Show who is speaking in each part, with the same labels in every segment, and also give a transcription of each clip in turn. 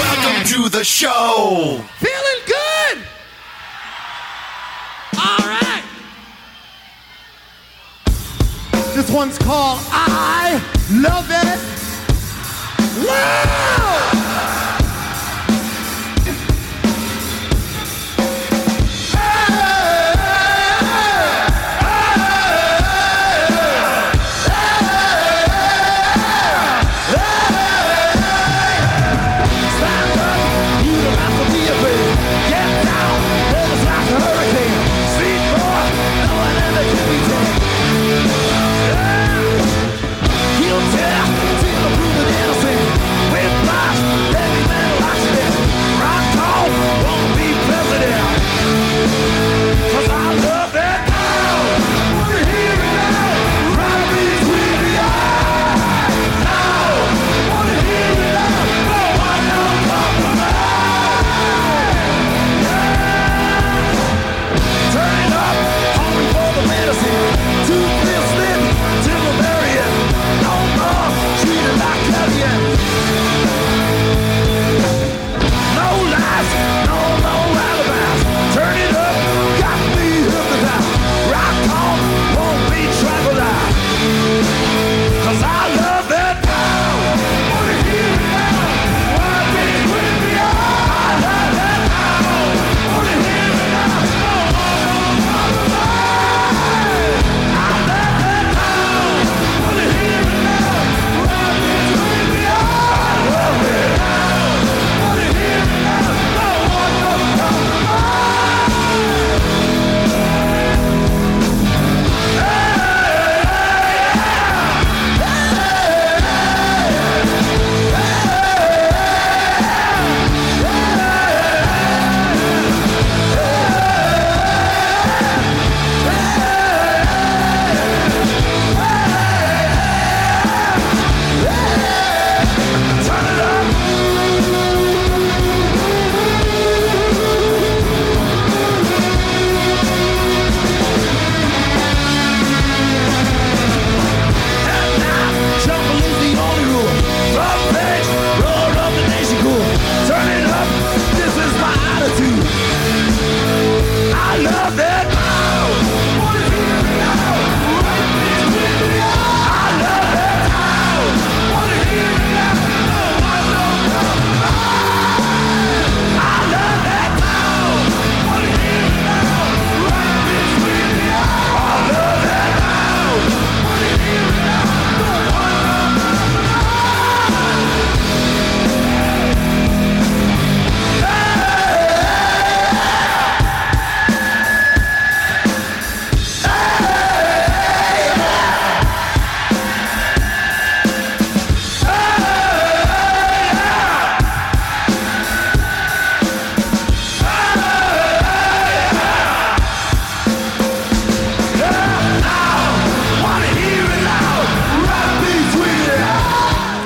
Speaker 1: Welcome to the show.
Speaker 2: Feeling good! All right! This one's called I Love It Loud!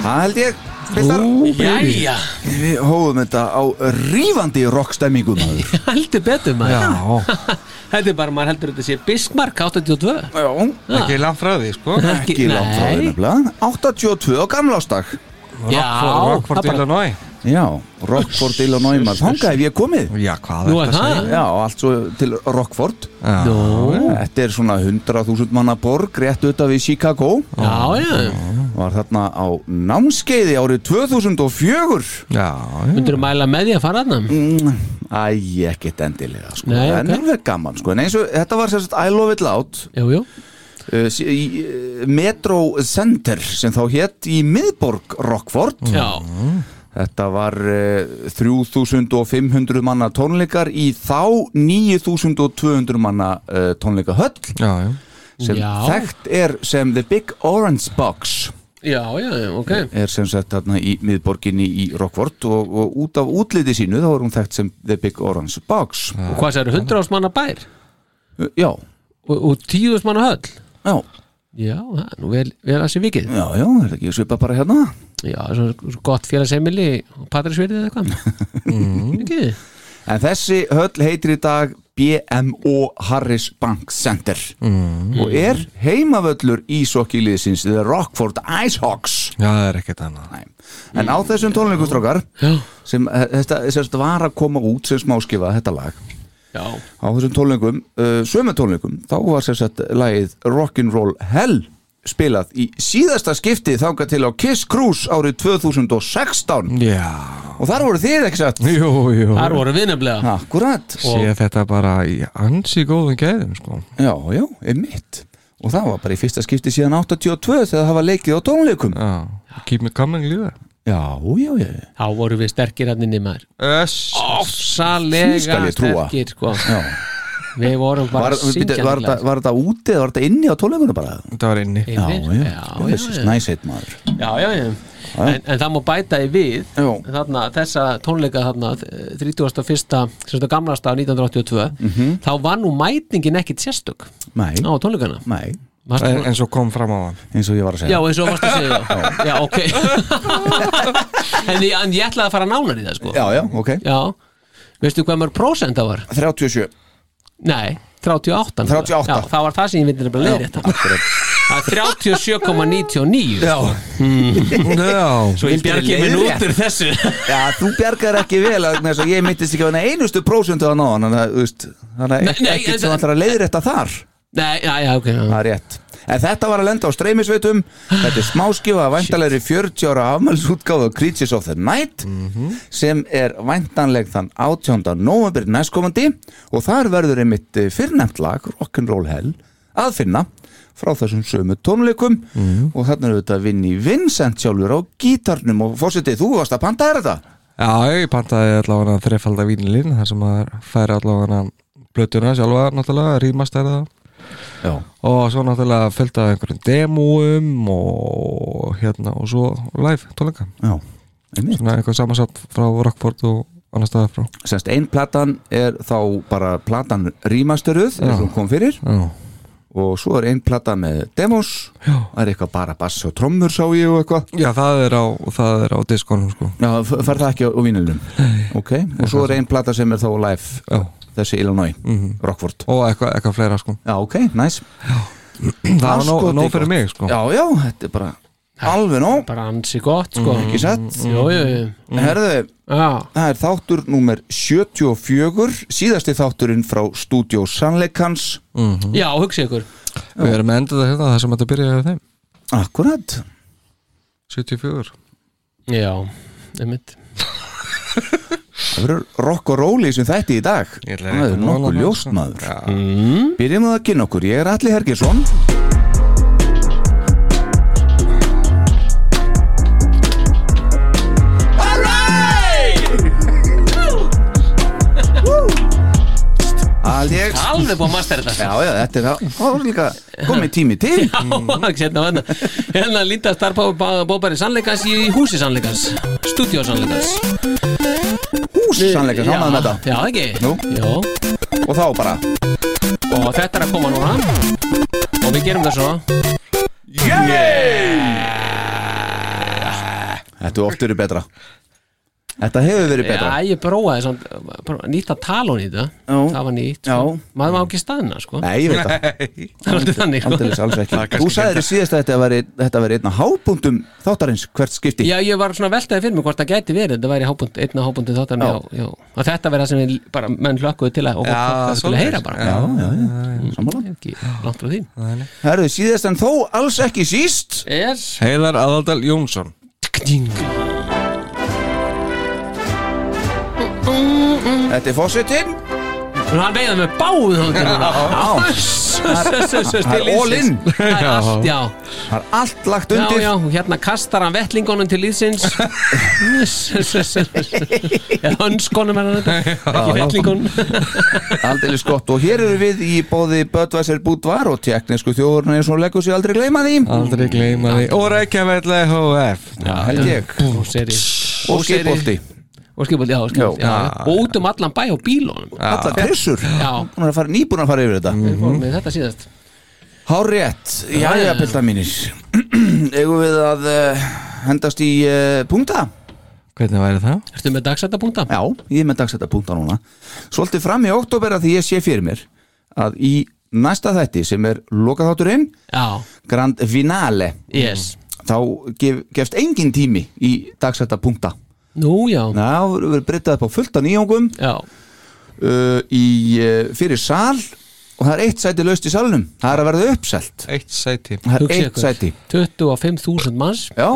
Speaker 2: Það held ég, Piltar,
Speaker 3: Jæja,
Speaker 2: við hóðum þetta á rífandi rockstemmingu maður
Speaker 3: heldur betur maður
Speaker 4: Já,
Speaker 3: Þetta er bara, maður heldur þetta sé Bismarck 82
Speaker 2: Já,
Speaker 4: ekki langt frá því, sko
Speaker 2: ekki langt frá þér
Speaker 3: Nei.
Speaker 2: nefnilega 82 á gamlástag
Speaker 3: Já,
Speaker 4: Rockford
Speaker 3: það bara-
Speaker 4: Illinois
Speaker 2: Já, Rockford, Illinois maður Þangað hef ég komið
Speaker 4: Já, hvað
Speaker 3: Nú
Speaker 4: er
Speaker 3: er
Speaker 4: þetta að
Speaker 3: það
Speaker 2: Já, allt svo til Rockford
Speaker 4: segja?
Speaker 2: Þetta er svona 100.000 manna borg rétt auðvitað við Chicago
Speaker 3: Já, já,
Speaker 2: Var þarna á námskeiði árið 2004
Speaker 4: Já, já,
Speaker 3: myndur mæla með því að fara aðna
Speaker 1: Mm.
Speaker 2: Æ, ekkert endilega sko
Speaker 3: Mm. Nei,
Speaker 2: En
Speaker 3: ok.
Speaker 2: alveg gaman sko En eins og þetta var sérst I Love It Loud
Speaker 3: Jú, jú,
Speaker 1: uh, sí- í, uh, Metro Center sem þá hétt í miðborg Rockford
Speaker 3: Já,
Speaker 1: Þetta var uh, 3500 manna tónleikar í þá 9200 manna uh, tónleika höll
Speaker 4: já, já
Speaker 1: sem
Speaker 3: Já.
Speaker 1: þekkt er sem The Big Orange Box
Speaker 3: já, já, já, ok
Speaker 1: er sem sagt þarna í miðborginni í Rockford og, og út af útliti sínu þá er hún þekkt sem The Big Orange Box
Speaker 3: Og hvað sér, 100 ás manna bær
Speaker 1: Uh, Já,
Speaker 3: og, og 10 ás manna höll
Speaker 1: já,
Speaker 3: Já, það er nú vel, vel að sé vikið
Speaker 1: já, já, er það ekki svipað bara hérna
Speaker 3: Já, svo, svo gott félagsemili og patræsverið eða eitthvað Ekki?
Speaker 1: En þessi höll heitir í dag BMO Harris Bank Center og er heimavöllur í sokkiliðsins The Rockford Icehawks
Speaker 4: Já, það er ekkert annað
Speaker 1: Nei. En á þessum tónleikustrókar
Speaker 3: Já,
Speaker 1: sem eh, þetta, þetta var að koma út sem smáskifa þetta lag
Speaker 3: já,
Speaker 1: á þessum tónleikum, uh, sömu tónleikum þá var sem sagt lagið Rock'n'Roll Hell spilað í síðasta skipti þangað til á Kiss Cruise árið 2016
Speaker 4: Já,
Speaker 1: og þar voru þið ekki satt
Speaker 4: jú, jú
Speaker 3: þar voru við nefnilega
Speaker 1: Akkurat
Speaker 4: Sé þetta bara í ansi góðum gæðum, sko
Speaker 1: Já, já, einmitt Og það var bara í fyrsta skipti síðan 82 þegar það var leikið á tónleikum
Speaker 4: Já, keep me coming líka
Speaker 1: Já, já, já
Speaker 3: Þá voru við sterkir hann inni maður
Speaker 4: Öss
Speaker 3: Ofsalega
Speaker 1: Því skal ég trúa.
Speaker 3: sterkir sko.
Speaker 1: Já.
Speaker 3: Við vorum bara
Speaker 1: Var,
Speaker 3: að syngja
Speaker 1: byrja, var,
Speaker 3: nefnilega.
Speaker 1: það, var það úti eða var það inni á tónleikunum bara?
Speaker 4: Þetta var inni
Speaker 1: Já,
Speaker 3: Yfir.
Speaker 1: já,
Speaker 3: já,
Speaker 1: This is
Speaker 3: já,
Speaker 1: nice eitt maður
Speaker 3: já, já, já. En, en það má bæta í við
Speaker 1: Já.
Speaker 3: þarna, þessa tónleika þarna, eh, 31. sem þetta gamlasta 1982
Speaker 1: Mhm.
Speaker 3: þá var nú mætingin ekkit sérstök
Speaker 1: Nei,
Speaker 3: á tónleikana
Speaker 1: nei,
Speaker 3: Varstu
Speaker 4: En,
Speaker 3: búin-
Speaker 4: en svo kom fram á hann
Speaker 1: eins og ég var að
Speaker 3: Já,
Speaker 1: segja
Speaker 3: eins og varst að segja já, já ok en, ég- en ég ætlaði að fara nánar í það sko
Speaker 1: já, ok
Speaker 3: veistu hvað mörg prósent það var?
Speaker 1: 37
Speaker 3: Nei, 38 nefnilega.
Speaker 1: 38.
Speaker 3: Já, það var það sem ég myndi nefnilega leiðir þetta 37,99
Speaker 1: Já,
Speaker 4: Já,
Speaker 3: Hmm. Svo ég
Speaker 1: Vildirðu
Speaker 3: bjargi minn
Speaker 1: leiðrétt?
Speaker 3: út úr þessu
Speaker 1: já þú bjargar ekki vel vegna þess að ég myndist ekki að hana einustu prósundu að ná hann þannig að, þú veist, þannig
Speaker 3: Nei,
Speaker 1: að
Speaker 3: nei,
Speaker 1: ekki
Speaker 3: en-
Speaker 1: sem ætlar að leiðrétta þar
Speaker 3: Nei, já, já, ok já.
Speaker 1: Það er rétt En þetta var að lenda á streymisveitum Þetta er smáskifa að væntalegri 40 ára afmælsútgáfa Creatures of the Night sem er væntanleg þann 18. november næstkomandi og þar verður einmitt eh, fyrrnefnt lag Rock'n'Roll Hell að finna frá þessum sömu tónleikum og þarna er auðvitað Vinni Vincent sjálfur á gítarnum og fórsetið þú varst að panta þér þetta
Speaker 4: já ég pantaði allavega þrefalda vínilinn þar sem maður færi allavega blötuna sjálfa náttúrulega, rýmast er það
Speaker 1: Já,
Speaker 4: og svo náttúrulega fullt af einhverjum demóum og hérna og svo live tónleika
Speaker 1: já, einmitt
Speaker 4: svona einhver samansat frá Rockford og annar staðar frá
Speaker 1: Semst einn platan er þá bara platan rýmasturuð eins og hún kom fyrir
Speaker 4: Já,
Speaker 1: og svo er einn plata með demos
Speaker 4: Já.
Speaker 1: það er eitthvað bara bass og trommur sá ég og eitthvað
Speaker 4: já það er á, það er á diskonum sko
Speaker 1: Já, f- fer það ekki á, á vínilum ok, og svo er einn plata sem er þá live
Speaker 4: Já. Mhm.
Speaker 1: þessi Illinois, Rockford
Speaker 4: og eitthvað eitthva fleira sko
Speaker 1: já, ok, næs
Speaker 4: það var nóg-
Speaker 1: Andskoti
Speaker 4: nóg fyrir
Speaker 1: gott.
Speaker 4: mig sko
Speaker 1: já, já, þetta er bara alveg nóg
Speaker 3: Bara ansi gott, sko
Speaker 1: ekki
Speaker 4: Mm,
Speaker 1: satt,
Speaker 3: Jú, jú, jú
Speaker 1: herðu
Speaker 3: Já,
Speaker 1: Það er þáttur númer 74 síðasti þátturinn frá Studio Sannleikans
Speaker 3: já hugsa ykkur
Speaker 4: við erum endað að hérna það sem þetta byrjaði af þeim
Speaker 1: Akkurat
Speaker 4: 74
Speaker 3: Já, einmitt
Speaker 1: Það verður rock og róli sem þætti í dag
Speaker 4: Ég ætla
Speaker 1: Það er
Speaker 4: rétt að mála
Speaker 1: nokkuð
Speaker 4: það,
Speaker 1: ljóst
Speaker 4: sko.
Speaker 1: maður Byrjum að kynna okkur, ég er Alli Hergjesson Alli
Speaker 3: Alveg búið að mastera þetta
Speaker 1: Já, já, þetta er það Það var líka komið tími til
Speaker 3: Hérna, hérna, hérna lítið að starfa bópari sannleikans í húsi sannleikans Stúdíó sannleikans
Speaker 1: Hús sannleika,
Speaker 3: Já,
Speaker 1: sánað með þetta
Speaker 3: Já, ekki
Speaker 1: Nú.
Speaker 3: Já,
Speaker 1: Og þá bara
Speaker 3: og þetta er að koma núna Og við gerum það svo
Speaker 1: Þetta er oft verið betra Þetta hefur verið betra
Speaker 3: Já, ég prófaði samt, prófaði nýtt að tala hún í þetta
Speaker 1: Já.
Speaker 3: Það var nýtt, sko.
Speaker 1: Já.
Speaker 3: maður má ekki staðna sko.
Speaker 1: Nei, ég veit það
Speaker 3: Það er aldrei þannig sko.
Speaker 1: Aldeilis, alls
Speaker 4: Það er
Speaker 1: ekki
Speaker 4: kannski
Speaker 1: Þú sagðir í síðast að þetta væri, þetta væri einn af hábúndum þáttarins hvert skipti
Speaker 3: Já, ég var svona veltaði fyrir mig hvort það gæti verið Þetta væri hábund, einn af hábundin þáttan já. Já, Og þetta verið það sem við bara menn hlökkuðu til að og
Speaker 4: Já,
Speaker 3: hlökkuðu til að
Speaker 4: svoleiðis.
Speaker 3: heyra bara
Speaker 1: já, já, já. sammála
Speaker 3: Ekki langt frá þín
Speaker 1: Herðu, síðast en þó alls ekki síst
Speaker 3: yes.
Speaker 4: Heiðar Aðaldal Jónsson
Speaker 1: Þetta er fósitinn
Speaker 3: En hann veiða með báðu þóttir
Speaker 1: Já, já. Það er all in.
Speaker 3: Það er allt, já
Speaker 1: Það er allt lagt
Speaker 3: Já,
Speaker 1: undir
Speaker 3: já, og hérna kastar hann vettlingunum til liðsins Eða hönskonum er hann þetta Ekki vettlingunum
Speaker 1: Aldeilis gott og hér eru við í bóði Böttvæsir Búdvar og teknisku þjóðurinn eins og leggur sér aldrei gleyma því
Speaker 4: Aldrei gleyma því Og Reykjavík HF
Speaker 1: held ég
Speaker 3: Og seri
Speaker 1: og skipolti
Speaker 3: Og skipolti, já, og skipolti já, já. Og út um allan bæ og bílunum
Speaker 1: allar trissur
Speaker 3: Já. Mm.
Speaker 1: hún er að fara nýbúin að fara yfir þetta
Speaker 3: Við fórum með þetta síðast
Speaker 1: Hárétt, jæja pilda mínir eigum við að uh, hendast í uh, punkta
Speaker 4: Hvernig væri það?
Speaker 3: Ertu með dagsættapunkta?
Speaker 1: já, ég er með dagsetta punkta núna svolítið fram í oktober að því ég sé fyrir mér að í næsta þætti sem er lokaþátturinn
Speaker 3: Já,
Speaker 1: Grand Finale
Speaker 3: yes
Speaker 1: þá gef, gefst engin tími í dagsetta punkta
Speaker 3: Nú, já,
Speaker 1: Já, við verðum breytað upp á fullt af nýjungum
Speaker 3: já
Speaker 1: uh, í, uh, fyrir sal og það er eitt sæti laust í salnum það er að verða uppselt
Speaker 4: Eitt sæti
Speaker 1: það er
Speaker 3: Hugsið
Speaker 1: eitt
Speaker 3: ykkur.
Speaker 1: sæti
Speaker 3: 25.000 manns
Speaker 1: Já,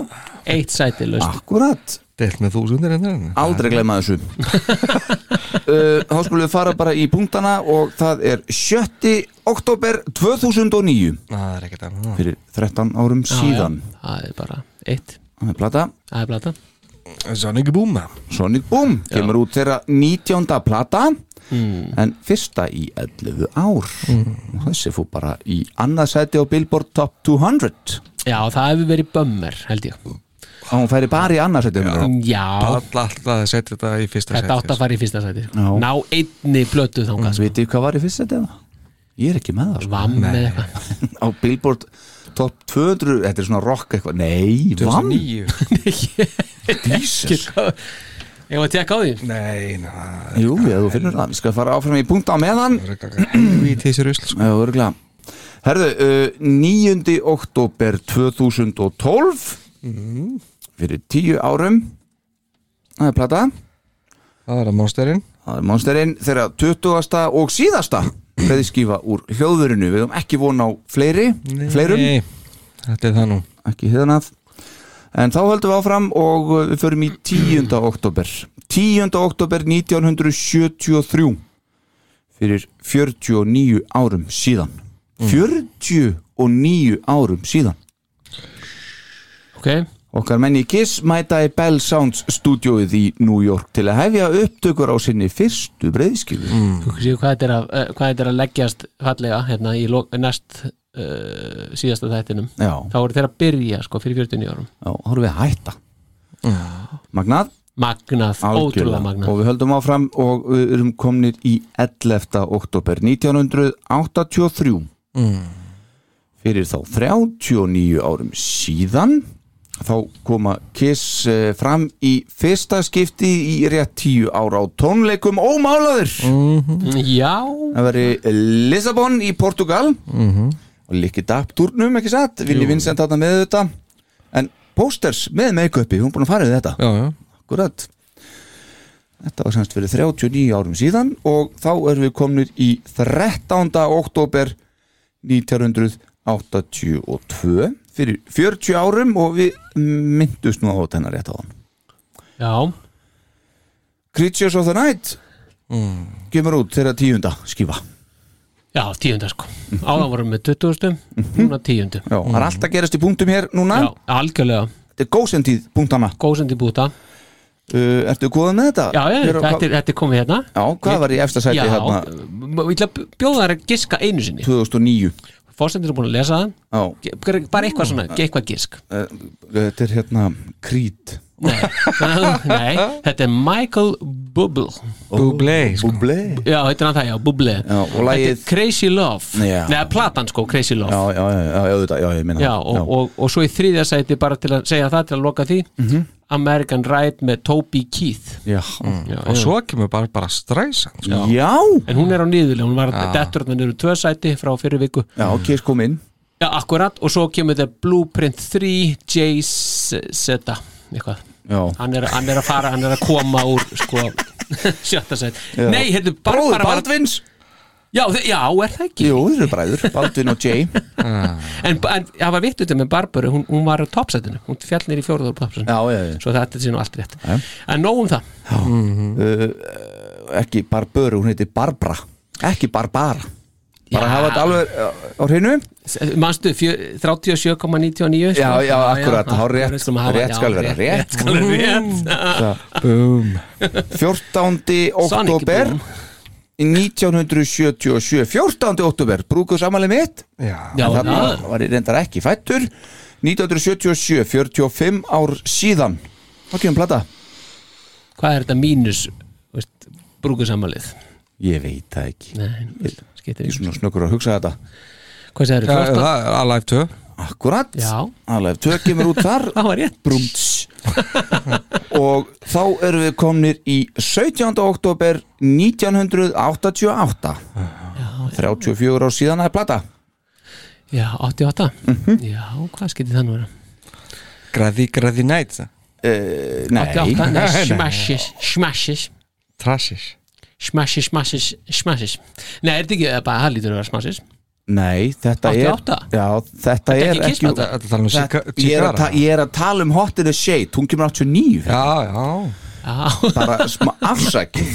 Speaker 3: Eitt sæti löst
Speaker 1: akkurat,
Speaker 4: Delt með þúsundir hérna
Speaker 1: aldrei glemma þessu uh, Þá skulum við fara bara í punktana og það er 7. oktober 2009
Speaker 4: Það er ekkert annað
Speaker 1: fyrir 13 árum Ah, síðan
Speaker 3: Já, já, Það er bara eitt
Speaker 1: Það er plata
Speaker 3: Það er blata
Speaker 4: Sonic Boom
Speaker 1: Sonic Boom kemur út þeirra 19. plata
Speaker 3: Hmm.
Speaker 1: en fyrsta í 11 ár og þessi fór bara í annað sæti á Billboard Top 200
Speaker 3: Já, það hefur verið bömmer, held ég
Speaker 1: og hún færi bara í annað sæti já.
Speaker 3: Já,
Speaker 4: Alla alltaf að setja þetta í fyrsta
Speaker 3: þetta átt
Speaker 4: sæti
Speaker 3: að fara í fyrsta sæti sko.
Speaker 1: Já. Mm,
Speaker 3: Ná einni plötu þangað sko.
Speaker 1: Vitið þið hvað var í fyrsta sæti? eða? Ég er ekki með það sko.
Speaker 3: Vamm eða eitthvað
Speaker 1: á Billboard Top 200 þetta er svona rock eitthvað nei, vann
Speaker 4: 2009
Speaker 1: Jesus
Speaker 3: Ég var að tekka á því
Speaker 4: Nei, ná
Speaker 1: Jú, ef þú finnur það, við skal fara áfram í punkt á meðan
Speaker 4: Við tísir usl sko
Speaker 1: Já, örgulega Herðu, uh, 9. oktober 2012 fyrir tíu árum það er plata
Speaker 4: Það var að monsterinn
Speaker 1: það er monsterinn þeirra 20. og síðasta hreðiskífa úr hljóðurinu við höfum ekki von á fleiri fleirum,
Speaker 4: Nei, Þetta er það nú
Speaker 1: ekki hiðanað en þá höldum við áfram og uh, við förum í 10. oktober 10. oktober 1973 fyrir 49 árum síðan Mm. 49 árum síðan
Speaker 3: Ok,
Speaker 1: Okkar menn í Kiss mæta í Bell Sounds stúdjóið í New York til að hefja upptökur á sinni fyrstu breyðskifu.
Speaker 3: þú séu hvað þetta er að, eh, hvað þetta er að leggjast fallega hérna í lo- næst uh, síðasta þættinum
Speaker 1: Já,
Speaker 3: Þá voru þeir að byrja sko fyrir 49 árum
Speaker 1: já, þá erum við að hætta. Magnað,
Speaker 3: Magnað, ótrúlega magnað
Speaker 1: Og við höldum áfram og við erum komnir í 11. oktober 1983.
Speaker 3: Mm.
Speaker 1: Fyrir þá 39 árum síðan, þá koma Kiss eh, fram í fyrsta skipti í rétt 10 ára á tónleikum ómálaður.
Speaker 3: Mm. Já,
Speaker 1: Það veri Lissabon í Portugal
Speaker 3: Mhm.
Speaker 1: og líkið upp turnum, ekki satt Vinni Vincent þarna með þetta en posters með make-upi, hún er búin að fara við þetta
Speaker 4: Já, já
Speaker 1: akkurat þetta var semst fyrir 39 árum síðan og þá erum við komnir í 13. oktober 1982 fyrir 40 árum og við myndust nú á þennar rétt á hann
Speaker 3: já,
Speaker 1: Creatures of the Night
Speaker 3: Mm.
Speaker 1: kemur út þeirra tíunda skifa
Speaker 3: já, tíunda sko Áðan vorum við 20.
Speaker 1: Mhm.
Speaker 3: Núna tíundu
Speaker 1: Já, það er allt að gerast í punktum hér núna
Speaker 3: Mm. Já, algjörlega,
Speaker 1: Þetta er góðsendíð punktana
Speaker 3: góðsend í búta
Speaker 1: uh, Ertu góða með þetta?
Speaker 3: Já, já,
Speaker 1: Hér á-
Speaker 3: þetta er, þetta er komið hérna
Speaker 1: Já, hvað var í efsta sæti
Speaker 3: Já,
Speaker 1: hérna
Speaker 3: m- ég ætla að bjóða þær að giska einu sinni
Speaker 1: 2009
Speaker 3: Fórsendur er búin að lesa það
Speaker 1: Já,
Speaker 3: Ge- bara- Bara eitthvað svona, ge- eitthvað gisk
Speaker 1: uh, þetta er hérna Creed
Speaker 3: Nei, nei, þetta er Michael Bublé
Speaker 4: Bublé sko
Speaker 1: Bublé
Speaker 3: Já, heitir hann það, já, Bublé
Speaker 1: Já, og
Speaker 3: Þetta er
Speaker 1: lagið-
Speaker 3: Crazy Love
Speaker 1: Já.
Speaker 3: Nei, platan sko, Crazy Love
Speaker 1: Já, já, já, já, auðvitað, já, ég minna
Speaker 3: Já, og, og, og svo í þriðja sæti bara til að segja það til að loka því
Speaker 1: Mhm.
Speaker 3: American Ride með Toby Keith
Speaker 1: Já,
Speaker 3: já,
Speaker 4: Og svo kemur bara, bara stræsan sko.
Speaker 1: já, já,
Speaker 3: En hún er á nýðuleg, hún var
Speaker 1: Ah.
Speaker 3: að dettur þarna niður úr tvö sæti frá fyrir viku
Speaker 1: já Kiss kom inn
Speaker 3: Já, akkurat, og svo kemur þetta Blueprint 3 J Zeta eitthvað,
Speaker 1: Já,
Speaker 3: hann er, hann er að fara hann er að koma úr, sko sjötta sætt,
Speaker 1: Já.
Speaker 3: nei, hérna
Speaker 1: bróður
Speaker 3: Barbara var-
Speaker 1: Baldvins
Speaker 3: já, þe- já, er það ekki
Speaker 1: Jú, þeir eru bræður, Baldvin og Jay
Speaker 3: en, en það var vittu þetta með Barbara hún, hún var á toppsætinu, hún fjall nýr í fjóruður toppsætinu,
Speaker 1: Já, já, já
Speaker 3: svo þetta sé nú allt rétt en nóg um það,
Speaker 1: Ekki Barbaru, hún heiti Barbara ekki barbara bara
Speaker 3: Já.
Speaker 1: hafa þetta alveg uh, á hreinu
Speaker 3: Manstu, fjö- 37,99 sko?
Speaker 1: já, já, akkurat, há rétt
Speaker 3: við skulum hafa-
Speaker 1: rétt skal
Speaker 3: já,
Speaker 1: vera rétt Mm.
Speaker 3: skal vera rétt
Speaker 1: 14.
Speaker 3: Sonic
Speaker 1: oktober
Speaker 3: Boom.
Speaker 1: 1977 14. oktober, brúkuð samanlega mitt
Speaker 4: Já,
Speaker 3: Já,
Speaker 1: en þarna
Speaker 3: það-
Speaker 1: var ég reyndar ekki fættur 1977, 45 ár síðan þá kemur plata
Speaker 3: Hvað er þetta mínus veist, brúkusammalið?
Speaker 1: ég veit það ekki
Speaker 3: Nei, skiptir
Speaker 1: ég er
Speaker 3: ekki
Speaker 1: svona snökkur að hugsa þetta
Speaker 3: Hvað segir
Speaker 4: það
Speaker 3: þetta?
Speaker 4: er Alive 2
Speaker 1: akkurat,
Speaker 3: Já.
Speaker 1: alveg tök kemur út þar
Speaker 3: Það var rétt
Speaker 1: brúmts og þá erum við komnir í 17. oktober 1988 34 ár síðan að er plata
Speaker 3: Já, 88
Speaker 1: Mhm.
Speaker 3: Já, hvað skiptir það nú vera?
Speaker 4: Græði, græði nætt
Speaker 1: uh, nei,
Speaker 3: 88, nei,
Speaker 4: Nei, nei.
Speaker 3: smashes Smashes
Speaker 4: Trassis
Speaker 3: Smashes, smashes, smashes Nei, er þetta ekki eða bara, það lítur að vera smashes
Speaker 1: nei, þetta
Speaker 3: 88?
Speaker 1: er já, þetta
Speaker 3: Þetta er
Speaker 1: er
Speaker 3: ekki
Speaker 1: ekki
Speaker 3: Kiss-plata?
Speaker 4: Þetta tala um
Speaker 1: þetta,
Speaker 4: Chica-
Speaker 1: ég, er að
Speaker 4: Chicara
Speaker 1: ta- ég er að tala um Hot in the Shade hún kemur 89
Speaker 4: Já, já
Speaker 3: Já,
Speaker 1: bara sma- afsakið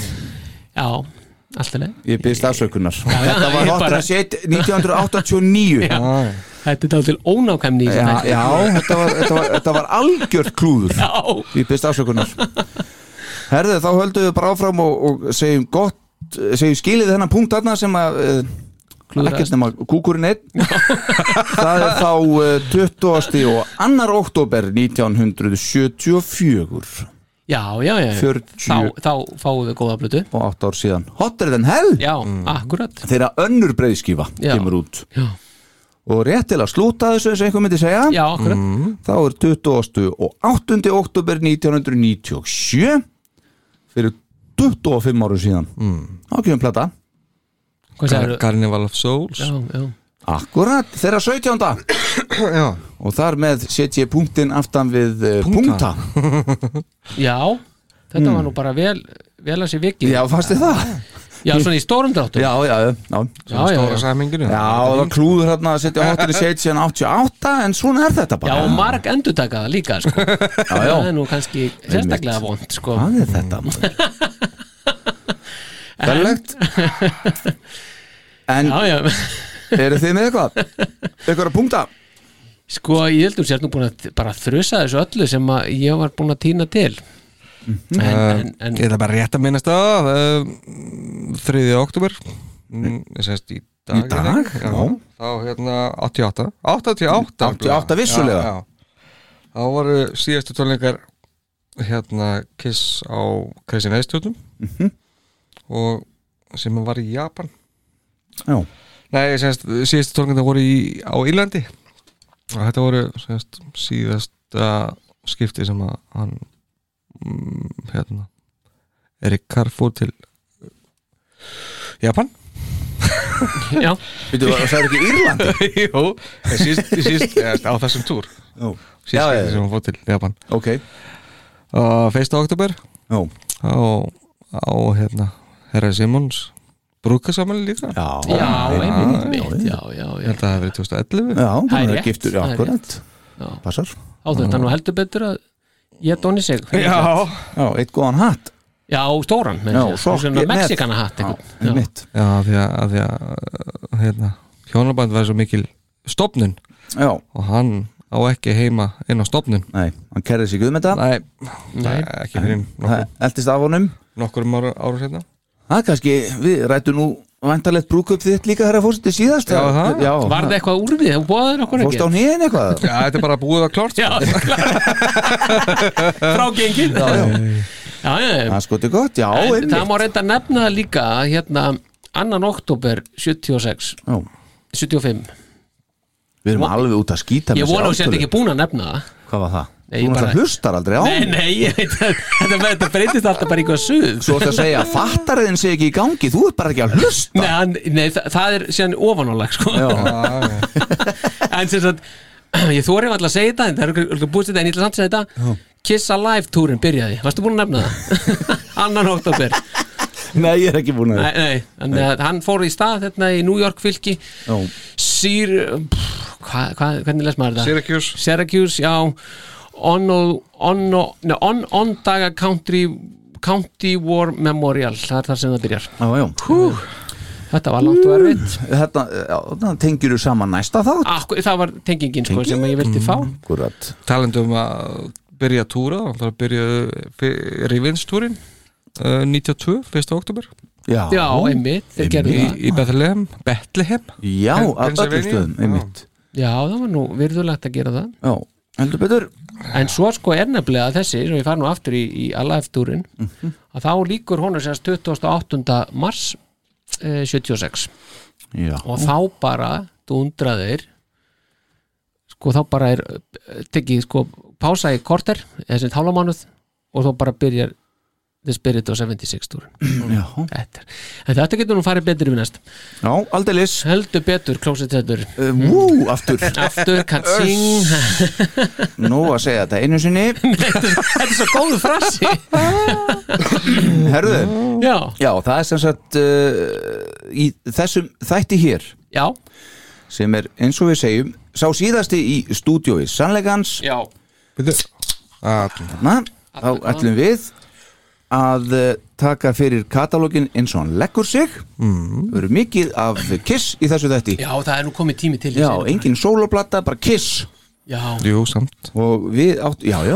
Speaker 3: já, alltaf leið
Speaker 1: ég byrðist afsökunar
Speaker 3: já,
Speaker 1: þetta var
Speaker 3: ég
Speaker 1: Hot in
Speaker 3: bara-
Speaker 1: the Shade 1989 já,
Speaker 4: Já, já.
Speaker 3: Þetta er þá til ónákæmni í
Speaker 1: já,
Speaker 3: þessum þætti.
Speaker 1: þetta, var, þetta, var, þetta var algjört klúður
Speaker 3: Já,
Speaker 1: Ég byrst afsökunar Herðu, þá höldum við bara áfram og, og segjum gott, segjum skilið þennan punkt þarna sem að uh,
Speaker 3: Klúðraðist.
Speaker 1: ekkert nema kúkurinn einn Það er þá uh, 20. og 2. oktober 1974
Speaker 3: já, já, já
Speaker 1: 40.
Speaker 3: Þá, þá fáum við góða blötu
Speaker 1: og 8 ár síðan Hotter than hell
Speaker 3: Já, akkurat
Speaker 1: þegar önnur breyðskífa
Speaker 3: Já.
Speaker 1: kemur út
Speaker 3: Já,
Speaker 1: og rétt til að slúta þessu eins og einhver myndi segja
Speaker 3: já akkurat
Speaker 1: þá er 20. og 8. oktober 1997 fyrir 25 áru síðan mm. þá kemur plata
Speaker 3: Hvað segir þú?
Speaker 4: Carnival of Souls
Speaker 3: Já, já
Speaker 1: Akkurat, þeirra 17.
Speaker 4: Já,
Speaker 1: og þar með setj ég punktin aftan við eh, punkta.
Speaker 4: Punkta.
Speaker 3: Já, þetta var nú bara vel, vel að sé vikið
Speaker 1: Mm. Já, fannst þið það?
Speaker 3: Já, svona í stórum dráttum
Speaker 1: Já, já, já. Já,
Speaker 3: já, já,
Speaker 4: stóra
Speaker 3: já.
Speaker 4: saminginu
Speaker 1: já það var klúður hérna að setja hotir í setj en 88 en svona er þetta
Speaker 3: já
Speaker 1: bara.
Speaker 3: og marg endurtaka það líka sko. já,
Speaker 1: já.
Speaker 3: Það er nú kannski sérstaklega vond sko.
Speaker 1: Hvað er þetta? maður? Verlegt. En
Speaker 3: Já, já,
Speaker 1: eru þið með eitthvað? Eitthvað að punkta?
Speaker 3: sko ég heldum sér nú búin að bara þrusa þessu öllu sem að ég var búin að týna til en, en, en
Speaker 4: Ég ætla bara rétt að minnast það uh, 3. oktober mm, Ég segist í dag
Speaker 1: Í dag?
Speaker 4: Já,
Speaker 1: Já.
Speaker 4: Þá hérna 88
Speaker 1: 88
Speaker 4: 88 nefnilega.
Speaker 1: vissulega.
Speaker 4: Já, já. Þá voru síðastu tónleikar hérna Kiss á Crazy Neistjóttum mm og sem var í Japan
Speaker 1: Já.
Speaker 4: Nei, semst, síðustu tónleikar voru í, á Írlandi og þetta voru semst, síðasta skipti sem að hann mm, hérna Erik Carr fór til uh, Japan
Speaker 3: já,
Speaker 1: Býtu, það er ekki Írlandi?
Speaker 4: Jú, en síðust, síðust eða, á þessum túr
Speaker 1: Já.
Speaker 4: síðust
Speaker 1: Já, já,
Speaker 4: skipti
Speaker 1: já.
Speaker 4: sem hann fór til Japan
Speaker 1: Ok.
Speaker 4: uh, 1. oktober
Speaker 1: Já.
Speaker 4: á, á hérna Herra Simons brúkasamæli líka
Speaker 1: Já.
Speaker 3: já, einmitt, einmitt, já, já,
Speaker 4: Ég
Speaker 3: já,
Speaker 4: held að það hefði verið 2011
Speaker 1: Já,
Speaker 3: Það er
Speaker 1: það er
Speaker 3: rétt,
Speaker 1: giftur, já,
Speaker 3: það er
Speaker 1: akkurat.
Speaker 3: já.
Speaker 1: Passar.
Speaker 3: Á þetta nú heldur betur að ég doni sig
Speaker 1: Já, eitt góðan hatt.
Speaker 3: já stóran menn,
Speaker 1: Já,
Speaker 3: já,
Speaker 1: svo-
Speaker 3: svona
Speaker 1: ég- með-
Speaker 3: mexikana hatt
Speaker 1: Já,
Speaker 3: einhvern. já,
Speaker 1: mitt.
Speaker 4: Já, af því að, að, því að uh, hérna, hjónaband var svo mikil stopnun
Speaker 1: Já.
Speaker 4: og hann á ekki heima inn á stopnun
Speaker 1: Nei, hann kerði sig um þetta
Speaker 4: Nei,
Speaker 3: Nei.
Speaker 4: ekki fyrir nokkur,
Speaker 1: Það eldist af honum
Speaker 4: nokkur um ára, ára setna
Speaker 1: Það er kannski, við rættum nú vantarlegt brúkup þitt líka herra fórstu síðast
Speaker 4: Já, það?
Speaker 1: Já,
Speaker 3: Var það eitthvað úr því? Þú bóðaður okkur ekki?
Speaker 1: Fórstu á nýðin eitthvað?
Speaker 4: Já, þetta er bara búið að klárt
Speaker 3: Já, frágengið Já, já, já,
Speaker 1: Það er skotið gott, já,
Speaker 3: En það
Speaker 1: einmitt
Speaker 3: má reynda að nefna líka að, hérna, 2. oktober 76,
Speaker 1: Já,
Speaker 3: 75
Speaker 1: Við erum alveg út að skýta
Speaker 3: Ég
Speaker 1: með
Speaker 3: vona að þú
Speaker 1: þessi
Speaker 3: sett
Speaker 1: ártölu.
Speaker 3: ekki búin að nefna það
Speaker 1: Hvað var það?
Speaker 3: Nei,
Speaker 1: Þú
Speaker 3: ég
Speaker 1: náttúrulega
Speaker 3: bara-
Speaker 1: hlustar aldrei á
Speaker 3: Nei, nei, ég veit að þetta, þetta breytist alltaf bara í eitthvað suð
Speaker 1: Svo ætti að segja, fattarðin sé ekki í gangi Þú ert bara ekki að hlusta
Speaker 3: Nei, hann- nei það, það er síðan ofanálag sko.
Speaker 1: Já,
Speaker 3: En sem sagt, ég þóri alltaf að segja þetta en það er ekki búið þetta en ég ætla samt að segja þetta Kiss Alive túrin byrjaði, varstu búin að nefna það? 2. oktober
Speaker 1: nei, ég er ekki búin að
Speaker 3: Nei, nei, en nei. hann fór í stað hérna í New York fylki
Speaker 1: Já,
Speaker 3: Sýr, pff, hva, hva, hvernig les maður þetta?
Speaker 4: Syracuse.
Speaker 3: Syracuse, já Onno, onno, nei, on, on daga Country, County War Memorial, það er þar sem það byrjar
Speaker 1: já, já
Speaker 3: Hú, Þetta var langt og erfitt
Speaker 1: Þetta, já, þannig tengir þú saman næsta þátt
Speaker 3: Akkur, Það var tengingin sko, sem ég vildi fá
Speaker 1: Akkurat
Speaker 4: talandi um að byrja eh, að túra þá byrjaði Rivinstúrin uh, 92, 1. oktober
Speaker 1: Já,
Speaker 3: Já, einmitt, þeir gerðu
Speaker 4: í,
Speaker 3: það
Speaker 4: í Bethlehem, Bethlehem
Speaker 1: Já,
Speaker 4: Pen-
Speaker 1: af öllum
Speaker 4: Pennsylvania.
Speaker 1: stöðum, einmitt
Speaker 3: Já, það var nú virðulegt að gera það
Speaker 1: Já, heldur betur
Speaker 3: En svo sko er nefnilega þessi sem ég fari nú aftur í, í Alive-túrin að þá líkur honum sérst 28. mars eh, 76
Speaker 1: Já,
Speaker 3: og þá bara dundraðir sko þá bara er eh, tekið sko pása í korter eða sem tálamánuð og þá bara byrjar The Spirit of 76 túrin
Speaker 1: já,
Speaker 3: þetta er, en þetta getur nú farið betur við næst
Speaker 1: já aldeilis
Speaker 3: heldur betur, klósið þetta
Speaker 1: uh, Vú, aftur
Speaker 3: aftur, katsing
Speaker 1: Nú að segja þetta einu sinni
Speaker 3: þetta er svo góðu frasi
Speaker 1: Herðu,
Speaker 3: já,
Speaker 1: já, það er sem sagt uh, í þessum þætti hér
Speaker 3: já,
Speaker 1: sem er eins og við segjum sá síðasti í stúdíói sannleikans
Speaker 3: já
Speaker 4: Byrju, að,
Speaker 1: Na, þá ætlum við að eh, taka fyrir katalógin eins og hann leggur sig mm. verður mikið af kiss í þessu þætti
Speaker 3: já, það er nú komið tími til
Speaker 1: já
Speaker 3: þessi.
Speaker 1: engin sóloplata, bara kiss
Speaker 3: já,
Speaker 4: jú, samt
Speaker 1: og við átt, já, já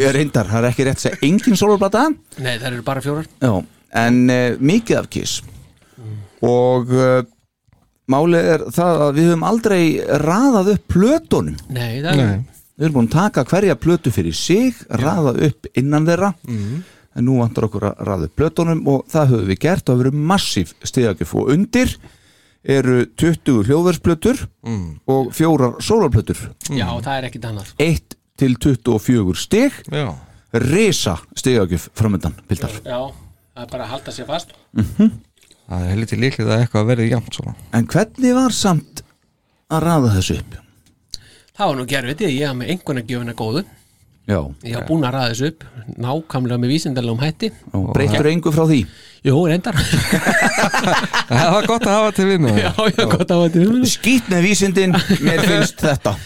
Speaker 1: ég reyndar, það er ekki rétt að segja engin sóloplata
Speaker 3: nei, það eru bara fjórar
Speaker 1: já, en uh, mikið af kiss og uh, málið er það að við höfum aldrei raðað upp plötunum
Speaker 3: nei, það eru,
Speaker 1: við erum búin að taka hverja plötu fyrir sig raða upp innan þeirra en nú vantar okkur að raða upp plötunum og það höfum við gert og það verið massíf stiðakjöf og undir eru 20 hljóðversplötur og fjórar sólarplötur
Speaker 3: já, það er ekkit annað sko.
Speaker 1: 1 til 24 stig
Speaker 4: já,
Speaker 1: risa stiðakjöf framöndan pildar.
Speaker 3: já, það er bara að halda sér fast
Speaker 4: það er helviti líklið að eitthvað verði jæmt svona
Speaker 1: en hvernig var samt að raða þessu upp?
Speaker 3: það var nú gerfið, ég haf með einhverna gjöfina góðu
Speaker 1: Já,
Speaker 3: ég haf búin að ræða þessu upp nákvæmlega með vísindalegum hætti
Speaker 1: og breyttur engu frá því
Speaker 3: jú, reyndar já,
Speaker 4: það var gott að hafa til vinnu
Speaker 3: já, gott að þetta er
Speaker 1: skýt með vísindin, mér finnst þetta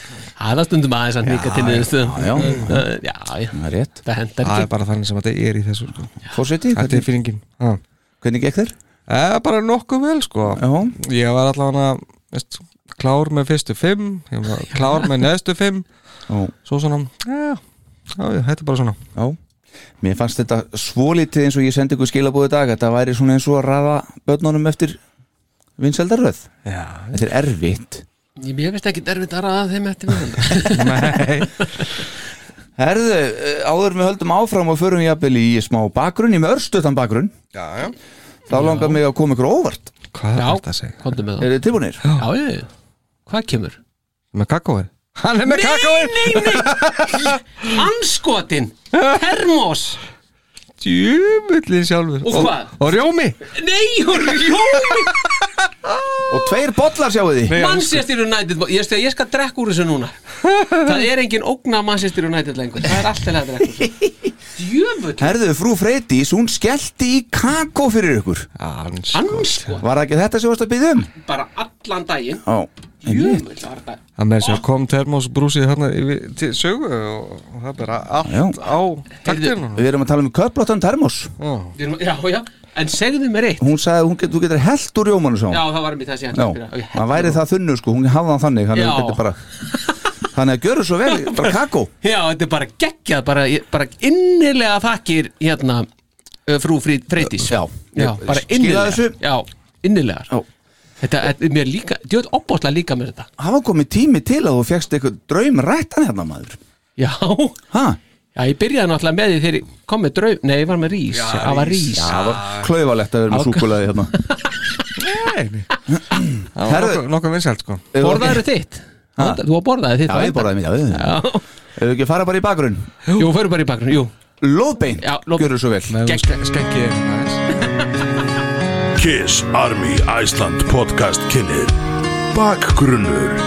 Speaker 3: aða stundum aðeins að nýka til niðurstöðum
Speaker 1: já, já.
Speaker 3: Uh, já, já,
Speaker 1: það er rétt
Speaker 3: það hendar
Speaker 4: það
Speaker 3: ekki
Speaker 4: er bara þannig sem þetta er í þessu sko.
Speaker 1: Fórseti,
Speaker 4: þetta er
Speaker 1: hvernig,
Speaker 4: fílingin Já.
Speaker 1: hvernig gekk þér?
Speaker 4: það er Eh, bara nokkuð vel sko
Speaker 1: Já,
Speaker 4: ég var allavega veist, klár með fyrstu fimm ég var klár með neðstu fimm
Speaker 1: já,
Speaker 4: svo svona, já, já, já, þetta er bara svona
Speaker 1: já Mér fannst þetta svolítið eins og ég sendi ykkur skilabóðu dag Þetta væri svona eins og að raða börnunum eftir vinseldaröð
Speaker 4: já,
Speaker 1: Þetta er erfitt
Speaker 3: ég, ég veist ekki derfitt að ræða þeim eftir viðhald
Speaker 4: nei
Speaker 1: Herðu, eh, áður en við höldum áfram og förum jafnvel í smá bakgrunn, í með örstutan bakgrunn
Speaker 4: já, já.
Speaker 1: Þá langar mig að koma ykkur á óvart
Speaker 4: hvað er
Speaker 3: Já.
Speaker 4: þetta að segja?
Speaker 3: komdu með það
Speaker 1: Er þið tilbúinir?
Speaker 3: já, já, já. hvað kemur?
Speaker 4: með kakóið hann er með kakóið
Speaker 3: anskotin, termos
Speaker 4: djúmullin sjálfur
Speaker 3: Og hvað?
Speaker 4: og rjómi
Speaker 3: nei, hún ljómi
Speaker 1: Og tveir bollar sjáu því
Speaker 3: Manchester United ég, skal- ég skal drekka úr þessu núna það er engin ógna Manchester United lengur það er alltaf að drekka úr þessu. djöfull,
Speaker 1: Herðu, frú Freydís, hún skellti í kakó fyrir ykkur
Speaker 4: hans
Speaker 3: anskot
Speaker 1: Var það ekki þetta sem varst að byggja um?
Speaker 3: Sko, bara allan daginn
Speaker 1: Já, einmitt.
Speaker 3: djöfull, það var þetta
Speaker 4: að með þess að kom termosbrúsið hérna yfir, til sögu og, og það er bara allt
Speaker 1: Já.
Speaker 4: á taktinu
Speaker 1: Við erum að tala um köplóttan termos
Speaker 4: já,
Speaker 3: Við erum- já, já, en segðu mér eitt
Speaker 1: Hún sagði, hún get, þú getur hellt úr rjómanu sá
Speaker 3: já, það var mér þessi
Speaker 1: Já,
Speaker 3: hann
Speaker 1: það væri það þunnu sko, hún hafði hann þannig þannig að
Speaker 3: Já.
Speaker 1: þetta er bara þannig að gjöru svo vel, bara kakó
Speaker 3: Já, þetta er bara geggjað, bara, ég- bara innilega þakkir hérna ö, frú Frí- Freydís
Speaker 1: Já.
Speaker 3: já,
Speaker 1: Ég
Speaker 3: bara
Speaker 1: skila
Speaker 3: innilega
Speaker 1: þessu.
Speaker 3: Já, innilegar
Speaker 1: Já.
Speaker 3: Þetta er mér líka, djöfull opbóðslega líka mér þetta
Speaker 1: hafa komið tími til að þú fegst eitthvað draum rættan hérna maður
Speaker 3: Já,
Speaker 1: ha?
Speaker 3: já ég byrjaði náttúrulega með því þegar ég kom með draug Nei, ég var með rís, það var rís
Speaker 1: það var klaufalegt að vera með
Speaker 3: Á-
Speaker 1: súkulaði hérna
Speaker 4: það var
Speaker 1: Herðu-
Speaker 4: nokkuð, nokkuð vinsælt sko
Speaker 3: Borðaðu þitt?
Speaker 1: Ha?
Speaker 3: Þú var borðaði þitt
Speaker 1: Já, ég borðaði mér, já, já
Speaker 3: Já.
Speaker 1: Ef við ekki fara bara í bakgrunn
Speaker 3: Jú, förum bara í bakgrunn, jú
Speaker 1: Lóðbeint,
Speaker 3: Já, lóðbeint.
Speaker 1: gjöru svo vel
Speaker 3: Geggjað.
Speaker 4: skekki næs
Speaker 5: Kiss Army Iceland podcast kynir Bakgrunnur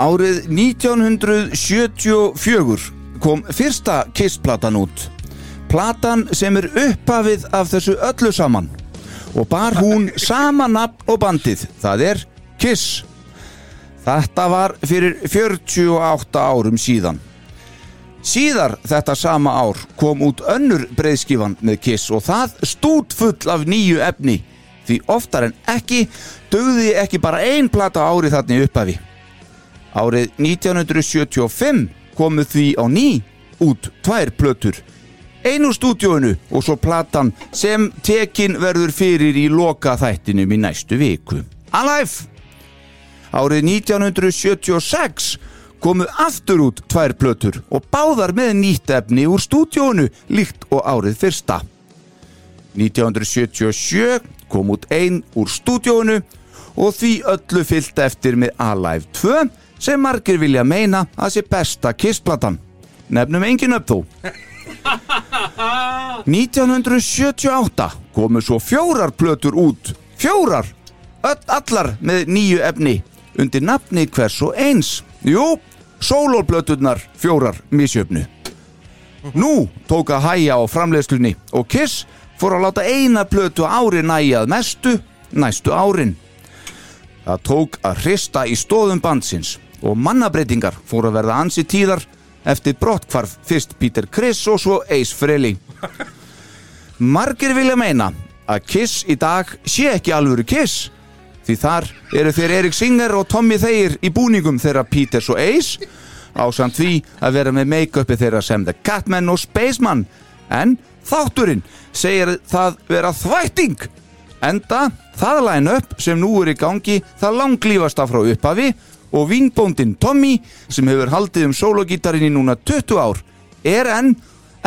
Speaker 1: Árið 1974 kom fyrsta Kiss-platan út. Platan sem er upphafið af þessu öllu saman. Og bar hún sama nafn og bandið. Það er Kiss. Þetta var fyrir 48 árum síðan. Síðar þetta sama ár kom út önnur breiðskífan með Kiss og það stút full af nýju efni því oftar en ekki dögði ekki bara ein plata á ári þarna í upphafi. Árið 1975 komu því á ný út tvær plötur. Ein úr stúdíóinu og svo platan sem tekin verður fyrir í loka þættinum í næstu viku. Alive! Árið 1976 komu aftur út tvær plötur og báðar með nýtt efni úr stúdíónu líkt og árið fyrsta. 1977 kom út ein úr stúdíónu og því öllu fyllt eftir með Alive 2 sem margir vilja meina að sé besta kissplatan. Nefnum engin upp þó. 1978 komu svo fjórar plötur út fjórar, öll allar með nýju efni undir nafni hvers og eins jú, sólóplöturnar fjórar misjöfnu nú tók að hæja á framleiðslunni og Kiss fór að láta eina plötu á ári næjað mestu næstu árin það tók að hrista í stóðum bandsins og mannabreitingar fór að verða ansi tíðar eftir brottkvarf fyrst Peter Criss og svo Ace Frehley Margir vilja meina að Kiss í dag sé ekki alvöru Kiss því þar eru þeir Erik Singer og Tommy Thayer í búningum þeirra Peters og Ace ásamt því að vera með make-upi þeirra sem The Catman og Spaceman en þátturinn segir það vera þvætting enda það line-up sem nú er í gangi það langlífasta frá upphafi og vingbóndin Tommy sem hefur haldið um sólogítarinn í núna 20 ár er enn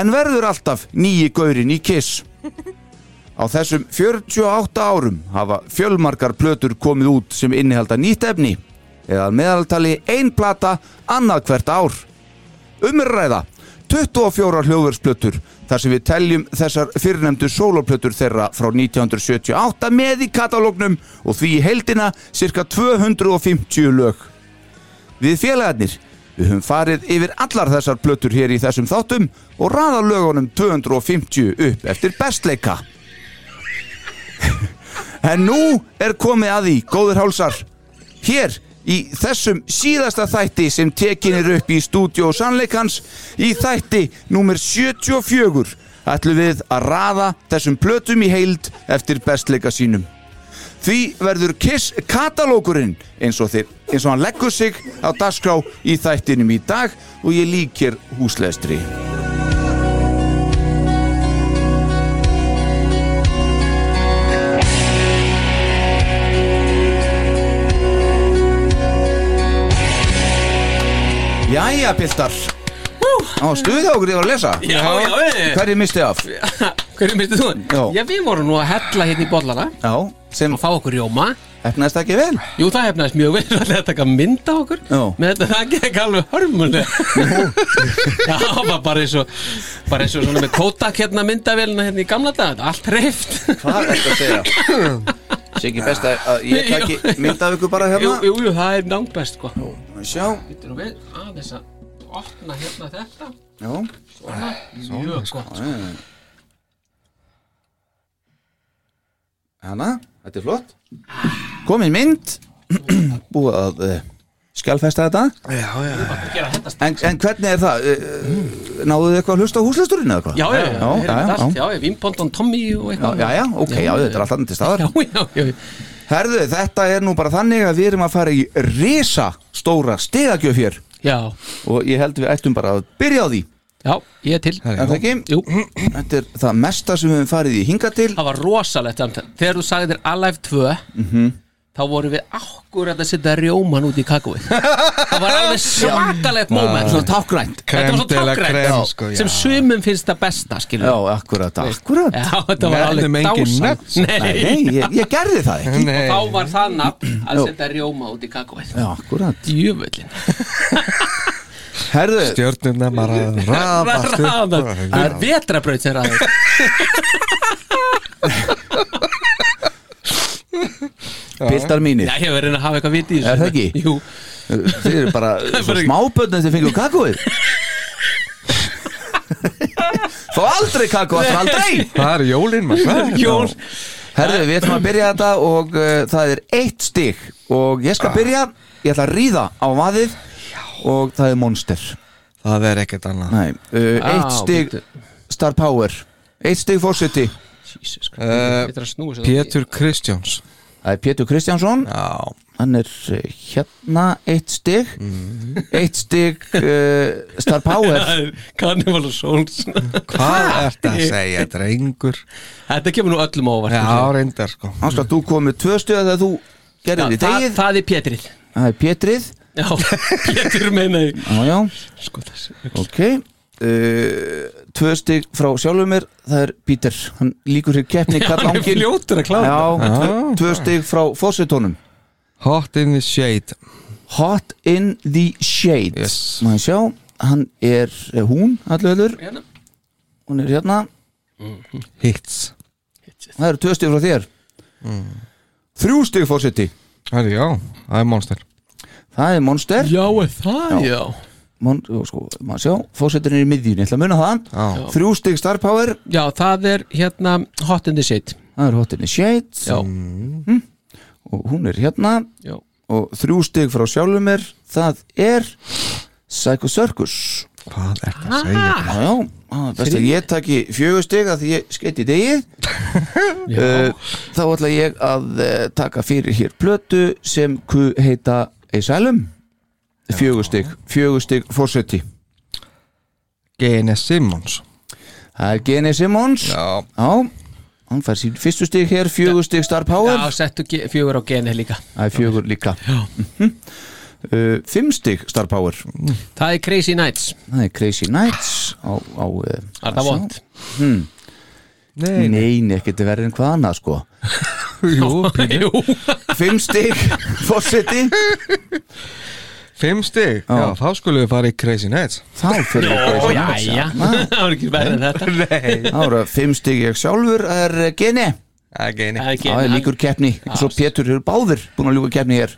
Speaker 1: en verður alltaf nýji gaurinn í Kiss Á þessum 48 árum hafa fjölmarkar plötur komið út sem innihalda nýtt efni eða að meðaltali ein plata annað hvert ár. Um Umræða 24 hljóðversplötur þar sem við teljum þessar fyrrnemdu sóloplötur þeirra frá 1978 með í katalógnum og því í heldina cirka 250 lög. Við félagarnir, við höfum farið yfir allar þessar plötur hér í þessum þáttum og raða lögunum 250 upp eftir bestleika. En nú er komið að því, góður hálsar Hér í þessum síðasta þætti sem tekin er upp í stúdíó sannleikans Í þætti númer 74 ætlum við að raða þessum plötum í heild eftir bestleika sínum Því verður Kiss katalókurinn eins og, þeir, eins og hann leggur sig á dagskrá í þættinum í dag og ég líkir húsleðstri Jæja, piltar Á, stuði okkur ég var að lesa
Speaker 3: Já, já, já.
Speaker 1: Hverju misti af?
Speaker 3: Hverju myndið þú?
Speaker 1: Já.
Speaker 3: Já, við vorum nú að hella hérna í bollana
Speaker 1: Já, sem
Speaker 3: og fá okkur rjóma
Speaker 1: efnaðist ekki vel
Speaker 3: Jú, það hefnaðist mjög vel að þetta taka mynd á okkur
Speaker 1: Já.
Speaker 3: með þetta það gekk alveg hörmuleg Já, það var bara eins og bara eins og svona með kótak hérna myndavélina hérna í gamla dag, allt reyft
Speaker 1: Hvað er þetta að segja? Sé ekki best að- að ég taki mynd af ykkur bara
Speaker 3: jú,
Speaker 1: hérna
Speaker 3: jú, jú, það er langbest sko
Speaker 1: Sjá,
Speaker 3: Býttu nú við aðeins að opna hérna þetta
Speaker 1: já
Speaker 3: svona, mjög gott sko.
Speaker 1: Hanna, hérna. þetta er flott Komin mynd Búið að uh, skjálfesta þetta
Speaker 3: sko. gera þetta
Speaker 1: en, en hvernig er það? Uh, náðuðu þið eitthvað að hlusta á húsleisturinn eða eitthvað?
Speaker 3: Já, já, já,
Speaker 1: já,
Speaker 3: já,
Speaker 1: já,
Speaker 3: allt,
Speaker 1: já.
Speaker 3: já, já Vimpondon Tommy og
Speaker 1: Já,
Speaker 3: eitthvað
Speaker 1: já, já, ok, já, þetta er alltaf andir staðar
Speaker 3: Já, já, já,
Speaker 1: Herðu, þetta er nú bara þannig að við erum að fara í risa stóra stegagjöf hér
Speaker 3: já,
Speaker 1: og ég held við ættum bara að byrja á því
Speaker 3: já, ég er til
Speaker 1: Er það ekki?
Speaker 3: Jú,
Speaker 1: Þetta er það mesta sem við höfum farið í hinga til
Speaker 3: það var rosalegt samt. Þegar þú sagði þér Alive 2
Speaker 1: Mhm.
Speaker 3: Þá vorum við akkurat að setja rjóman út í kakóið Það var alveg svakalegt moment Svo tákgrænt Þetta var svo
Speaker 4: Creme de la
Speaker 3: tákgrænt
Speaker 4: creme, sko, já.
Speaker 3: Sem sumum finnst það besta, skiljum
Speaker 1: Já, akkurat, akkurat
Speaker 3: Já, þetta var alveg
Speaker 4: Nefnum engin
Speaker 3: dásan
Speaker 4: nöfn.
Speaker 1: Nei, nei, ég, ég gerði það ekki
Speaker 4: Nei,
Speaker 3: Þá var það nafn að
Speaker 1: Jú.
Speaker 3: setja rjóma út í kakóið
Speaker 1: Já, akkurat
Speaker 3: Djöfullin
Speaker 1: Herðu,
Speaker 4: stjörnuna bara raðast upp. sko.
Speaker 3: Það er vetrabraut sem ræður
Speaker 1: piltar mínir
Speaker 3: Já, ég verður að hafa eitthvað viti í þessu
Speaker 1: Er það ekki?
Speaker 3: Jú,
Speaker 1: Þið eru bara svo
Speaker 3: bara-
Speaker 1: smábötn eftir fengur kakóið Fá aldrei kakó, alltaf aldrei
Speaker 4: Það er jólin maður hvað er þetta?
Speaker 3: Jól
Speaker 1: Herðu, við ætlum að byrja þetta og uh, það er eitt stig
Speaker 3: Ah.
Speaker 1: og ég skal byrja, ég ætla að ríða á vaðið og það er monster
Speaker 4: það er ekkert annað
Speaker 1: Nei, uh,
Speaker 3: Á,
Speaker 1: eitt stig
Speaker 3: Ah, bíddu.
Speaker 1: Star Power Eitt stig fórseti
Speaker 3: Jesus Christ,
Speaker 4: Eh,
Speaker 3: þetta er að snúi sig
Speaker 4: Pétur Kristjáns
Speaker 1: Það er Pétur Kristjánsson
Speaker 4: Já,
Speaker 1: Hann er uh, hérna eitt stig
Speaker 3: Mhm.
Speaker 1: Eitt stig uh, Star Power
Speaker 3: Carnival of Souls
Speaker 4: hvað ert að segja, drengur
Speaker 3: Þetta kemur nú öllum á óvart
Speaker 4: Já, reyndar sko
Speaker 1: Áskar, þú komið tvö stig þegar þú
Speaker 3: Já,
Speaker 1: gerðir í
Speaker 3: það,
Speaker 1: degið
Speaker 3: það er Pétrið
Speaker 1: Það er Pétrið
Speaker 3: Já, Pétur meina ég
Speaker 1: Já, já,
Speaker 3: Sko þessi
Speaker 1: ok uh, Tvö stig frá sjálfur mér Það er Pítur, hann líkur hér keppni Karl
Speaker 3: Hann er
Speaker 1: Ángin
Speaker 3: fljótur að klára
Speaker 1: Já,
Speaker 4: Já.
Speaker 1: tvö, tvö stig frá fósitónum
Speaker 4: Hot in the shade
Speaker 1: Hot in the shade
Speaker 4: Yes.
Speaker 1: Má ég sjá, hann er eh, hún allvegður,
Speaker 3: Hérna.
Speaker 1: hún er hérna
Speaker 4: Hits
Speaker 1: Það eru tvö stig frá þér Þrjú stig fórseti
Speaker 4: Það er já, það er monster
Speaker 1: Það er Monster
Speaker 3: Já, er það, já
Speaker 1: Mon, og sko, má ég sjá, fórsetin er í miðjun Ég ætla að muna það
Speaker 4: Já,
Speaker 1: Þrjú stig Star Power,
Speaker 3: Já, það er hérna Hot in the Shade
Speaker 1: það er Hot in the shade
Speaker 3: Já,
Speaker 1: Og hún er hérna
Speaker 3: já
Speaker 1: Og þrjú stig frá sjálfum mér Það er Psycho Circus
Speaker 4: hvað ert að segja
Speaker 1: Já, já, það er best að ég taki fjögur stig að því ég skeiti degið
Speaker 3: Já.
Speaker 1: uh, þá ætla ég að uh, taka fyrir hér plötu sem ku heita Asylum fjögur stig, fjögur stig fórseti
Speaker 4: Gene Simmons
Speaker 1: það er Gene Simmons já,
Speaker 4: Já,
Speaker 1: hann fær sín fyrstu stig hér fjögur stig Star
Speaker 3: Já,
Speaker 1: Power,
Speaker 3: settu ge- fjögur á genið líka
Speaker 1: það er fjögur líka Mhm. uh, fimm stig Star Power
Speaker 3: Það er Crazy Nights
Speaker 1: það er Crazy Nights á, á, uh,
Speaker 3: Er það vond?
Speaker 1: Nei, nei, ekkert verið en hvað annað sko
Speaker 4: jú,
Speaker 3: Jú
Speaker 1: Fimm stig, fórseti
Speaker 4: fimm stig Já, þá skulum við fara í Crazy Nights
Speaker 1: Þá fyrir við
Speaker 3: Ó,
Speaker 1: Crazy Nights
Speaker 3: jæja Það var ekki verið en þetta
Speaker 4: Nei
Speaker 1: Þá eru fimm stig ég sjálfur það er eh, Gene
Speaker 4: Það er Gene
Speaker 3: Það er
Speaker 1: Það er
Speaker 3: Gene,
Speaker 1: líkur keppni og Svo Pétur eru báðir búin að ljúka keppni hér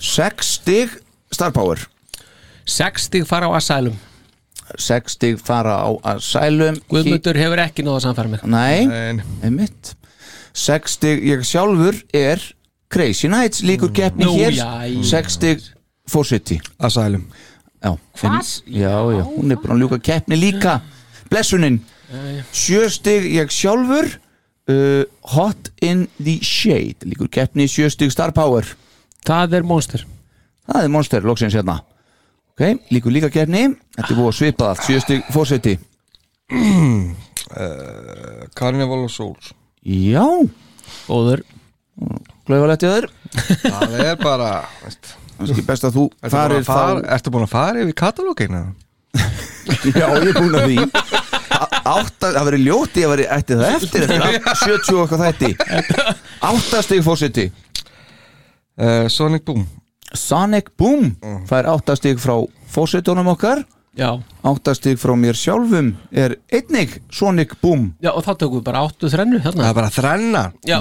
Speaker 1: Sex stig Star Power
Speaker 3: hann- Sex stig fara á Asylum
Speaker 1: Sex stig fara á Asylum
Speaker 3: Guðmundur hefur ekki náða samfæra mig
Speaker 1: Hí- Nei,
Speaker 4: En
Speaker 1: einmitt Sex stig ég sjálfur er Crazy Nights líkur keppni
Speaker 3: Nú,
Speaker 1: hér
Speaker 3: jæja.
Speaker 1: Sex stig Fórseti
Speaker 4: Asylum
Speaker 1: Já, Hvað? Já, já, hún er búin að ljúka keppni líka Blessunin Sjö stig ég sjálfur uh, Hot in the shade Líkur keppni sjö stig star power
Speaker 3: Það er Monster
Speaker 1: Það er monster, loksins hérna Ok, líkur líka keppni Þetta er búið að svipað allt, sjö stig fórseti
Speaker 4: Carnival of Souls
Speaker 1: Já,
Speaker 3: Góður
Speaker 1: klauvalegt í þér
Speaker 4: Það er bara veist,
Speaker 1: Kannski best að þú
Speaker 4: ertu, búin
Speaker 1: farir
Speaker 4: að fara,
Speaker 1: þá
Speaker 4: ertu búin að fara yfir katalóginu?
Speaker 1: Já, ég er búin að því Á- Átta, það verið ljóti, ég verið ætti það eftir þetta 70 og eitthvað þætti Áttastig fórseti
Speaker 4: Uh, Sonic Boom
Speaker 1: Sonic Boom fær áttastig frá fósitunum okkar
Speaker 3: Já
Speaker 1: áttastig frá mér sjálfum er einnig Sonic Boom
Speaker 3: Já, og þá tökum við bara áttu þrennu hérna.
Speaker 4: Það
Speaker 3: þarna
Speaker 4: er bara þrenna
Speaker 3: Já.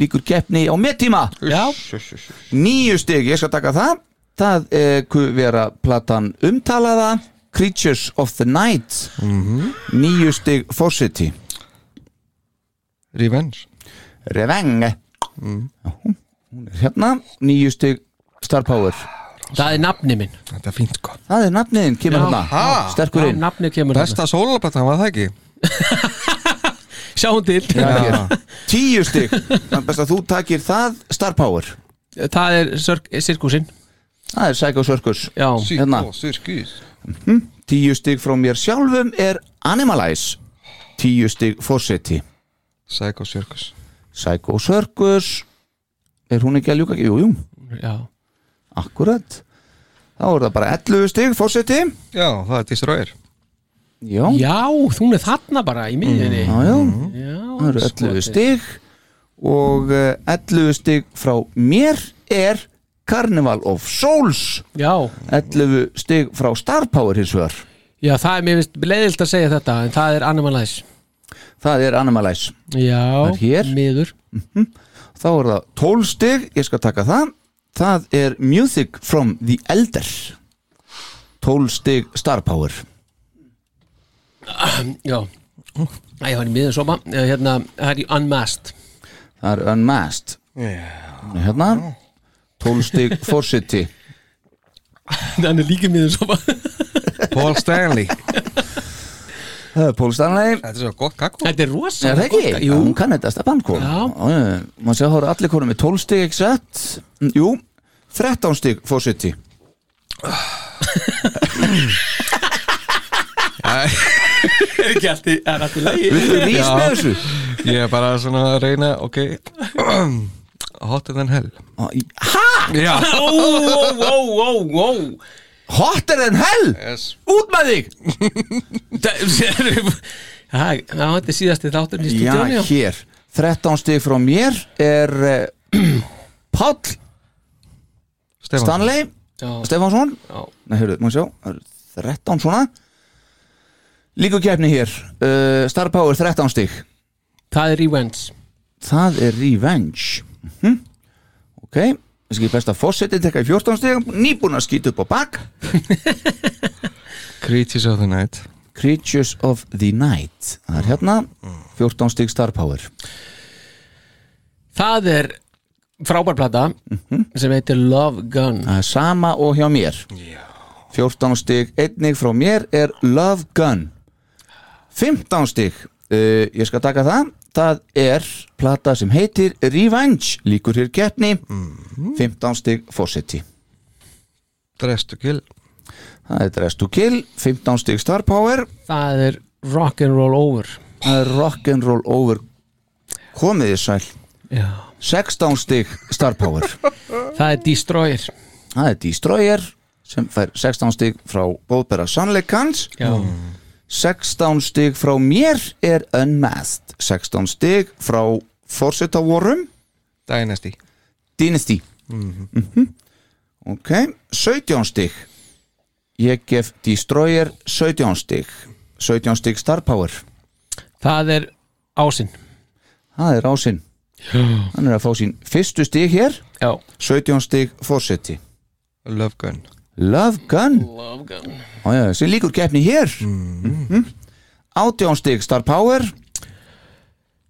Speaker 1: líkur keppni á mettíma
Speaker 3: Já,
Speaker 1: Níu stig, ég skal taka það það eh, kuð vera platan umtalaða Creatures of the Night Mhm. Níu stig fósiti
Speaker 4: Revenge
Speaker 1: Revenge Já, hún er hérna, níu stig Star Power
Speaker 3: það er nafni minn
Speaker 4: Þetta er fínt sko
Speaker 1: Það er nafniðin,
Speaker 3: Já.
Speaker 1: kemur hérna sterkur
Speaker 3: Já,
Speaker 1: inn
Speaker 3: nafni kemur
Speaker 4: Besta sólabata var það ekki
Speaker 3: þarna. hérna. Sjáum til
Speaker 1: Já. Tíu stygg Best að þú takir það Star Power
Speaker 3: Það er sörk, sirkusinn
Speaker 1: Það er Psycho Circus
Speaker 3: Já,
Speaker 1: Hérna.
Speaker 4: Sýtt og syrkis
Speaker 1: Tíu stygg frá mér sjálfum er Animalize Tíu stygg fórseti
Speaker 4: Psycho Circus
Speaker 1: Psycho Circus Er hún ekki að ljúka? Jú, jú,
Speaker 3: já
Speaker 1: akkurat Þá er það bara 11 stygg fórseti
Speaker 4: Já, það er Destroyer
Speaker 1: Já, já,
Speaker 3: Já, þú er þarna bara í miðjunni
Speaker 1: já
Speaker 3: Já,
Speaker 1: Það eru
Speaker 3: skotið.
Speaker 1: 11 stygg Og eh, 11 stygg frá mér er Carnival of Souls
Speaker 3: Já,
Speaker 1: 11 stygg frá Star Power hins vegar
Speaker 3: já, það er mér finnst leiðilt að segja þetta en það er Animalize
Speaker 1: Það er Animalize
Speaker 3: Já,
Speaker 1: er hér.
Speaker 3: miður
Speaker 1: þá er það 12 stig, ég skal taka það það er Music from the Elder 12 stig Star Power
Speaker 3: Já, Æ, ég var í miður sopa Eh, Hérna, það er í Unmasked
Speaker 1: það er Unmasked yeah. hérna, 12 stig Forsity
Speaker 3: Þannig líka miður sopa
Speaker 4: Paul Stanley
Speaker 1: Það er Pól Stanley
Speaker 4: Þetta er svo gott kakko
Speaker 3: Þetta er
Speaker 1: Er það
Speaker 3: rosalega
Speaker 1: ekki?
Speaker 3: gott-
Speaker 1: Já,
Speaker 3: Jú,
Speaker 1: Hún kann þetta sko. stefan kom
Speaker 3: Já.
Speaker 1: Má sjá, það eru allir konum með 12 stig ekki sett Mm, Jú, 13 stig fór 70
Speaker 3: er ekki allt í- það er allt í lagi
Speaker 1: Viltu rís með þessu?
Speaker 4: Ég er bara svona að reyna, ok Hotter than hell
Speaker 1: Á, í- Ha?
Speaker 4: Já
Speaker 3: Ó, ó, ó, ó, ó
Speaker 1: Hotter than hell?
Speaker 4: yes.
Speaker 1: Út með þig!
Speaker 3: Það það- það var þetta síðasti þáttur í
Speaker 1: Já,
Speaker 3: stúdíunni já.
Speaker 1: hér 13 stig frá mér er uh, Páll
Speaker 4: Stefán.
Speaker 1: Stanley
Speaker 3: Já.
Speaker 1: Stefánsson
Speaker 3: Já.
Speaker 1: Nei, heyrðu, má sjá það eru 13 svona Líku keppni hér uh, Star Power 13 stig
Speaker 3: Það er Revenge
Speaker 1: Það er Revenge mm Ok Það skil best að Fossetin tekka í 14 stig Nýbúin að skýta upp á bak
Speaker 4: Creatures of the night
Speaker 1: Creatures of the Night Það er hérna 14 stig Star Power
Speaker 3: Það er frábær plata
Speaker 1: Mhm.
Speaker 3: sem heitir Love Gun
Speaker 1: Það er sama og hjá mér 14 stig, einnig frá mér er Love Gun 15 stig uh, Ég skal taka það Það er plata sem heitir Revenge Líkur hér getni 15 stig Fossetti
Speaker 4: Dress to kill
Speaker 1: Það er Dress to Kill 15 stig Star Power
Speaker 3: Það er Rock'n'Roll Over
Speaker 1: Það er Rock'n'Roll Over Komið þið sæl
Speaker 3: já.
Speaker 1: 16 stig Star Power
Speaker 3: Það er Destroyer
Speaker 1: Það er Destroyer sem fær 16 stig frá Bóðbera Sannleikans
Speaker 3: já.
Speaker 1: 16 stig frá mér er unmasked 16 stig frá fórsetavorum
Speaker 4: Dynasty
Speaker 1: Dynasty Mhm. ok, 17 stig ég gef Destroyer 17 stig 17 stig Star Power
Speaker 3: Það er Ásinn
Speaker 1: það er ásinn hann er að fá sín fyrstu stig hér
Speaker 3: já.
Speaker 1: 17 stig fórseti
Speaker 4: Love gun
Speaker 1: Love Gun Love Gun já, sem líkur keppni hér mm -hmm. 18 stig Star Power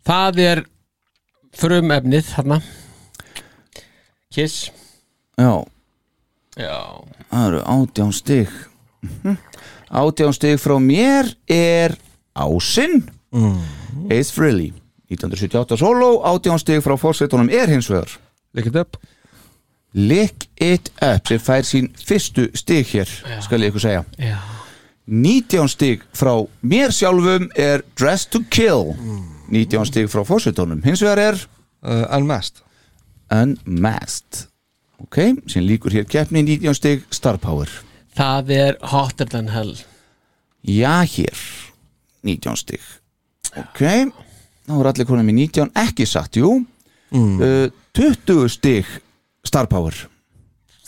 Speaker 3: Það er frumefnið hérna Kiss
Speaker 1: já,
Speaker 3: já.
Speaker 1: Það eru átján stig Mhm. Átján stig frá mér er Ásinn Eighth Frilly 1978 solo, átján stig frá fórsetunum er hins vegar
Speaker 4: Lick it up
Speaker 1: Lick it up sem fær sín fyrstu stig hér skal ég ykkur segja
Speaker 3: Já.
Speaker 1: 19 stig frá mér sjálfum er Dress to Kill 19 stig frá fórsetunum hins vegar er
Speaker 4: uh, Unmasked
Speaker 1: Unmasked ok, sem líkur hér keppni 19 stig Star Power
Speaker 3: Það er Hotter Than Hell
Speaker 1: Já, hér 19 stig Ok, þá er allir konum í 19 ekki satt, jú uh, 20 stig Star Power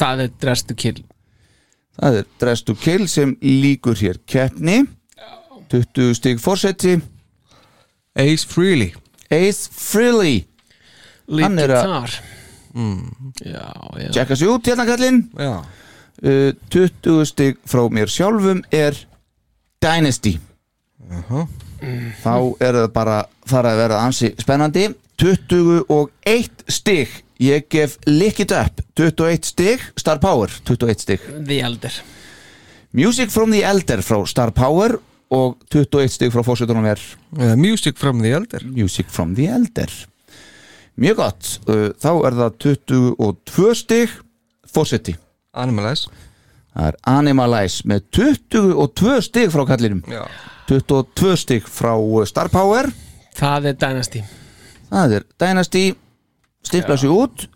Speaker 3: Það er Dress to Kill
Speaker 1: Það er Dress to Kill sem líkur hér keppni 20 stig fórseti
Speaker 4: Ace Freely
Speaker 1: Ace Freely
Speaker 3: Lead
Speaker 1: Hann er að-
Speaker 3: Guitar Já, já
Speaker 1: Tjekka sig út hérna kallinn
Speaker 4: Já
Speaker 1: uh, 20 stig frá mér sjálfum er Dynasty þá er það bara fara að vera ansi spennandi 21 stig ég gef Lick It Up 21 stig, Star Power 21 stig,
Speaker 3: The Elder
Speaker 1: Music from the Elder frá Star Power og 21 stig frá fórsetunum er
Speaker 4: uh, Music from the elder
Speaker 1: Music from the Elder mjög gott, uh, þá er það 22 stig fórseti
Speaker 4: Animalize
Speaker 1: Það er Animalize með 22 stig frá kallinum
Speaker 4: Já
Speaker 1: 22 stig frá uh, Star Power
Speaker 3: Það er Dynasty
Speaker 1: Það er Dynasty Stimpla sig út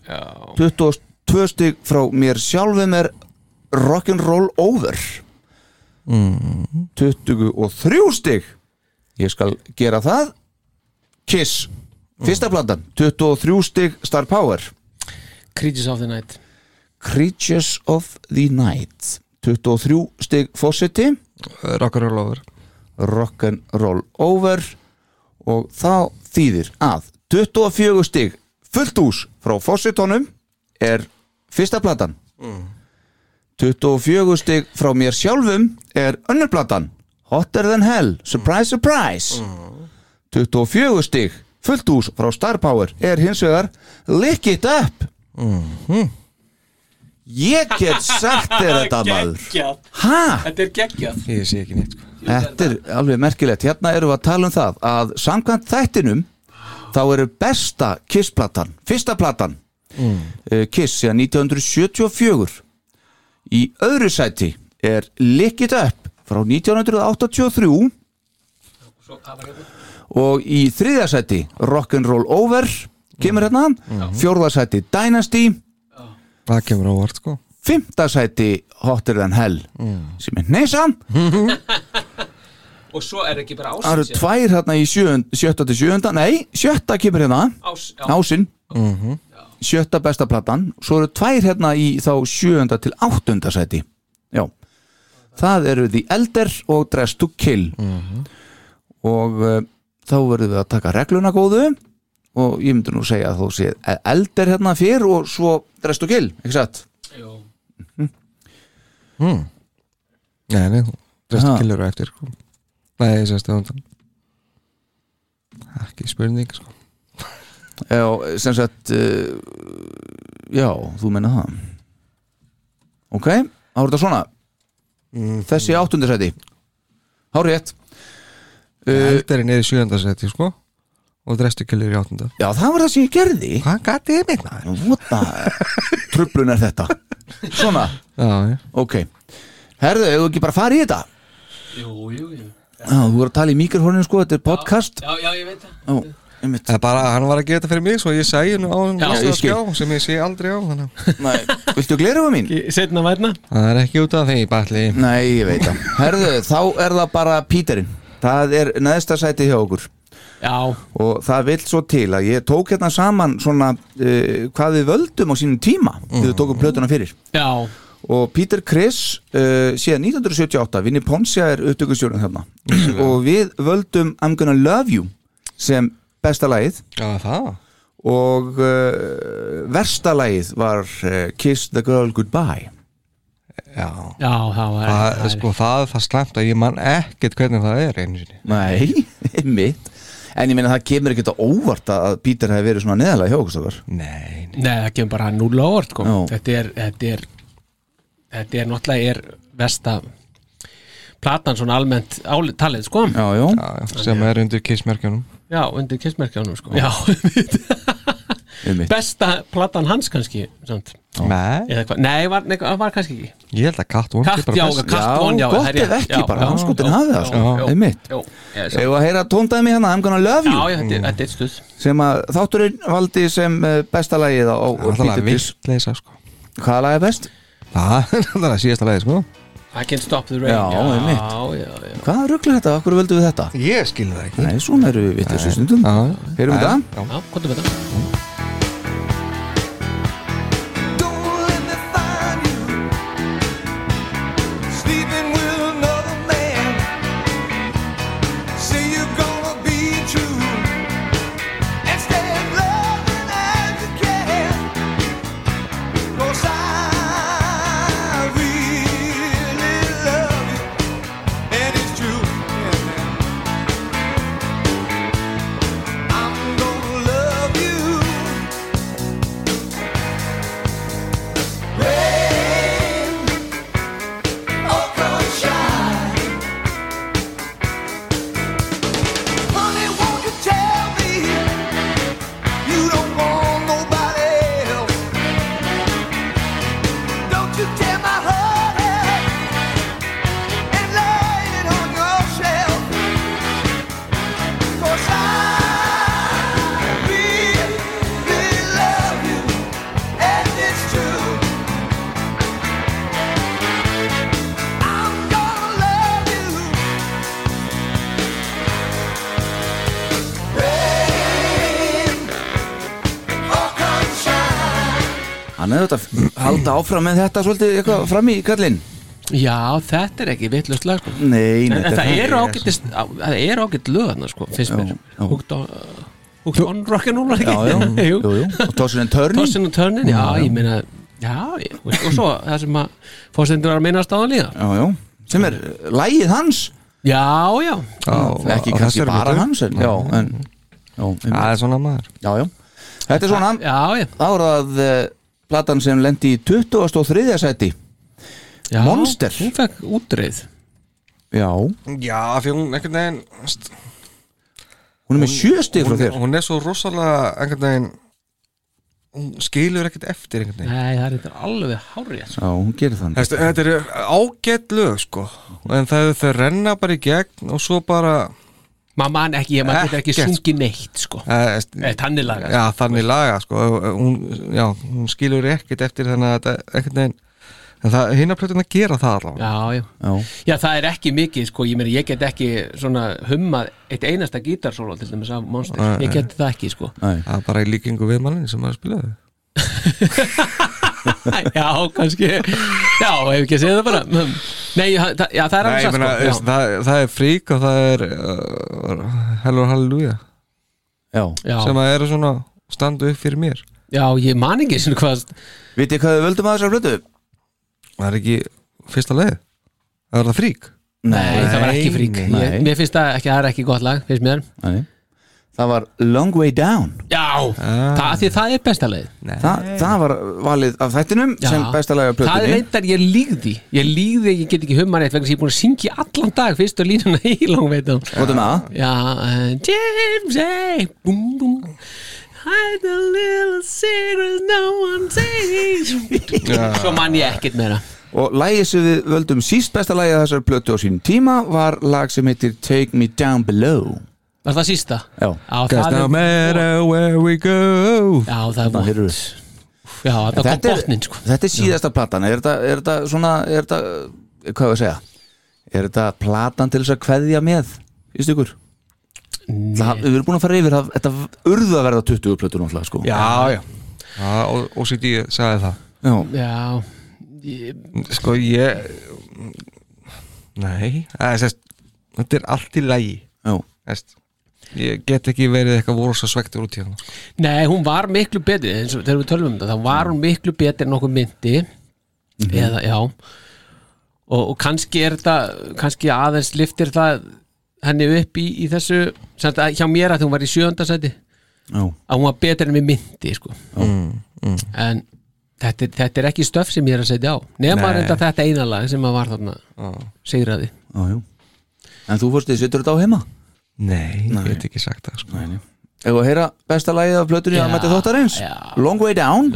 Speaker 1: 22 stig frá mér sjálfum er Rock'n'Roll Over 23 stig Ég skal gera það Kiss Fyrsta platan 23 stig Star Power
Speaker 3: Creatures of the Night
Speaker 1: Creatures of the Night 23 stig Fawcetti
Speaker 4: uh, Rock'n'roll over
Speaker 1: rock'n'roll over og þá þýðir að 24 stig fullt hús frá fósitónum er fyrsta platan 24 stig frá mér sjálfum er önnur platan Hotter than hell, surprise surprise 24 stig fullt hús frá Star Power er hins vegar Lick it up Ég get sagt þér þetta maður
Speaker 6: Geggjað.
Speaker 1: Hæ?
Speaker 6: Þetta er geggjað
Speaker 4: Ég sé ekki neitt sko.
Speaker 1: Þetta er alveg merkilegt Hérna erum við að tala um það að samkvæmt þættinum þá eru besta Kiss-platan fyrsta platan mm. Kiss síðan 1974 Í öðru sæti er Lick It Up frá 1983 og í þriðja sæti Rock'n'Roll Over kemur hérna mm. fjórða sæti Dynasty
Speaker 4: Það kemur ávart sko
Speaker 1: fymta sæti Hotter Than Hell sem er neysan
Speaker 3: og svo er ekki bara
Speaker 1: það eru tvær hérna í sjöund, sjötta til sjöunda nei, sjötta kemur hérna ásinn sjötta besta platan svo eru tvær hérna í þá sjöunda til áttunda sæti já það eru The Elder og Dress to Kill
Speaker 4: Mhm.
Speaker 1: og uh, þá verðum við að taka regluna góðu og ég myndi nú segja að þú sé Elder hérna fyrr og svo Dress to Kill, ekki satt?
Speaker 4: Hmm. Nei, nei,
Speaker 1: Ha.
Speaker 4: restu killur á eftir sko. Nei, ég sést það undan Ekki spurning sko.
Speaker 1: Já, sem sagt uh, Já, þú menna það Ok, þá er þetta svona Þessi áttundasæti Hárétt uh,
Speaker 4: Eldarinn er í sjöndarsæti sko og restu killur í áttunda
Speaker 1: Já, það var það sem ég gerði
Speaker 4: Hvað gæti ég meina?
Speaker 1: Vota, tröflun er þetta Svona,
Speaker 4: Já, já.
Speaker 1: ok Herðu, hefur ekki bara farið í þetta?
Speaker 3: jú, jú, jú.
Speaker 1: Já, þú voru að tala í mikrofóninu sko, þetta er podcast
Speaker 3: já, já, ég veit það
Speaker 1: Já, einmitt
Speaker 4: Það er bara, hann var að gera þetta fyrir mig svo ég segi nú á hann
Speaker 3: Já,
Speaker 1: ég
Speaker 4: að
Speaker 1: skil.
Speaker 4: skjá sem ég sé aldrei á þannig. að-
Speaker 1: Nei, viltu glerufa mín?
Speaker 3: setna værna
Speaker 4: Það er ekki út af því, Balli
Speaker 1: Nei, ég veit það Herðu, þá er það bara Píterinn Það er neðsta sæti hjá okkur
Speaker 3: já,
Speaker 1: og það vill svo til að ég tók hérna saman svona uh, hvað við völdum á sínum tíma þegar við tókum plötuna fyrir
Speaker 3: já,
Speaker 1: og Peter Criss uh, síðan 1978, Vinnie Poncia er upptökustjórun þarna og við völdum I'm Gonna Love You sem besta lagið
Speaker 4: Já, það
Speaker 1: og uh, versta lagið var uh, Kiss the Girl Goodbye
Speaker 4: Já,
Speaker 3: já, það var
Speaker 4: það, sko, það, það slæmt að ég man ekkert hvernig það er einu sinni
Speaker 1: Nei, mitt En ég meina það kemur ekkert á óvart að að Peter hefði verið svona neðalega hjá okkur stokar
Speaker 4: Nei, nei.
Speaker 3: Nei, það kemur bara núl á orð sko.
Speaker 1: Já.
Speaker 3: þetta, er, þetta er þetta er náttúrulega er versta platan svona almennt áli- talið sko já,
Speaker 1: Já, já,
Speaker 4: Já, já, sem er undir kissmerkjunum
Speaker 3: undir kissmerkjánum sko já,
Speaker 1: einmitt
Speaker 3: besta platan hans kannski samt.
Speaker 4: Nei,
Speaker 3: eða hvað, nei, var, nei, það var kannski ekki
Speaker 4: ég held að Cat One
Speaker 3: Katt, já,
Speaker 1: Já,
Speaker 3: Katt von, já,
Speaker 1: gott
Speaker 3: það rétt.
Speaker 1: ef ekki
Speaker 3: Já,
Speaker 1: bara,
Speaker 3: já,
Speaker 1: andskotinn
Speaker 3: já,
Speaker 1: hafi það,
Speaker 3: já,
Speaker 1: sko.
Speaker 3: já,
Speaker 1: Einmitt.
Speaker 3: já, ég sé.
Speaker 1: Hefur að heyra tóndæmi hérna I'm gonna love
Speaker 3: Já,
Speaker 1: you
Speaker 3: já, þetta er- þetta er stuð
Speaker 1: sem að þátturinn valdi sem eh, besta lagið á á
Speaker 4: Það er
Speaker 1: Peter Criss
Speaker 4: vistleisa, sko
Speaker 1: Hvaða lag er best?
Speaker 4: Það er náttúrulega síðasta leiði, sko
Speaker 3: I can stop the rain
Speaker 1: Já, einmitt.
Speaker 3: já, já,
Speaker 1: Hvaða ruggla þetta? Akkur völdum við þetta?
Speaker 4: Ég skil það ekki
Speaker 1: Nei, svona eru við vitið svo stundum Heyrum við það?
Speaker 3: já, hvað er þetta?
Speaker 1: Hann hefði þetta að halda áfram með þetta svolítið eitthvað fram í kallinn
Speaker 3: Já, þetta er ekki vitlust lag sko.
Speaker 1: Nei,
Speaker 3: En, en það eru
Speaker 4: er
Speaker 3: ágætt það eru ágætt löðna sko, finnst
Speaker 1: sko. Já,
Speaker 3: mér
Speaker 1: já.
Speaker 3: Hooked on, uh, hooked on rock'n'roll var
Speaker 1: Já, já,
Speaker 3: ekki?
Speaker 1: jú, jú Og Tossin en Törning
Speaker 3: Tossin og törnin, já, ég meina Já, ég, veist, og svo það sem að fórstendur var að minna stáðan líka
Speaker 1: Já, já Sem er eh, lagið hans
Speaker 3: Já, já,
Speaker 1: Ekki kannski bara hans en,
Speaker 4: hérna.
Speaker 1: Já, en Já, einmitt.
Speaker 4: Það er svona maður
Speaker 1: já já. Þetta er svona
Speaker 3: já, já
Speaker 1: Þá er það eh, platan sem lendi í 23. sæti
Speaker 3: Já,
Speaker 1: Monster.
Speaker 3: hún fekk útreið
Speaker 1: Já, hún
Speaker 4: Já, fyrir hún einhvern veginn st,
Speaker 1: er með sjö stig frá
Speaker 4: hún,
Speaker 1: þér
Speaker 4: hún er svo rosalega einhvern veginn hún skilur ekkert eftir einhvern veginn
Speaker 3: nei, það er þetta alveg hárið sko.
Speaker 1: Já, hún gerir þannig
Speaker 4: Þessi, Þetta eru ágætt lög sko en það þau renna bara í gegn og svo bara
Speaker 3: maður man ekki, ég man þetta ekki
Speaker 4: Ekkert, sko.
Speaker 3: sungi neitt sko.
Speaker 4: eh, st-
Speaker 3: Nei, þannig lagað.
Speaker 4: Já, þannig laga sko hún, já, hún skilur ekkert eftir þannig að þetta einhvern veginn En það, hinna plötuna gera það allavega.
Speaker 3: já, já.
Speaker 1: Já.
Speaker 3: já, það er ekki mikið sko, ég, meni, ég get ekki svona hummað eitt einasta gítarsóla til dæmis af Monster, ég get það ekki sko.
Speaker 4: Það er bara í líkingu við mannin sem maður spilaði.
Speaker 3: já, kannski já, ef ekki að segja það bara Mm. nei, já, það- já, það er
Speaker 4: Nei,
Speaker 3: alveg
Speaker 4: ég
Speaker 3: satt,
Speaker 4: meina,
Speaker 3: sko. Já.
Speaker 4: það, það er frík og það er uh, Hello Hallelujah
Speaker 1: Já,
Speaker 3: Já,
Speaker 4: sem að eru svona standu upp fyrir mér
Speaker 3: já, ég man ekki svona hvað
Speaker 1: vitið hvað við völdum að þessar blötu?
Speaker 4: Það er ekki fyrsta leið Það er það frík
Speaker 3: Nei, það var ekki frík
Speaker 1: nei.
Speaker 3: ég, Mér finnst það ekki, það er ekki gott lag, finnst mér
Speaker 1: Nei. Það var Long Way Down
Speaker 3: Já,
Speaker 4: Ah.
Speaker 3: það, af því það er besta leið
Speaker 1: Þa, Það var valið af þættinum
Speaker 3: Já.
Speaker 1: sem besta laga
Speaker 3: Það er
Speaker 1: plötunni
Speaker 3: reyndar, ég lígði Ég lígði, ég get ekki humma rétt vegna sem ég er búin að syngja allan dag fyrstu línuna í langveitum
Speaker 1: Skotum að
Speaker 3: Já, uh, James hey, búm, búm Hide a little secret no one sees Svo man ég ekkert meira
Speaker 1: Og lagið sem við völdum síst besta lagið af þessar plötu á sínum tíma var lag sem heitir Take Me Down Below
Speaker 3: Var það sísta?
Speaker 1: Já,
Speaker 3: Já,
Speaker 4: Cause
Speaker 3: það
Speaker 4: no
Speaker 3: er
Speaker 4: matter where we go
Speaker 3: Já, það er
Speaker 1: það
Speaker 3: vond
Speaker 1: heyrðu
Speaker 3: Já, það kom
Speaker 1: þetta er,
Speaker 3: botnin sko
Speaker 1: þetta er síðasta platan er þetta, er þetta svona er þetta, hvað við að segja er þetta platan til þess að kveðja með í stykur það, við erum búin að fara yfir það, þetta urðu að verða 20 plötur náttúrulega sko
Speaker 4: Já, já Já, og, og sér ég sagði það
Speaker 1: Já.
Speaker 3: Já, ég,
Speaker 4: Sko, ég Nei Það er sérst Þetta er allt í lagi
Speaker 1: Já.
Speaker 4: Sérst Ég get ekki verið eitthvað voru svo svektur út í hérna, sko. hann
Speaker 3: Nei, hún var miklu betri eins og þegar við tölum um þetta, þá var hún miklu betri en okkur myndi eða, já og, og kannski er þetta kannski aðeins liftir það henni upp í, í þessu sem sagt að hjá mér að hún var í sjöönda sæti
Speaker 1: Já.
Speaker 3: að hún var betri en við myndi sko. en þetta, er- þetta er ekki stöf sem ég er að setja á nema
Speaker 4: Nei.
Speaker 3: reynda þetta eina lag sem að var þarna sigraði
Speaker 1: Já, já. en þú fórst þið setur þetta á heima
Speaker 4: Nei, ég get ekki sagt það sko. Nei,
Speaker 1: Ef að heyra besta lagið af plötunni
Speaker 3: Já,
Speaker 1: að mæta þóttarins
Speaker 3: já.
Speaker 1: Long Way Down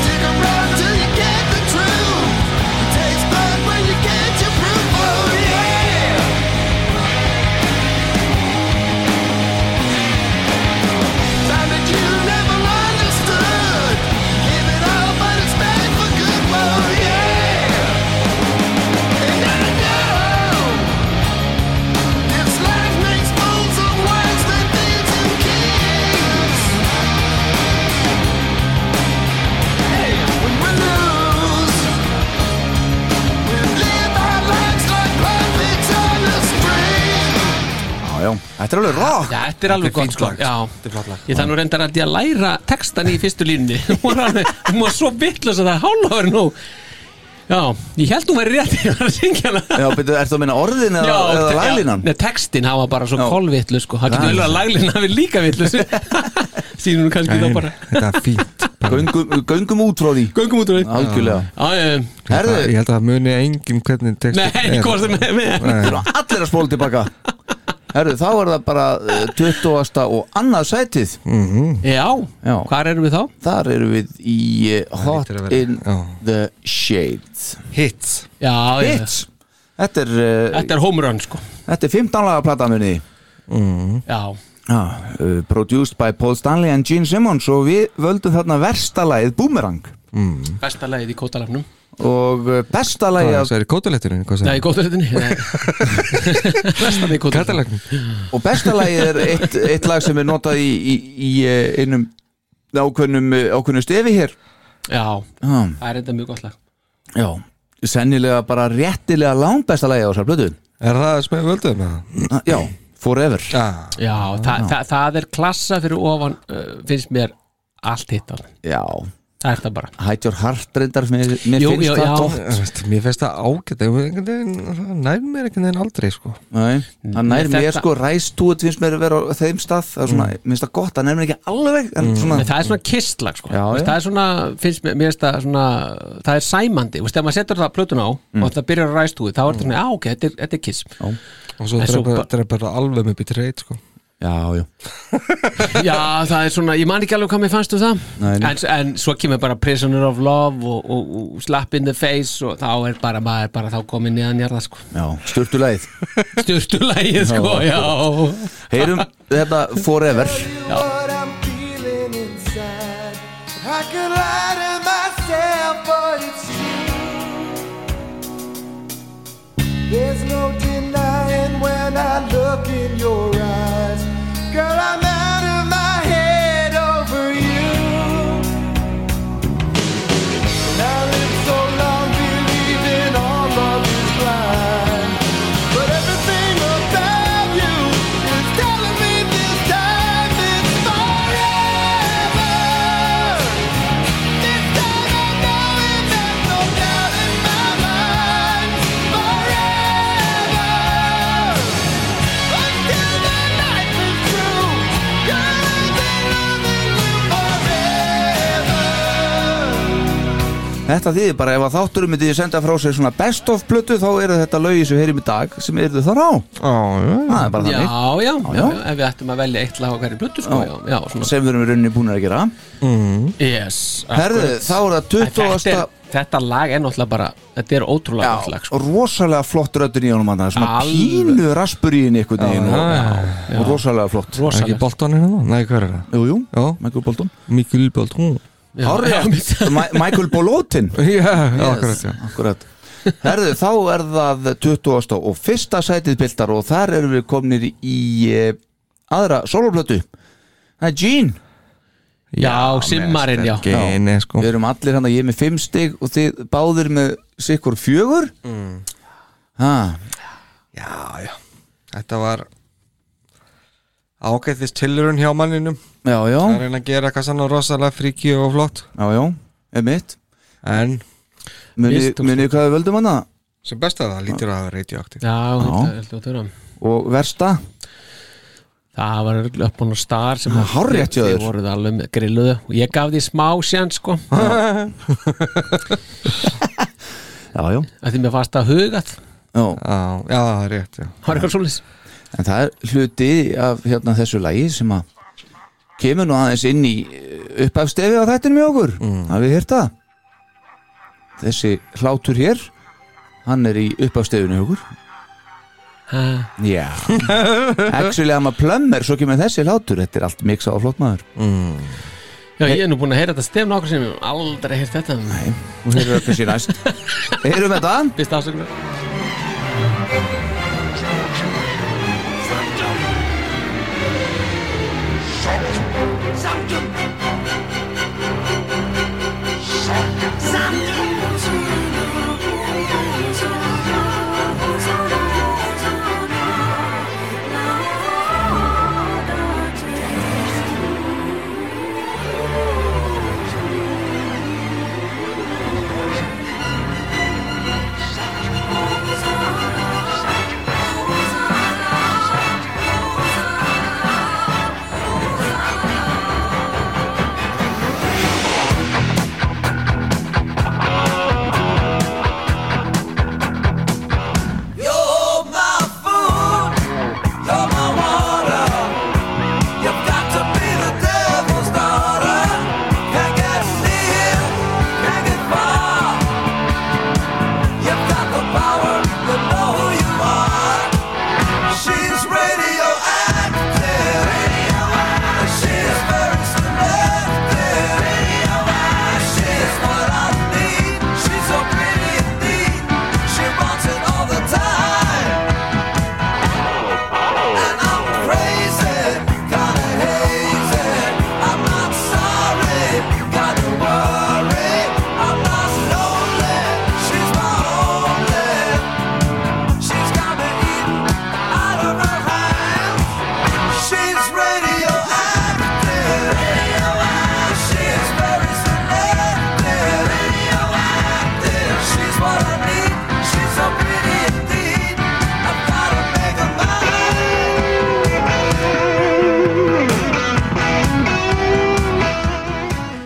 Speaker 7: Oh,
Speaker 1: Já,
Speaker 7: Oh,
Speaker 1: já, þetta er
Speaker 3: Þetta er alveg
Speaker 1: alveg rock
Speaker 3: gott sko Já,
Speaker 4: lag.
Speaker 3: Ég þannig reyndar að ég að læra textan í fyrstu línunni Hún var alveg, hún var svo vitlaus að það er hálfur nú Já, ég held hún væri rétt Ég var að syngja hana
Speaker 1: Já, betur, ertu að minna orðin eða, eða laglinan?
Speaker 3: Nei, textin hafa bara svo
Speaker 1: Já.
Speaker 3: kolvitlu sko Það
Speaker 1: Já.
Speaker 3: getur vel að laglina hafi líka vitlu Sýnum hún kannski þá bara
Speaker 4: Þetta er fínt
Speaker 1: Göngum, göngum út frá því
Speaker 3: Göngum út úr því
Speaker 1: Algjörlega
Speaker 3: Já, já, já.
Speaker 1: Herðu,
Speaker 4: Ég held að það muni engin hvernig textin
Speaker 3: Nei,
Speaker 4: er.
Speaker 3: hvort er með, með.
Speaker 1: Það
Speaker 4: Nei.
Speaker 1: eru allir að spóla tilbaka Herru, þá er það bara eh, 20. og annað sætið
Speaker 3: Já,
Speaker 1: Já.
Speaker 3: hvar erum við þá?
Speaker 1: Þar eru við í eh, Hot
Speaker 4: hlýtur að vera.
Speaker 1: in
Speaker 4: Já.
Speaker 1: the Shades
Speaker 4: Hits
Speaker 3: Já, já, já.
Speaker 1: Hits Þetta er, eh,
Speaker 3: Þetta er home run sko
Speaker 1: þetta er 15 laga plata munni
Speaker 3: Já,
Speaker 1: ah, Produced by Paul Stanley and Gene Simmons og við völdum þarna versta lagið Boomerang
Speaker 3: besta lagið í kótalafnum
Speaker 1: og eh, besta
Speaker 4: Það
Speaker 1: lagið
Speaker 4: er
Speaker 1: af,
Speaker 4: svo er í kótaletturinn hvað
Speaker 3: Nei,
Speaker 4: sagði?
Speaker 3: kótalettinni Besta lagið í kótalettinni
Speaker 4: Katalegn
Speaker 1: og besta lagið er eitt, eitt lag sem er notað í, í, í eh, einum ákveðnum, eh, ákveðnu stefi hér
Speaker 3: Já,
Speaker 1: ah.
Speaker 3: það er enda mjög gott lag
Speaker 1: Já, sennilega bara réttilega langbesta lagi á þessar blötu
Speaker 4: Er hérna? það sem við völdum það?
Speaker 1: Já, forever
Speaker 4: Já,
Speaker 3: Já, það, það, það er klassa fyrir ofan uh, finnst mér allt hitt á
Speaker 1: Já,
Speaker 3: það er það bara
Speaker 1: Hide Your Heart reyndar mér, mér
Speaker 3: Jú,
Speaker 1: finnst
Speaker 3: jú,
Speaker 1: það
Speaker 3: já.
Speaker 1: tótt
Speaker 4: Ah, Þú veist, mér finnst það ágætt en einhvern veginn- það nær mér einhvern veginn aldrei sko.
Speaker 1: Nei, það nær
Speaker 3: Mm, Þetta- Mm.
Speaker 1: mér sko ræstúið finnst mér að vera á þeim stað það er svona, mér finnst það gott, það nær mér ekki alveg en svona,
Speaker 3: En Mm, það er svona kistlag sko.
Speaker 1: Já,
Speaker 3: Þú veist,
Speaker 1: já.
Speaker 3: það er svona, finnst mér, mér finnst það svona það er sæmandi, Þú veist, ef maður setur það plötun á og það byrjar að ræst úr, þá er það svona, já ok, þetta er, þetta er kiss
Speaker 4: og svo
Speaker 3: En svo
Speaker 4: drepa-
Speaker 3: bara-
Speaker 4: drepa það alveg með bitur reyt sko.
Speaker 1: já, já,
Speaker 3: Já, það er svona, ég man ekki alveg hvað mér fannst um það
Speaker 1: Nei, nei.
Speaker 3: En, en svo kemur bara Prisoner of Love og, og, og Slap in the Face og þá er bara, maður er bara þá komin niðan jarða sko.
Speaker 1: já, styrtulegið
Speaker 3: Sturtulægið sko, já,
Speaker 1: heyrum þetta forever
Speaker 2: What I'm feeling inside. I could lie to myself, but it's true. There's no denying when I look in your eyes. Girl, I'm out of my head over you. And I lived so long believing all love is blind. But everything about you is telling me this time it's forever. This time I know it, there's no doubt in my mind. Forever. Until the night is through, girl, I've been loving you forever.
Speaker 1: Þetta þýðir bara ef að þátturum myndi ég senda frá sér svona best of plötu þá eru þetta lögi sem við heyrim í dag sem eru þar á
Speaker 4: Já, já, já.
Speaker 1: Það er bara
Speaker 3: já, já,
Speaker 1: þannig
Speaker 3: já,
Speaker 1: já.
Speaker 3: ef við ættum að velja eitt lag á hverju blötu sko, já, já, svona
Speaker 1: sem við erum í rauninni búin að gera
Speaker 3: yes,
Speaker 1: Herðu,
Speaker 3: akkurat.
Speaker 1: þá er það
Speaker 3: En þetta,
Speaker 1: 20.
Speaker 3: er, þetta lag er náttúrulega bara þetta er ótrúlega gott lag
Speaker 1: Já,
Speaker 3: sko.
Speaker 1: rosalega flott röddun í honum hann svona
Speaker 3: Alveg.
Speaker 1: pínu raspur í henni einhvern veginn og-
Speaker 4: já.
Speaker 1: og rosalega flott
Speaker 4: Er ekki
Speaker 3: rosalegt
Speaker 4: Bolton hérna? Nei, hver er það?
Speaker 1: Jú, jú,
Speaker 4: Já,
Speaker 1: Michael Bolton
Speaker 4: Mikkel Bolton
Speaker 3: Já,
Speaker 1: Hárrétt.
Speaker 3: já,
Speaker 1: Ma- Michael Bolotin
Speaker 4: Já, yes. akkurat já.
Speaker 1: Akkurat Herðu, þá er það 20. og fyrsta sætið bildar og þar erum við komnir í eh, aðra soloplötu Það er Gene
Speaker 3: Já, simmarinn, já.
Speaker 4: Gene, sko
Speaker 1: Við erum allir hann að ég er með fimm stig og þið báðir með sikkur fjögur mm. ha,
Speaker 4: Já, já Þetta var ágættist tilurinn hjá manninum
Speaker 1: Já, já,
Speaker 4: að reyna að gera eitthvað svona rosalega fríki og flott
Speaker 1: já, já, er mitt
Speaker 4: en
Speaker 1: Munið
Speaker 3: Mistókst.
Speaker 1: munið hvað við völdum hana
Speaker 4: sem best að það lítur að það er radioaktiv
Speaker 3: já, þetta er hljótt að vera.
Speaker 1: og versta
Speaker 3: Það var örugglega upp á star sem
Speaker 1: Það er hárrétt hjá þér.
Speaker 3: Þið voruð alveg með grilluðu og ég gaf því smá sjans sko
Speaker 1: Já, já,
Speaker 3: að því mér fannst það hugað
Speaker 1: já.
Speaker 4: Já, já, það er rétt, já
Speaker 3: Var eitthvað svolítið
Speaker 1: En það er hluti af hérna þessu lagi sem að kemur nú aðeins inn í uppafstefi á þættinu með okkur mm. Hafið hýrt það? Þessi hlátur hér hann er í uppafstefinu hjá okkur
Speaker 3: Ha,
Speaker 1: Já Actually, hann maður plömmir, svo kemur þessi hlátur Þetta er allt miksa og flott maður
Speaker 3: Já, ég er nú búin að heyra þetta stefn okkur sem ég hef aldrei heyrt þetta Nei
Speaker 1: Hún heyrður öll þessi næst Heyrum þetta
Speaker 3: Fyrst afsökunar
Speaker 7: Thank you.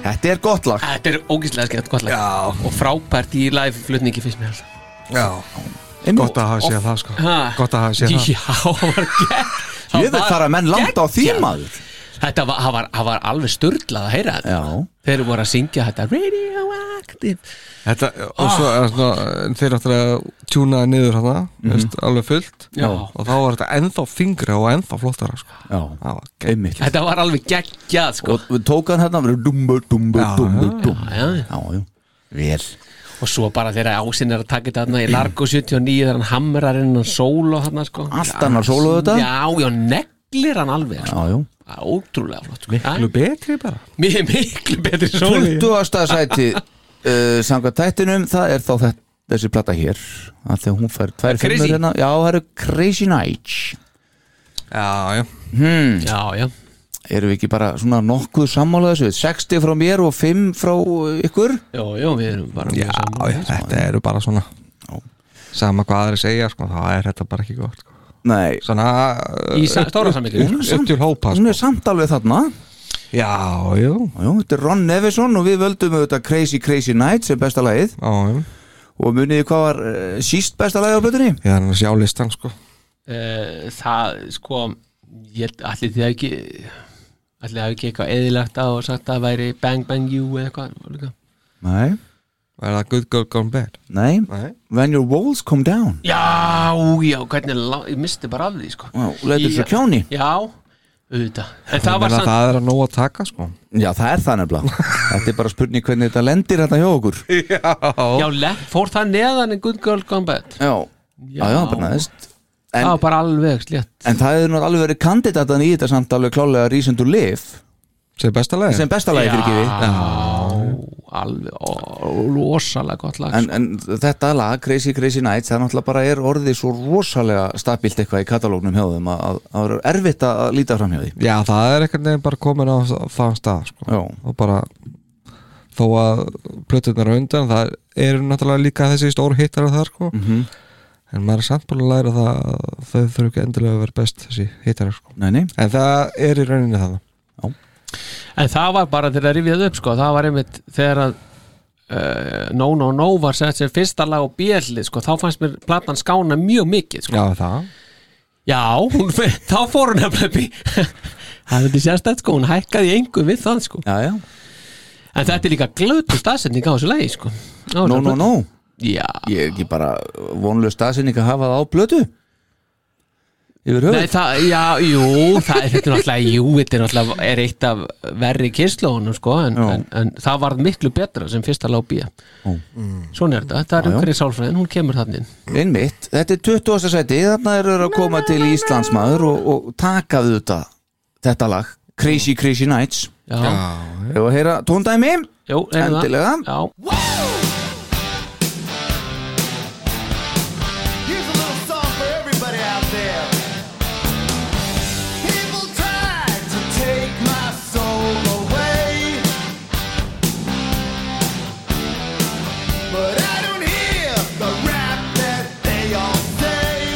Speaker 1: Þetta er gott lag
Speaker 3: Þetta er ógíslega skemmt gott lag
Speaker 4: Já.
Speaker 3: Og frábært í live flutningi fyrst mér alltaf
Speaker 4: Já, gott að hafa séð það sko Gott að hafa séð það
Speaker 3: Já, það var gegn það
Speaker 1: Ég veit
Speaker 3: var
Speaker 1: fara menn langt á því
Speaker 3: geggjað.
Speaker 1: maður
Speaker 3: Þetta var, það var, það var alveg störlað að heyra þetta
Speaker 1: Já.
Speaker 3: Þeir voru að syngja þetta Radioactive
Speaker 4: Þetta, og svo
Speaker 3: Ah.
Speaker 4: er svona, þeir áttur að tjúnaði niður hana, veist, alveg fullt
Speaker 3: Mhm. Já.
Speaker 4: og þá var þetta ennþá fingra og ennþá flottara sko.
Speaker 1: Já,
Speaker 4: það var gegn
Speaker 1: einmitt
Speaker 3: Þetta var alveg geggjað sko.
Speaker 1: Og við tók hann hérna bara Dumbu, dumbu,
Speaker 4: Já,
Speaker 1: dumbu,
Speaker 4: já,
Speaker 1: dumbu
Speaker 3: já, já.
Speaker 1: já Vel
Speaker 3: Og svo bara þegar ásinn er að taka þetta þarna í Largo 79 þegar hann hamrar inn hann sól og þarna sko
Speaker 1: Allt annar sóló þetta.
Speaker 3: Já, já, neglir hann alveg sko.
Speaker 1: Já, já
Speaker 3: Það er Ótrúlega flott sko.
Speaker 4: Miklu betri bara
Speaker 3: Ha? Mi- Miklu betri sól
Speaker 1: 20. sæti uh, sanga tættinum, það er þá þetta, þessi plata hér að þegar hún fær tvær
Speaker 3: Crazy.
Speaker 1: fimmur hérna Já, það eru Crazy Nights
Speaker 4: Já, já,
Speaker 3: Já, já
Speaker 1: Erum við ekki bara svona nokkuð sammála þessu 60 frá mér og 5 frá uh, ykkur
Speaker 3: Já, já, við erum bara mjög
Speaker 4: já,
Speaker 3: sammála. sko.
Speaker 4: já þetta eru bara svona sama hvað aðri segja, sko, þá er þetta bara ekki gott sko.
Speaker 1: Nei,
Speaker 4: Svona
Speaker 3: Í sa- stóra samhengi.
Speaker 4: upp- Upp til hópa,
Speaker 1: hún
Speaker 4: sko
Speaker 1: er samt alveg þarna
Speaker 4: Já, já,
Speaker 1: Jú, þetta er Ron Nevison og við völdum auðvitað Crazy Crazy Nights sem besta lagið
Speaker 4: já, já
Speaker 1: og muniði hvað var uh, síst besta lagið á blöðunni?
Speaker 4: Ég er að sjá listan, sko
Speaker 3: Eh, það sko ég allir því að ekki allir að ekki eitthvað eðilagt á og sagt að það væri bang bang you eða eitthvað líka.
Speaker 1: Nei,
Speaker 4: Er það Good Girl Gone Bad?
Speaker 1: nei,
Speaker 4: Nei
Speaker 1: When Your Walls Come Down
Speaker 3: já, já, hvernig lá- ég misti bara af því sko
Speaker 1: Vá, leitur
Speaker 3: Í-
Speaker 1: svo kjáni
Speaker 3: já, auðvitað en það
Speaker 4: Það,
Speaker 3: var samt
Speaker 4: það er að nóg að taka, sko
Speaker 1: Já, það er það nefnilega Þetta er bara spurning hvernig þetta lendir hérna hjá okkur Já,
Speaker 3: já, le- fór það neðan en Good Girl Gone Bad
Speaker 1: já, já, bara næst
Speaker 3: það
Speaker 1: En,
Speaker 3: var bara alveg slétt
Speaker 1: en það hefur nú alveg verið kandidatan í þetta samt alveg klálega Reason to Live
Speaker 4: Sem besta leið
Speaker 1: sem besta lagi fyrir kifi
Speaker 3: alveg, ó, rosalega gott lag
Speaker 1: en, en þetta lag, Crazy Crazy Nights það náttúrulega bara er orðið svo rosalega stabilt eitthvað í katalógnum hjá þeim að- að það er erfitt að líta fram hjá því
Speaker 4: Já, það er einhvern veginn bara komin á þann stað sko.
Speaker 1: Já.
Speaker 4: og bara þó að plötunar á undan það eru náttúrulega líka þessi stór hittar þar sko. -hmm. en maður er samt búin að læra það að þau þurfa ekki endilega að vera best þessi hittar sko.
Speaker 1: Nei, nei,
Speaker 4: en það er í rauninni það
Speaker 3: En það var bara þegar að rifjaði upp sko, það var einmitt þegar að uh, No No No var sett sem fyrsta lag á bjöldi sko, þá fannst mér platan skána mjög mikið sko.
Speaker 4: Já, það
Speaker 3: Já, hún, fe- þá fór hún nefnilega upp í Það er þetta sérstætt sko, hún hækkaði einhver við það sko
Speaker 1: já, já,
Speaker 3: En þetta er líka glötu staðsetning á þessu lagi sko á
Speaker 1: no, no, no
Speaker 3: Já,
Speaker 1: Ég er ekki bara vonlega staðsynning að hafa það á blötu Yfir höfuð
Speaker 3: Nei, það, já, jú, það er þetta er náttúrulega, jú, þetta er náttúrulega er eitt af verri kyslónum sko, en,
Speaker 1: Já.
Speaker 3: en, en það varð miklu betra sem fyrsta lág bíja
Speaker 1: Ó.
Speaker 3: Svona er þetta, þetta er
Speaker 1: Já, já.
Speaker 3: umhverju sálfræðin, hún kemur þannig inn
Speaker 1: Einmitt, þetta er 20. sæti þarna eru þeir að koma til Íslandsmaður og, og takaðu þetta þetta lag, Crazy Crazy Nights
Speaker 3: Já, já.
Speaker 1: Ef að heyra tóndæmi
Speaker 3: Jú, erum það
Speaker 1: Endilega.
Speaker 3: Já,
Speaker 7: Here's a little song for everybody out there. People try to take my soul away. But I don't hear the rap that they all say.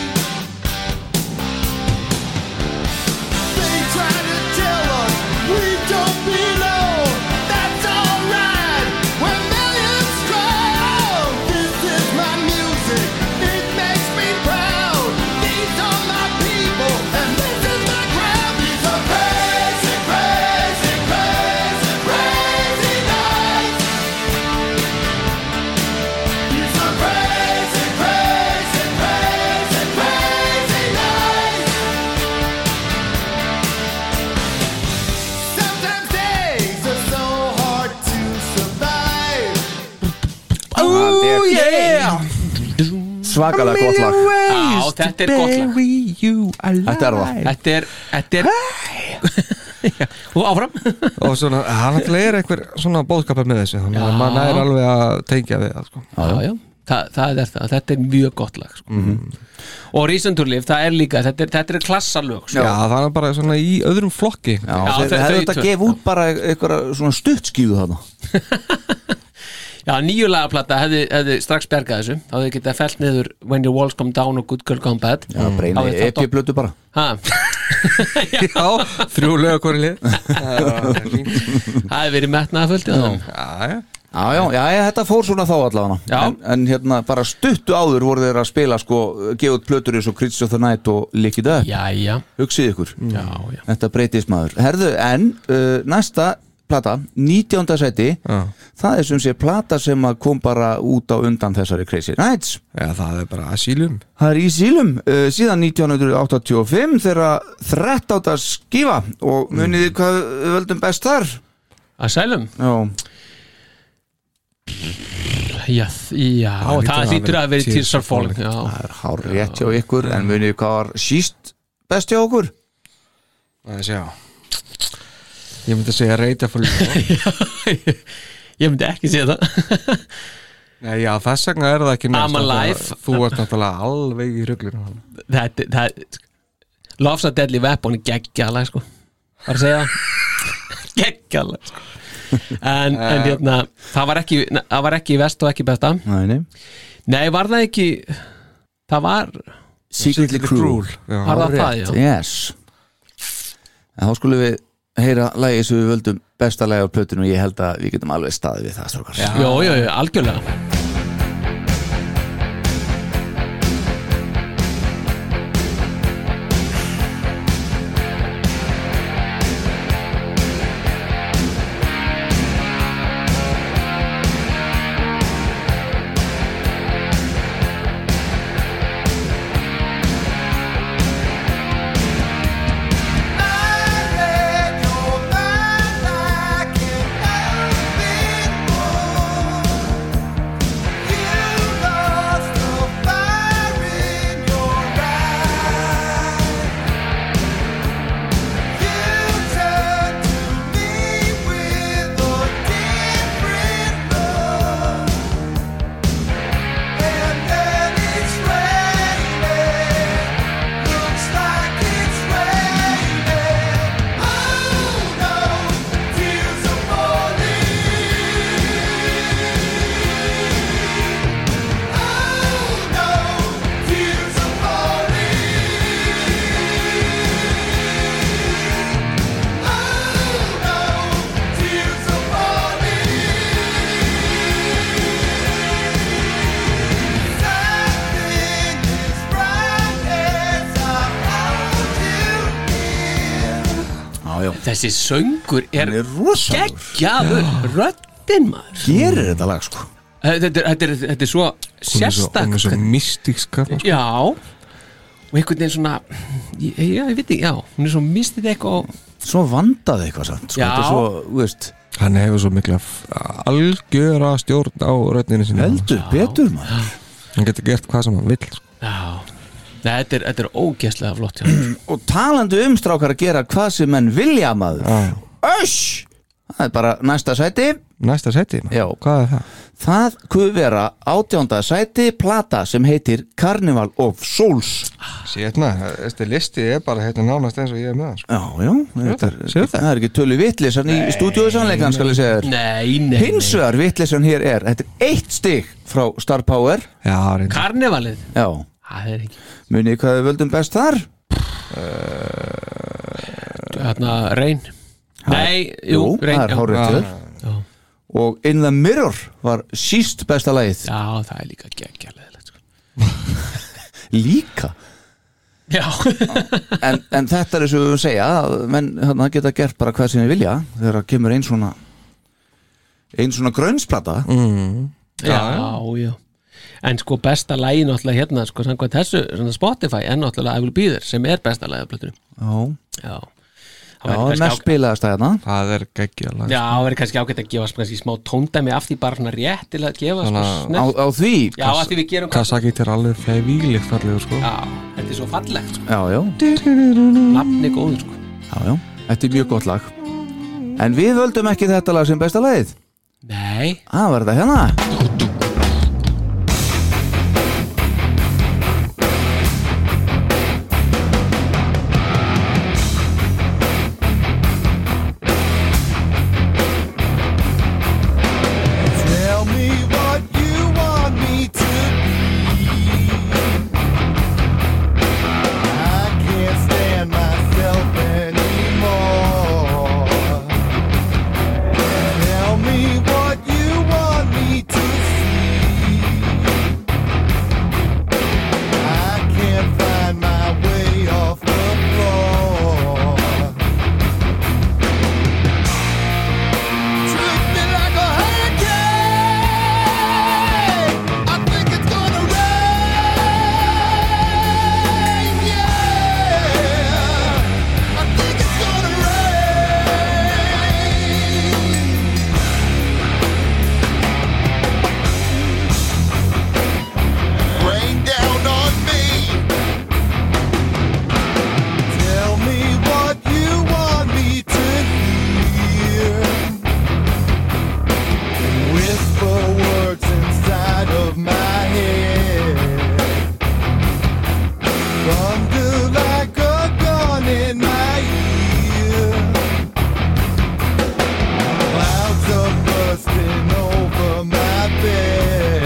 Speaker 7: They try to tell us we don't belong. That's alright. We're millions strong. This is my music. It makes me proud. These are my people, and this is my crowd. These are crazy, crazy, crazy, crazy nights. It's a crazy, crazy, crazy, crazy night. Sometimes days are so hard to survive.
Speaker 1: Oh yeah Svakalega gott lag
Speaker 3: já þetta er gott lag
Speaker 1: Þetta er það
Speaker 3: Þetta er, þetta er Já, Og áfram
Speaker 4: og svona, hann náttúrulega er einhver svona bóðskapar með þessu þannig að
Speaker 3: Já.
Speaker 4: maður er alveg að tengja við það sko.
Speaker 3: Já, já, Þa, það er það, þetta er mjög gott lag sko.
Speaker 1: Mhm.
Speaker 3: Og Reason to Live, það er líka þetta er, þetta er klassalög sko.
Speaker 4: Já, það er bara svona í öðrum flokki
Speaker 1: Já,
Speaker 4: Já,
Speaker 1: þeir
Speaker 3: þau-
Speaker 1: þeir
Speaker 3: þau
Speaker 1: hefðu þetta
Speaker 3: tvö.
Speaker 1: að gefa út bara einhverja svona stuttskíðu þarna
Speaker 3: Já, nýjulagaplata hefði, hefði strax bjargað þessu þá hefði
Speaker 1: Mm.
Speaker 3: getað fellt niður When Your Walls Come Down og Good Girl Come Bad
Speaker 1: Já, breyna
Speaker 3: Já, þetta-
Speaker 1: epi blötu bara
Speaker 3: Ha?
Speaker 4: Já, þrjú lög hverju lið
Speaker 3: það hefur verið metnaðaföldið þannig.
Speaker 4: Já, já
Speaker 1: Já, já, já, já, þetta fór svona þá allavega
Speaker 3: Já.
Speaker 1: en, en hérna, bara stuttu áður voru þeir að spila sko, gefa út plötur eins og Crits of the Night og Lick It Up,
Speaker 3: Jæja,
Speaker 1: hugsið ykkur
Speaker 3: já, já
Speaker 1: Þetta breytist maður Herðu, en uh, næsta plata, 19. seti
Speaker 4: Já.
Speaker 1: það er sem sé plata sem að kom bara út á undan þessari Crazy Nights
Speaker 4: Já, það er bara asílum
Speaker 1: Það er í sílum uh, síðan 1985 þegar 13. skifa og munið þið hvað við völdum best þar
Speaker 3: Asylum,
Speaker 1: Já,
Speaker 3: já, þ- já
Speaker 4: Það hlýtur að
Speaker 3: það hlýtur
Speaker 4: hafa
Speaker 3: að
Speaker 4: verið
Speaker 3: vera Tears
Speaker 4: Tears
Speaker 3: are
Speaker 4: of Falling.
Speaker 3: Falling já.
Speaker 1: það er hár rétt hjá ykkur en munið þið hvað var síst best hjá okkur
Speaker 4: Það sé á Ég myndi að segja reyta fyrir ljóð
Speaker 3: Ég myndi ekki segja það
Speaker 4: Nei, já, þess vegna er það ekki
Speaker 3: I'm
Speaker 4: náttúrulega-
Speaker 3: alive.
Speaker 4: Þú ert náttúrulega alveg í ruglinu
Speaker 3: Þetta, það Loves a Deadly Weapon er geggjala sko Bara að segja það Geggjala sko. en, en hérna, það var ekki það var ekki vest og ekki besta
Speaker 1: Nei, nei
Speaker 3: Nei, var það ekki Það var,
Speaker 1: Secretly Cruel
Speaker 3: var
Speaker 4: Já,
Speaker 3: það það, já
Speaker 1: Yes En þá skulum við heyra lægi sem við völdum besta lægi á plötinu og ég held að við getum alveg staðið við það strókar Já,
Speaker 3: Jó, jó, jó, algjörlega
Speaker 2: Oh.
Speaker 1: já,
Speaker 3: Þessi söngur er
Speaker 1: hann er rosalur
Speaker 3: geggjaður Röddin maður
Speaker 1: Gerir þetta lag sko
Speaker 3: Þetta er, þetta er, þetta er svo
Speaker 4: Hún er
Speaker 3: sérstak
Speaker 4: svo mystíkska
Speaker 3: Já Og einhvern veginn svona ég- Já, ég veit ekki, já Hún er svo mistið eitthvað og-
Speaker 1: Svo vandað eitthvað samt sko.
Speaker 3: Já.
Speaker 1: Þetta er svo, þú veist,
Speaker 4: Hann hefur svo mikla f- algjöra stjórn á röddinu sinni
Speaker 1: heldur betur maður
Speaker 4: Hann getur gert hvað sem hann vill sko.
Speaker 3: Já Nei, þetta er, þetta er ógeðslega flott hjá honum, sko.
Speaker 1: Og talandi um strákar að gera hvað sem menn vilja maður
Speaker 4: Já.
Speaker 1: Öss! Það er bara næsta sæti
Speaker 4: Næsta seti, maður.
Speaker 1: Já.
Speaker 4: hvað er það?
Speaker 1: Það kuð vera átjónda sæti plata sem heitir Carnival of Souls
Speaker 4: Sérna, þessi listi er bara hérna nánast eins og ég er með hann sko.
Speaker 1: Já, já, þetta er,
Speaker 4: sérðu það?
Speaker 1: það er ekki tölu vittlisann í stúdíóðu sannleikann skal ég segja þér
Speaker 3: Nei, nei, nei
Speaker 1: Hins vegar vittlisann hér er, þetta er eitt stig frá Star Power
Speaker 4: Já, reyndar.
Speaker 3: Karnevalið
Speaker 1: Já,
Speaker 3: Það er ekki
Speaker 1: munið þið hvað við völdum best þar?
Speaker 3: Þarna, reyn Nei, jú, Ah. reyn
Speaker 1: það er hárið til þér
Speaker 3: Já,
Speaker 1: Og In the Mirror var síst besta lagið
Speaker 3: já, það er líka geggjalega sko.
Speaker 1: líka
Speaker 3: Já
Speaker 1: en, en þetta er eins og við höfum segja að menn hérna geta gert bara hvað sem við vilja þegar það kemur einn svona einn svona grönsplata
Speaker 3: Mm.
Speaker 4: Mm.
Speaker 3: Já, já En sko besta lægi náttúrulega hérna sko, samkvæmt þessu svona Spotify en náttúrulega I Will Be There sem er besta lægi á plötunum
Speaker 1: Já,
Speaker 3: Já væri
Speaker 1: já
Speaker 3: kannski
Speaker 1: mest
Speaker 3: ágæ-
Speaker 1: spilaðast að hérna
Speaker 4: Það er geggja lag
Speaker 3: Já, það verður kannski ágætt að gefa sm- kannski smá tóndæmi af því bara svona rétt til að gefa sko,
Speaker 4: Svona-
Speaker 1: á,
Speaker 3: snert
Speaker 1: á því
Speaker 3: Já, af því við gerum
Speaker 4: Kasaki til alveg fævílíkt fallegur sko
Speaker 3: Já, þetta er svo fallegt sko.
Speaker 1: já, já,
Speaker 3: Nafni góður sko.
Speaker 1: já, já, þetta er mjög gott lag En við völdum ekki þetta lag sem besta lagið
Speaker 3: Nei
Speaker 1: Það var þetta hérna
Speaker 2: Tell me what you want me to be. I can't stand myself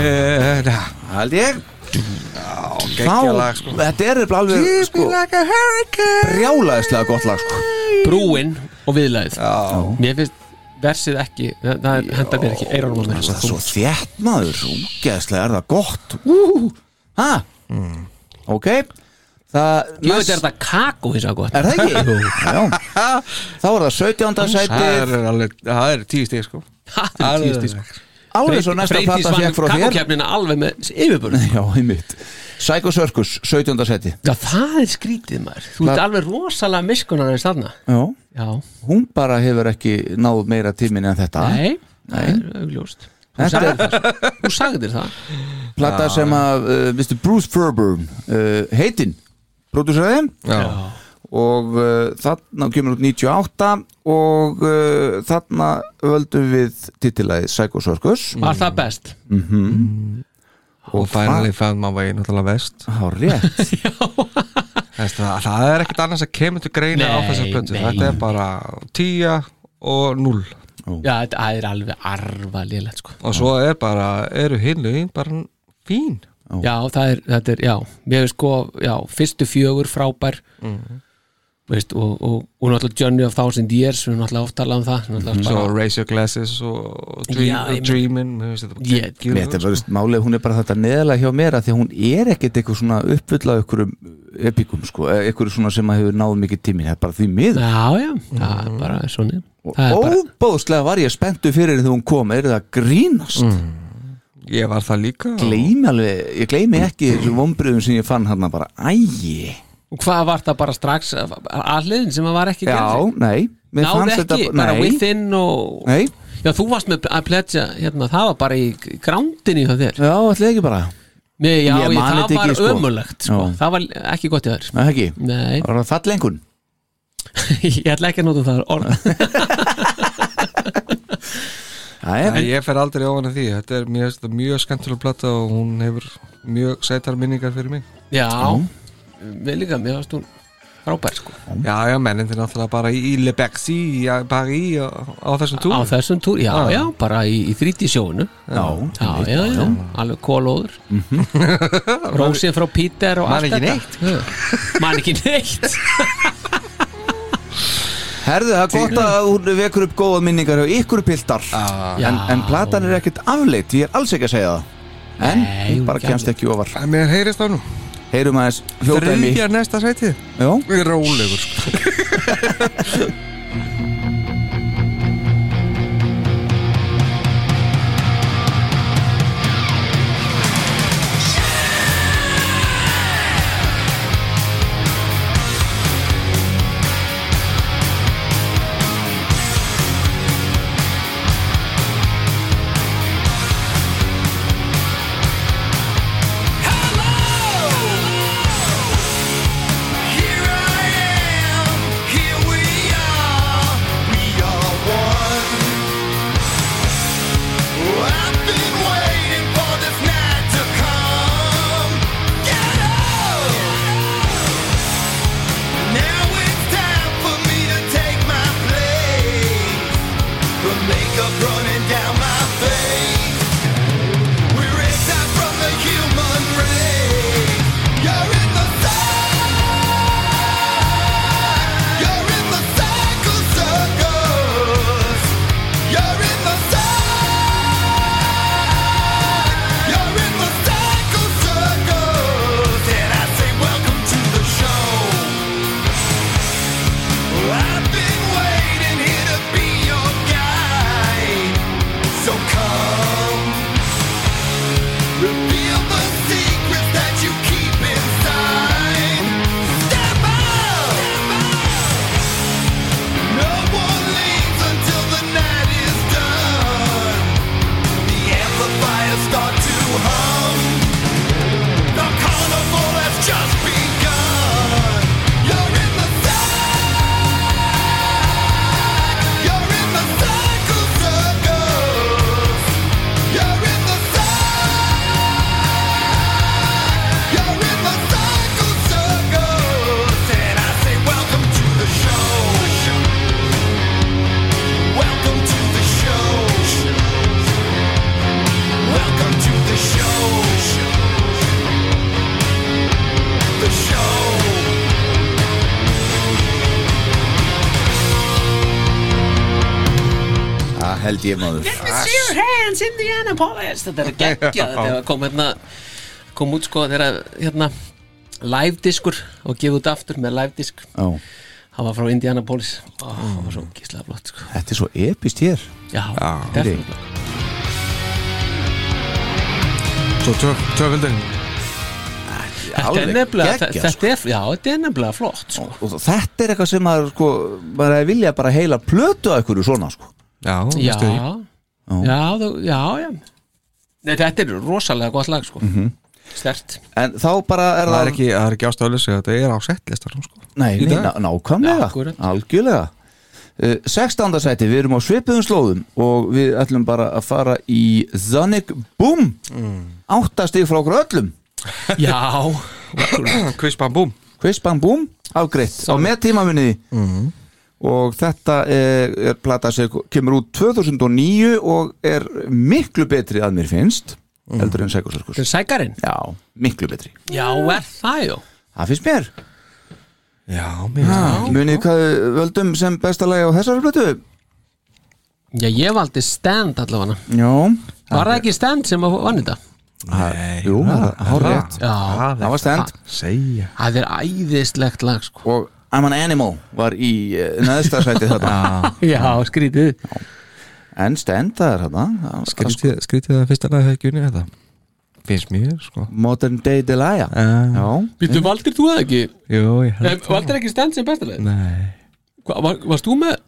Speaker 4: Eh,
Speaker 1: held ég
Speaker 4: Gekkja lag sko
Speaker 1: þetta er nefnilega alveg sko,
Speaker 4: like a hurricane
Speaker 1: brjálæðislega gott lag sko.
Speaker 3: brúin og viðlæð mér finnst versið ekki það það henda mér ekki, sko. eirunum á mér
Speaker 1: það er svo þjætt maður úgeðslega er það gott Úhú. ha ok það
Speaker 3: ég veit er þetta kakó hins að gott
Speaker 1: er það ekki? Já. þá er það 17.
Speaker 4: Það
Speaker 1: sæti
Speaker 4: er alveg, það er tíu stík sko
Speaker 3: það er tíu stíð sko.
Speaker 1: alveg svo næsta
Speaker 3: Freydís
Speaker 1: plata
Speaker 3: vann
Speaker 1: fekk frá þér
Speaker 3: kakókeppnina alveg með yfirbörn
Speaker 1: já, einmitt Psycho Circus, 17. sæti
Speaker 3: já það er skrítið maður þú ert alveg rosalega miskunar þess þarna
Speaker 1: já.
Speaker 3: já,
Speaker 1: hún bara hefur ekki náð meira tímin en þetta
Speaker 3: nei, það er augljóst þú
Speaker 1: Þetta
Speaker 3: sagðir það, sko. þú sagðir það
Speaker 1: plata sem að uh, Mr. Bruce Fairburn uh, heitinn, pródúseraði
Speaker 4: Já,
Speaker 1: og uh, þarna kemur út 98 og uh, þarna völdum við titilaði Psycho Circus
Speaker 3: var það best
Speaker 4: og finally found my way náttúrulega vest
Speaker 1: Há rétt,
Speaker 4: Þess, það, það er ekkert annars að kemur til greina á
Speaker 3: Nei,
Speaker 4: þessar plötu,
Speaker 3: nei.
Speaker 4: þetta er bara tíja og núl
Speaker 3: já, þetta er alveg arvalilegt sko.
Speaker 4: og svo er bara, eru hinlu bara fín
Speaker 3: já, það er, þetta er, já mér finnst sko, já, fyrstu fjögur frábær Mm. veist, og, og, og náttúrulega Journey of Thousand Years við erum náttúrulega oft talað um það náttúrulega
Speaker 4: svo
Speaker 3: bara,
Speaker 4: raise your glasses og dream,
Speaker 3: Já, ég meina-
Speaker 4: dreamin mér finnst
Speaker 3: Ég-
Speaker 4: þetta
Speaker 1: Mér
Speaker 4: bara
Speaker 1: þetta er verðist málið, hún er bara þetta neðalega hjá mér að því að hún er ekkert eitthvað svona uppfulla ykkurum epikum sko, eh, einhverju svona sem að hefur náð mikið tímin, það er bara því miður
Speaker 3: já, já, það er bara svona
Speaker 1: og
Speaker 3: það er bara,
Speaker 1: óbóðslega var ég spenntu fyrir þegar hún kom, er það að grínast
Speaker 4: ég var það líka og-
Speaker 1: gleymi alveg, ég gleymi ekki þessum vombriðum sem ég fann hann bara, ægi
Speaker 3: og hvað var það bara strax alliðin sem að var ekki
Speaker 1: Já,
Speaker 3: gerðið?
Speaker 1: nei mér
Speaker 3: náði
Speaker 1: fannst
Speaker 3: ekki,
Speaker 1: þetta-
Speaker 3: bara
Speaker 1: nei,
Speaker 3: within og
Speaker 1: Nei,
Speaker 3: já, þú varst með að pledja, hérna, það var bara í grándinni hjá þér
Speaker 1: já, ætlaði ekki bara
Speaker 3: Mér, já,
Speaker 1: Ég
Speaker 3: ég,
Speaker 1: man
Speaker 3: það
Speaker 1: þetta
Speaker 3: var
Speaker 1: ekki, sko.
Speaker 3: ömulegt sko.
Speaker 1: Já.
Speaker 3: það var ekki gott í þær
Speaker 1: Nei, ekki,
Speaker 3: Nei,
Speaker 1: það var fallengun
Speaker 3: ég ætla ekki að nota það orð
Speaker 1: Það
Speaker 4: Nei,
Speaker 1: er,
Speaker 4: ég fer aldrei ofan að því, þetta er mjög, mjög skemmtileg platta og hún hefur mjög sætar minningar fyrir mig
Speaker 3: Já, við líka, mér varst hún frábær sko
Speaker 4: Já, já, mennin þetta er náttúrulega bara í í Le Bercy, í Paris á, á þessum túr
Speaker 3: Á þessum túr, já,
Speaker 4: Já.
Speaker 3: já, bara í, í þrítisjónu
Speaker 1: Ah. já, Mhm.
Speaker 3: Já, já, já, alveg kólóður Rósin frá Peter og
Speaker 4: Man
Speaker 3: allt
Speaker 4: ekki
Speaker 3: þetta. Já. Man ekki neitt
Speaker 1: Herðu, það er gott að hún vekur upp góða minningar hjá ykkur piltar
Speaker 3: Já.
Speaker 1: en, en platan er ekkert afleitt, ég er alls ekki að segja það En,
Speaker 3: Nei,
Speaker 1: ég
Speaker 3: hún
Speaker 1: bara
Speaker 3: ekki
Speaker 1: kemst ekki ofar
Speaker 4: En mér heyrist á nú
Speaker 1: Heyrum aðeins hljóðdæmi
Speaker 4: Þriðja næsta sætið
Speaker 1: Já,
Speaker 4: Rólegur sko.
Speaker 2: Here I am, here we are.
Speaker 1: held ég maður
Speaker 3: It's your hands in the Annapolis Þetta er að gegja, þetta er að koma hérna kom út sko þegar hérna live diskur og gefa út aftur með live disk
Speaker 1: Já,
Speaker 3: hann var frá Indianapolis og hann var svo gíslega flott sko
Speaker 1: Þetta er svo epist hér
Speaker 3: Já,
Speaker 1: heyri.
Speaker 3: definitív
Speaker 4: Svo töf, töfildin
Speaker 3: Þetta er
Speaker 1: Alveg
Speaker 3: nefnilega,
Speaker 1: geggjað,
Speaker 3: þetta þetta er, já, þetta er nefnilega flott sko.
Speaker 1: og þetta er eitthvað sem maður sko, maður hefði vilja bara heila plötu að ykkur svona sko
Speaker 4: Já,
Speaker 3: Já,
Speaker 4: veistu því
Speaker 3: já, þú- já, já Nei, þetta er rosalega gott lag sko Stert
Speaker 1: en þá bara er
Speaker 4: Það er ekki, það er ekki ástöðlis Þetta er á settlistar sko.
Speaker 1: nei,
Speaker 4: í
Speaker 1: nei,
Speaker 4: dag.
Speaker 1: ná, nákvæmlega,
Speaker 3: Ja, akkúrat.
Speaker 1: algjörlega uh, 16. sæti, við erum á svipuðum slóðum og við ætlum bara að fara í Sonic Boom
Speaker 4: Mm.
Speaker 1: áttastig frá okkur öllum
Speaker 3: Já,
Speaker 4: Quiz bam búm
Speaker 1: Quiz Bang Boom afgreitt á með tímamunni
Speaker 4: Mm.
Speaker 1: og þetta er, er plata sem kemur út 2009 og er miklu betri að mér finnst
Speaker 4: Mm.
Speaker 1: heldur en
Speaker 3: þetta
Speaker 1: Sækursarkus
Speaker 3: er sækarinn
Speaker 1: já, miklu betri
Speaker 3: Já, er það jú
Speaker 1: það finnst mér
Speaker 4: Já, mér finnst það ekki.
Speaker 1: munið hvað við völdum sem besta lagi á þessari plötu
Speaker 3: Já, ég valdi stand allavega
Speaker 1: já,
Speaker 3: Var það ekki stand sem að vann þetta?
Speaker 4: Nei,
Speaker 1: jú, það
Speaker 4: það-
Speaker 1: er hárrétt
Speaker 3: Já,
Speaker 1: það var stend
Speaker 4: Segja
Speaker 3: það er æðislegt lag sko
Speaker 1: og I'm an Animal var í eh, neðsta sæti þetta
Speaker 3: Já, skrítið
Speaker 1: en stend það er þetta
Speaker 4: Skrítið, skrítið að fyrsta lagi hefði ekki unni þetta Finnst mér, sko
Speaker 1: Modern Day Delia
Speaker 4: uh,
Speaker 1: já,
Speaker 3: Býttu, valdir þú það ekki? Eh,
Speaker 4: Jú, ég held það.
Speaker 3: valdir ekki stand sem bestileg?
Speaker 4: Nei
Speaker 3: Var, varst þú með?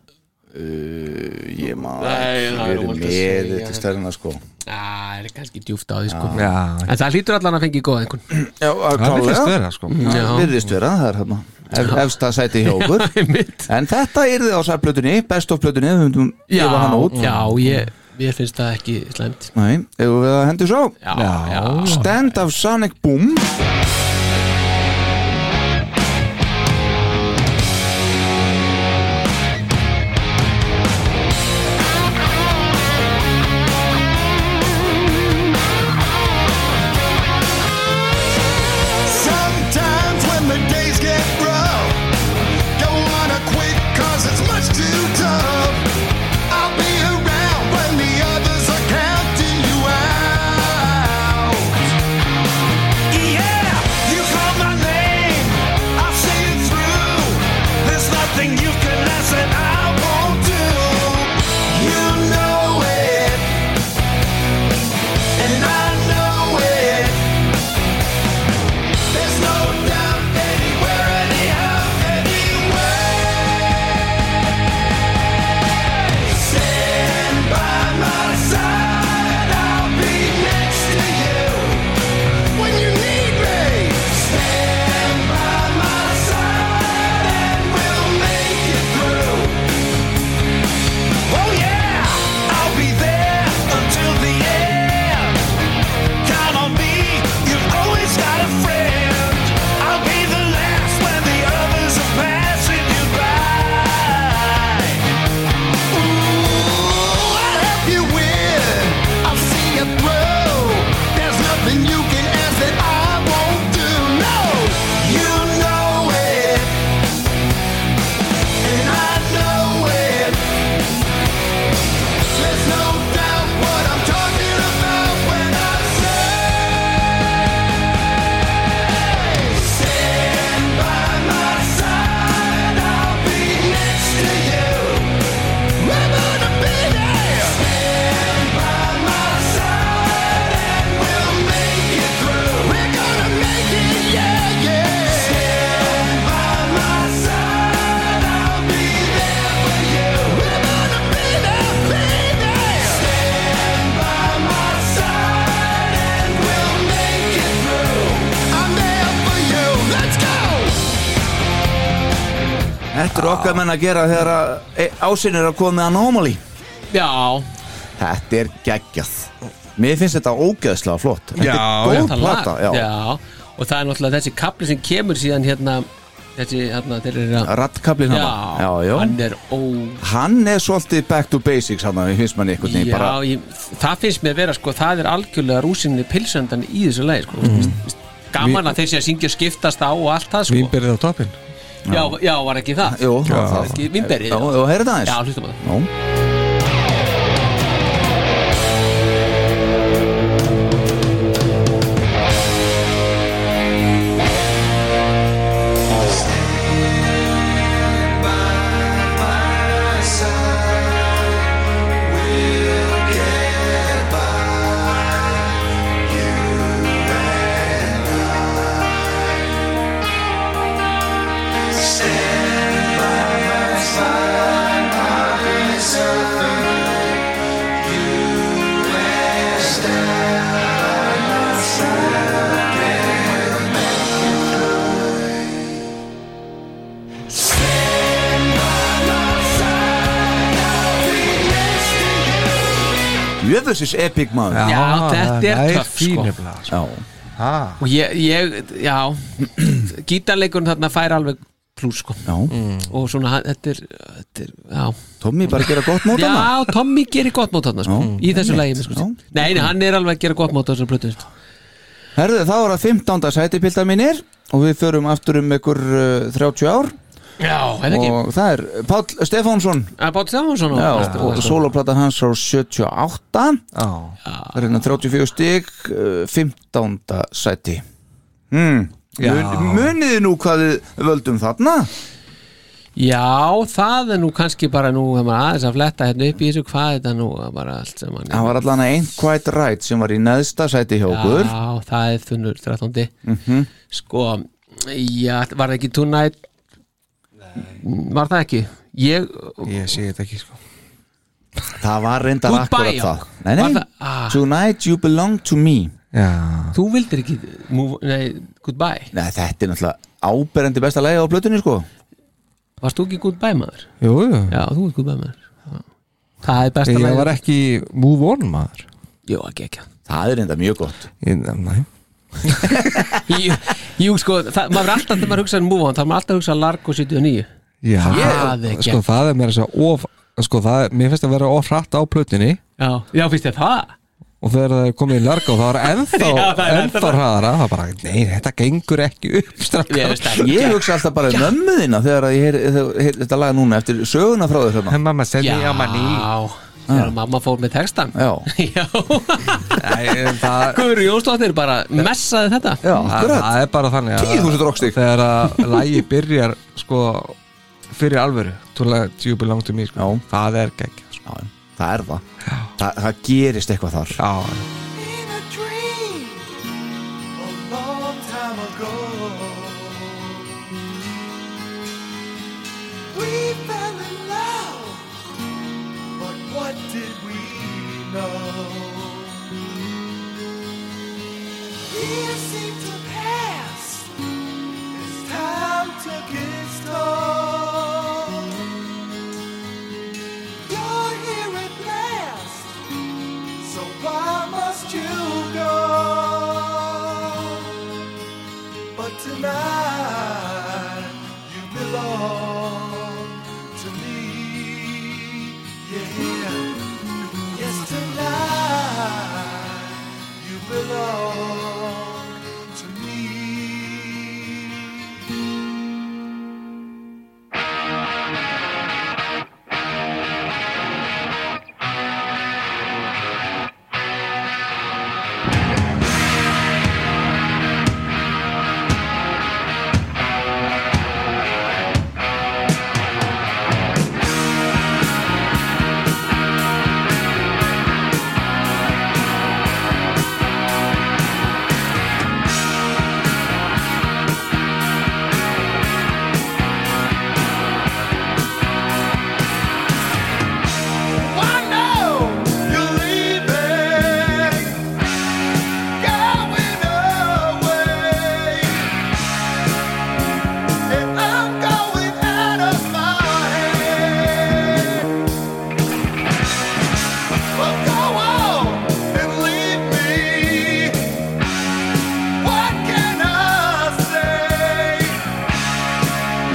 Speaker 1: ég má
Speaker 3: Nei, það er
Speaker 1: verið
Speaker 3: ómögulegt að
Speaker 1: með
Speaker 3: segja.
Speaker 1: þetta stærna sko
Speaker 3: Já, það er kannski djúft á því sko
Speaker 4: Já,
Speaker 3: En það hlýtur allan að fengi góð einhvern
Speaker 1: Já, að
Speaker 4: það er fyrst
Speaker 1: klálega
Speaker 4: vera, sko
Speaker 1: Það virðist vera, það er hérna ef, efsta sæti hjá okkur
Speaker 3: Einmitt.
Speaker 1: en þetta yrði á særplötunni, best of plötunni ef við myndum
Speaker 3: Já,
Speaker 1: gefa hana út
Speaker 3: já, ég, ég finnst það ekki slæmt
Speaker 1: Nei, ef við að hendur svo
Speaker 3: Já, já, já.
Speaker 1: Stand of Sonic Boom
Speaker 2: Sometimes when the days get rough, don't wanna quit cause it's much too tough. I'll be around when the others are counting you out. Yeah, you call my name, I'll see it through. There's nothing you can ask that I won't do. You know it, and I know it. There's no doubt anywhere, anyhow, anywhere. Stand by my side, I'll be next to you when you need me. Stand by my side, and we'll make it through. Oh yeah, I'll be there until the end count on me. You've always got a friend. I'll be the last when the others are passing you by. Ooh, I'll help you win. I'll see you through. There's nothing you can ask that I won't do. No, you know it, and I know it. There's no doubt what I'm talking about when I say Stand by my side, I'll be next to you. I'm gonna be there. Stand by my side and we'll make it through. We're gonna make it, yeah, yeah. Stand by my side, I'll be there for you. We're gonna be there, be there. Stand by my side and we'll make it through. I'm there for you. Let's go.
Speaker 1: Þetta er okkar menn að gera þegar að e, ásinn er að koma með anomaly
Speaker 3: já.
Speaker 1: Þetta er geggjað Mér finnst þetta ógeðslega flott Þetta
Speaker 4: Já,
Speaker 1: er góð
Speaker 3: þetta lag
Speaker 1: plata, já,
Speaker 3: og það er náttúrulega þessi kapli sem kemur síðan hérna þessi hérna þeir eru að
Speaker 1: Rattkablin
Speaker 3: já,
Speaker 1: hana Já, já
Speaker 3: hann er ó
Speaker 1: Hann er svolítið back to basics hann, mér finnst manni einhvern
Speaker 3: já,
Speaker 1: veginn bara
Speaker 3: ég, það finnst mér vera sko, það er algjörlega rúsinni pilsöndan í þessu leið sko.
Speaker 1: Mhm.
Speaker 3: mm. gaman að þeir sé að syngja og skiptast á og allt það sko.
Speaker 4: Vínberið á toppin
Speaker 3: já, já, var ekki það
Speaker 1: Jú, það var
Speaker 3: Var
Speaker 1: það
Speaker 3: ekki vínberið
Speaker 1: Já, og heyrðu það
Speaker 3: já,
Speaker 1: aðeins
Speaker 3: hlustum að það
Speaker 1: Nú. djöfusis epic maður
Speaker 3: Já, þetta er
Speaker 4: það
Speaker 3: töff, sko.
Speaker 4: fín nefnilega, sko.
Speaker 1: Já,
Speaker 4: Ha,
Speaker 3: og ég, ég já gítarleikurinn þarna fær alveg plús sko
Speaker 1: já,
Speaker 3: og svona, þetta er, þetta er já,
Speaker 1: Tommy bara gera gott mót hérna. hana
Speaker 3: já Tommy gerir gott mót þarna sko,
Speaker 1: Já,
Speaker 3: í þessu
Speaker 1: einmitt,
Speaker 3: lagi sko.
Speaker 1: já.
Speaker 3: nei, nei, hann er alveg að gera gott mót á þessar plötu sko.
Speaker 1: Herðu, þá er það 15. sæti pilda mínir og við förum aftur um ykkur uh, 30 ár
Speaker 3: já, hefði ekki
Speaker 1: og það er Páll Stefánsson
Speaker 3: Bátt Stefánsson
Speaker 1: já, og soloplata hans á 78
Speaker 4: á.
Speaker 1: það er hérna 34 stig uh, 15. sæti mm. Mun, Munið nú hvað við völdum þarna
Speaker 3: já, það er nú kannski bara nú ef maður aðeins að fletta hérna upp í þessu hvað þetta nú er bara allt sem hann
Speaker 1: Það var allan að einn quite right sem var í neðsta sæti hjá okkur
Speaker 3: já, það er þunnur 13.
Speaker 4: Mhm.
Speaker 3: sko, já, var það ekki Tonight var það ekki ég,
Speaker 4: Ég sé þetta ekki sko
Speaker 1: Það var reyndar
Speaker 3: Goodbye,
Speaker 1: akkurat
Speaker 3: já.
Speaker 1: það Nei,
Speaker 3: Var
Speaker 1: nei,
Speaker 3: það- ah.
Speaker 1: Tonight you belong to me
Speaker 4: Já,
Speaker 3: þú vildir ekki move, nei, goodbye
Speaker 1: Nei, þetta er náttúrulega áberandi besta lagi á plötunni sko
Speaker 3: varst þú ekki goodbye maður?
Speaker 4: jú, jú
Speaker 3: já, þú ert goodbye maður Já. það er besta
Speaker 4: Ég
Speaker 3: lagið.
Speaker 4: var ekki move on maður
Speaker 3: Jú, ekki ekki
Speaker 1: Það er reynda mjög gott
Speaker 4: Ég, Nei,
Speaker 3: Jú, jú sko, það, maður er alltaf þegar maður hugsa um move on, þá er maður alltaf að hugsa Largo 79
Speaker 4: já
Speaker 3: Það er
Speaker 4: Sko
Speaker 3: gegn.
Speaker 4: það er mér að segja of Sko það er, mér finnst að vera of hratt á plötunni
Speaker 3: já, já finnst þér það?
Speaker 4: Og þegar það er komið í larga og það var ennþá
Speaker 3: Já, það er
Speaker 4: Ennþá
Speaker 3: ennþá-
Speaker 4: hraðara Það var bara, nei, þetta gengur ekki upp
Speaker 3: Ég
Speaker 4: strakkar
Speaker 3: veist það
Speaker 1: Ég hugsa alltaf bara um mömmu þína þegar að ég heyri heyr, heyr, þetta lag núna eftir söguna frá þér hérna
Speaker 4: Mamma, sendi
Speaker 3: Já,
Speaker 4: ég á manni
Speaker 3: þegar mamma fór með textan
Speaker 1: Já.
Speaker 3: Já.
Speaker 4: Það
Speaker 3: Guður Jónsdóttir bara messaði þetta
Speaker 1: Já,
Speaker 4: Það
Speaker 1: akkurat
Speaker 4: það er bara þannig að
Speaker 1: 10.000 rockstig.
Speaker 4: Þegar að lægi byrjar sko fyrir alvöru Tonight you belong to me sko.
Speaker 1: Já.
Speaker 4: Það er gegg
Speaker 1: Já,
Speaker 4: sko.
Speaker 1: já, Það er það Þa, Það gerist eitthvað þar
Speaker 4: Já,
Speaker 2: in a dream a long time ago. We fell in love, but what did we know? Years seem to pass, as time took its toll. You're here at last. So why must you go? But tonight you belong to me. Yeah, yes, tonight you belong to me.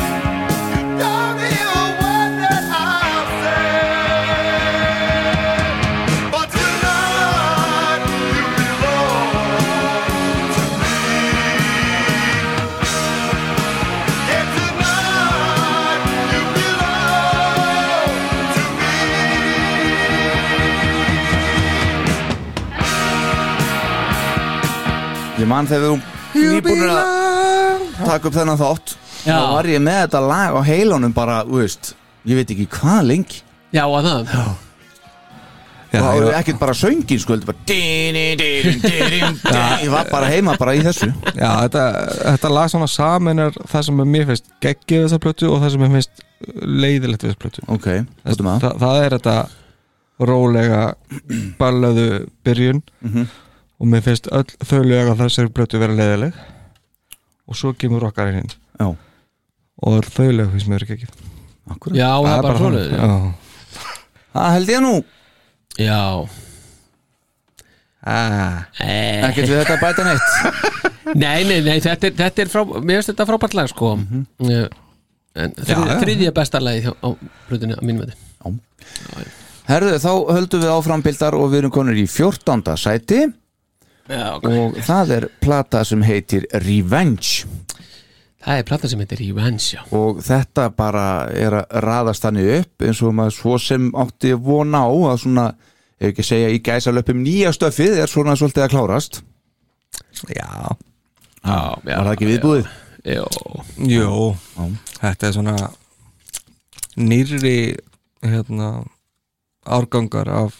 Speaker 8: Don't hear a word that I say. But tonight you belong to me. Yeah, tonight you belong to me.
Speaker 1: Ég man þegar þú nýbúinir að taka upp þennan þátt
Speaker 3: Já.
Speaker 1: þá var ég með þetta lag á heilónum bara, þú veist, ég veit ekki hvað lengi
Speaker 3: Já, að það
Speaker 4: já,
Speaker 1: og það
Speaker 4: já,
Speaker 1: var ekkert bara söngin sko, heldur bara dýrin, dýrin, dýrin, dýrin. Ég var bara heima bara í þessu
Speaker 4: já þetta, þetta lag svona saman er það sem er mér finnst geggið við þessa plötu og það sem er finnst leiðilegt við þessa plötu
Speaker 1: Ok, veitum að
Speaker 4: Þa, Það er þetta rólega ballaðu byrjun
Speaker 1: Mhm.
Speaker 4: og mér finnst öll þau lög að þessari plötu vera leiðileg og svo kemur okkar inn
Speaker 1: Já,
Speaker 4: og öll þau lög finnst mér geggið
Speaker 1: akkurat
Speaker 3: Já, það er bara
Speaker 4: þannig.
Speaker 3: svoleiðis
Speaker 4: Já.
Speaker 1: Það held ég nú
Speaker 3: Já, Eh,
Speaker 4: ah,
Speaker 1: ekkert við þetta að bæta neitt
Speaker 3: Nei, nei, nei, þetta er, þetta er frá, mér finnst þetta frábært lag sko Eh, En þriðja,
Speaker 4: Já, já.
Speaker 3: þriðja besta lagi hjá- á brutinu að mínum veit
Speaker 1: Herðu, þá höldum við áfram bildar og við erum konur í 14. sæti
Speaker 3: Já, ok
Speaker 1: og það er plata sem heitir Revenge
Speaker 3: Það er platan sem heitir Revenge, já
Speaker 1: og þetta bara er að raðast þannig upp eins og maður svo sem átti að vona á að svona, ef ekki segja í gæsalöpum nýja stöfið er svona svolítið að klárast
Speaker 4: Já,
Speaker 3: Já, já
Speaker 1: var það ekki viðbúið?
Speaker 3: Jó,
Speaker 4: jú Þetta er svona nýrri hérna, árgangar af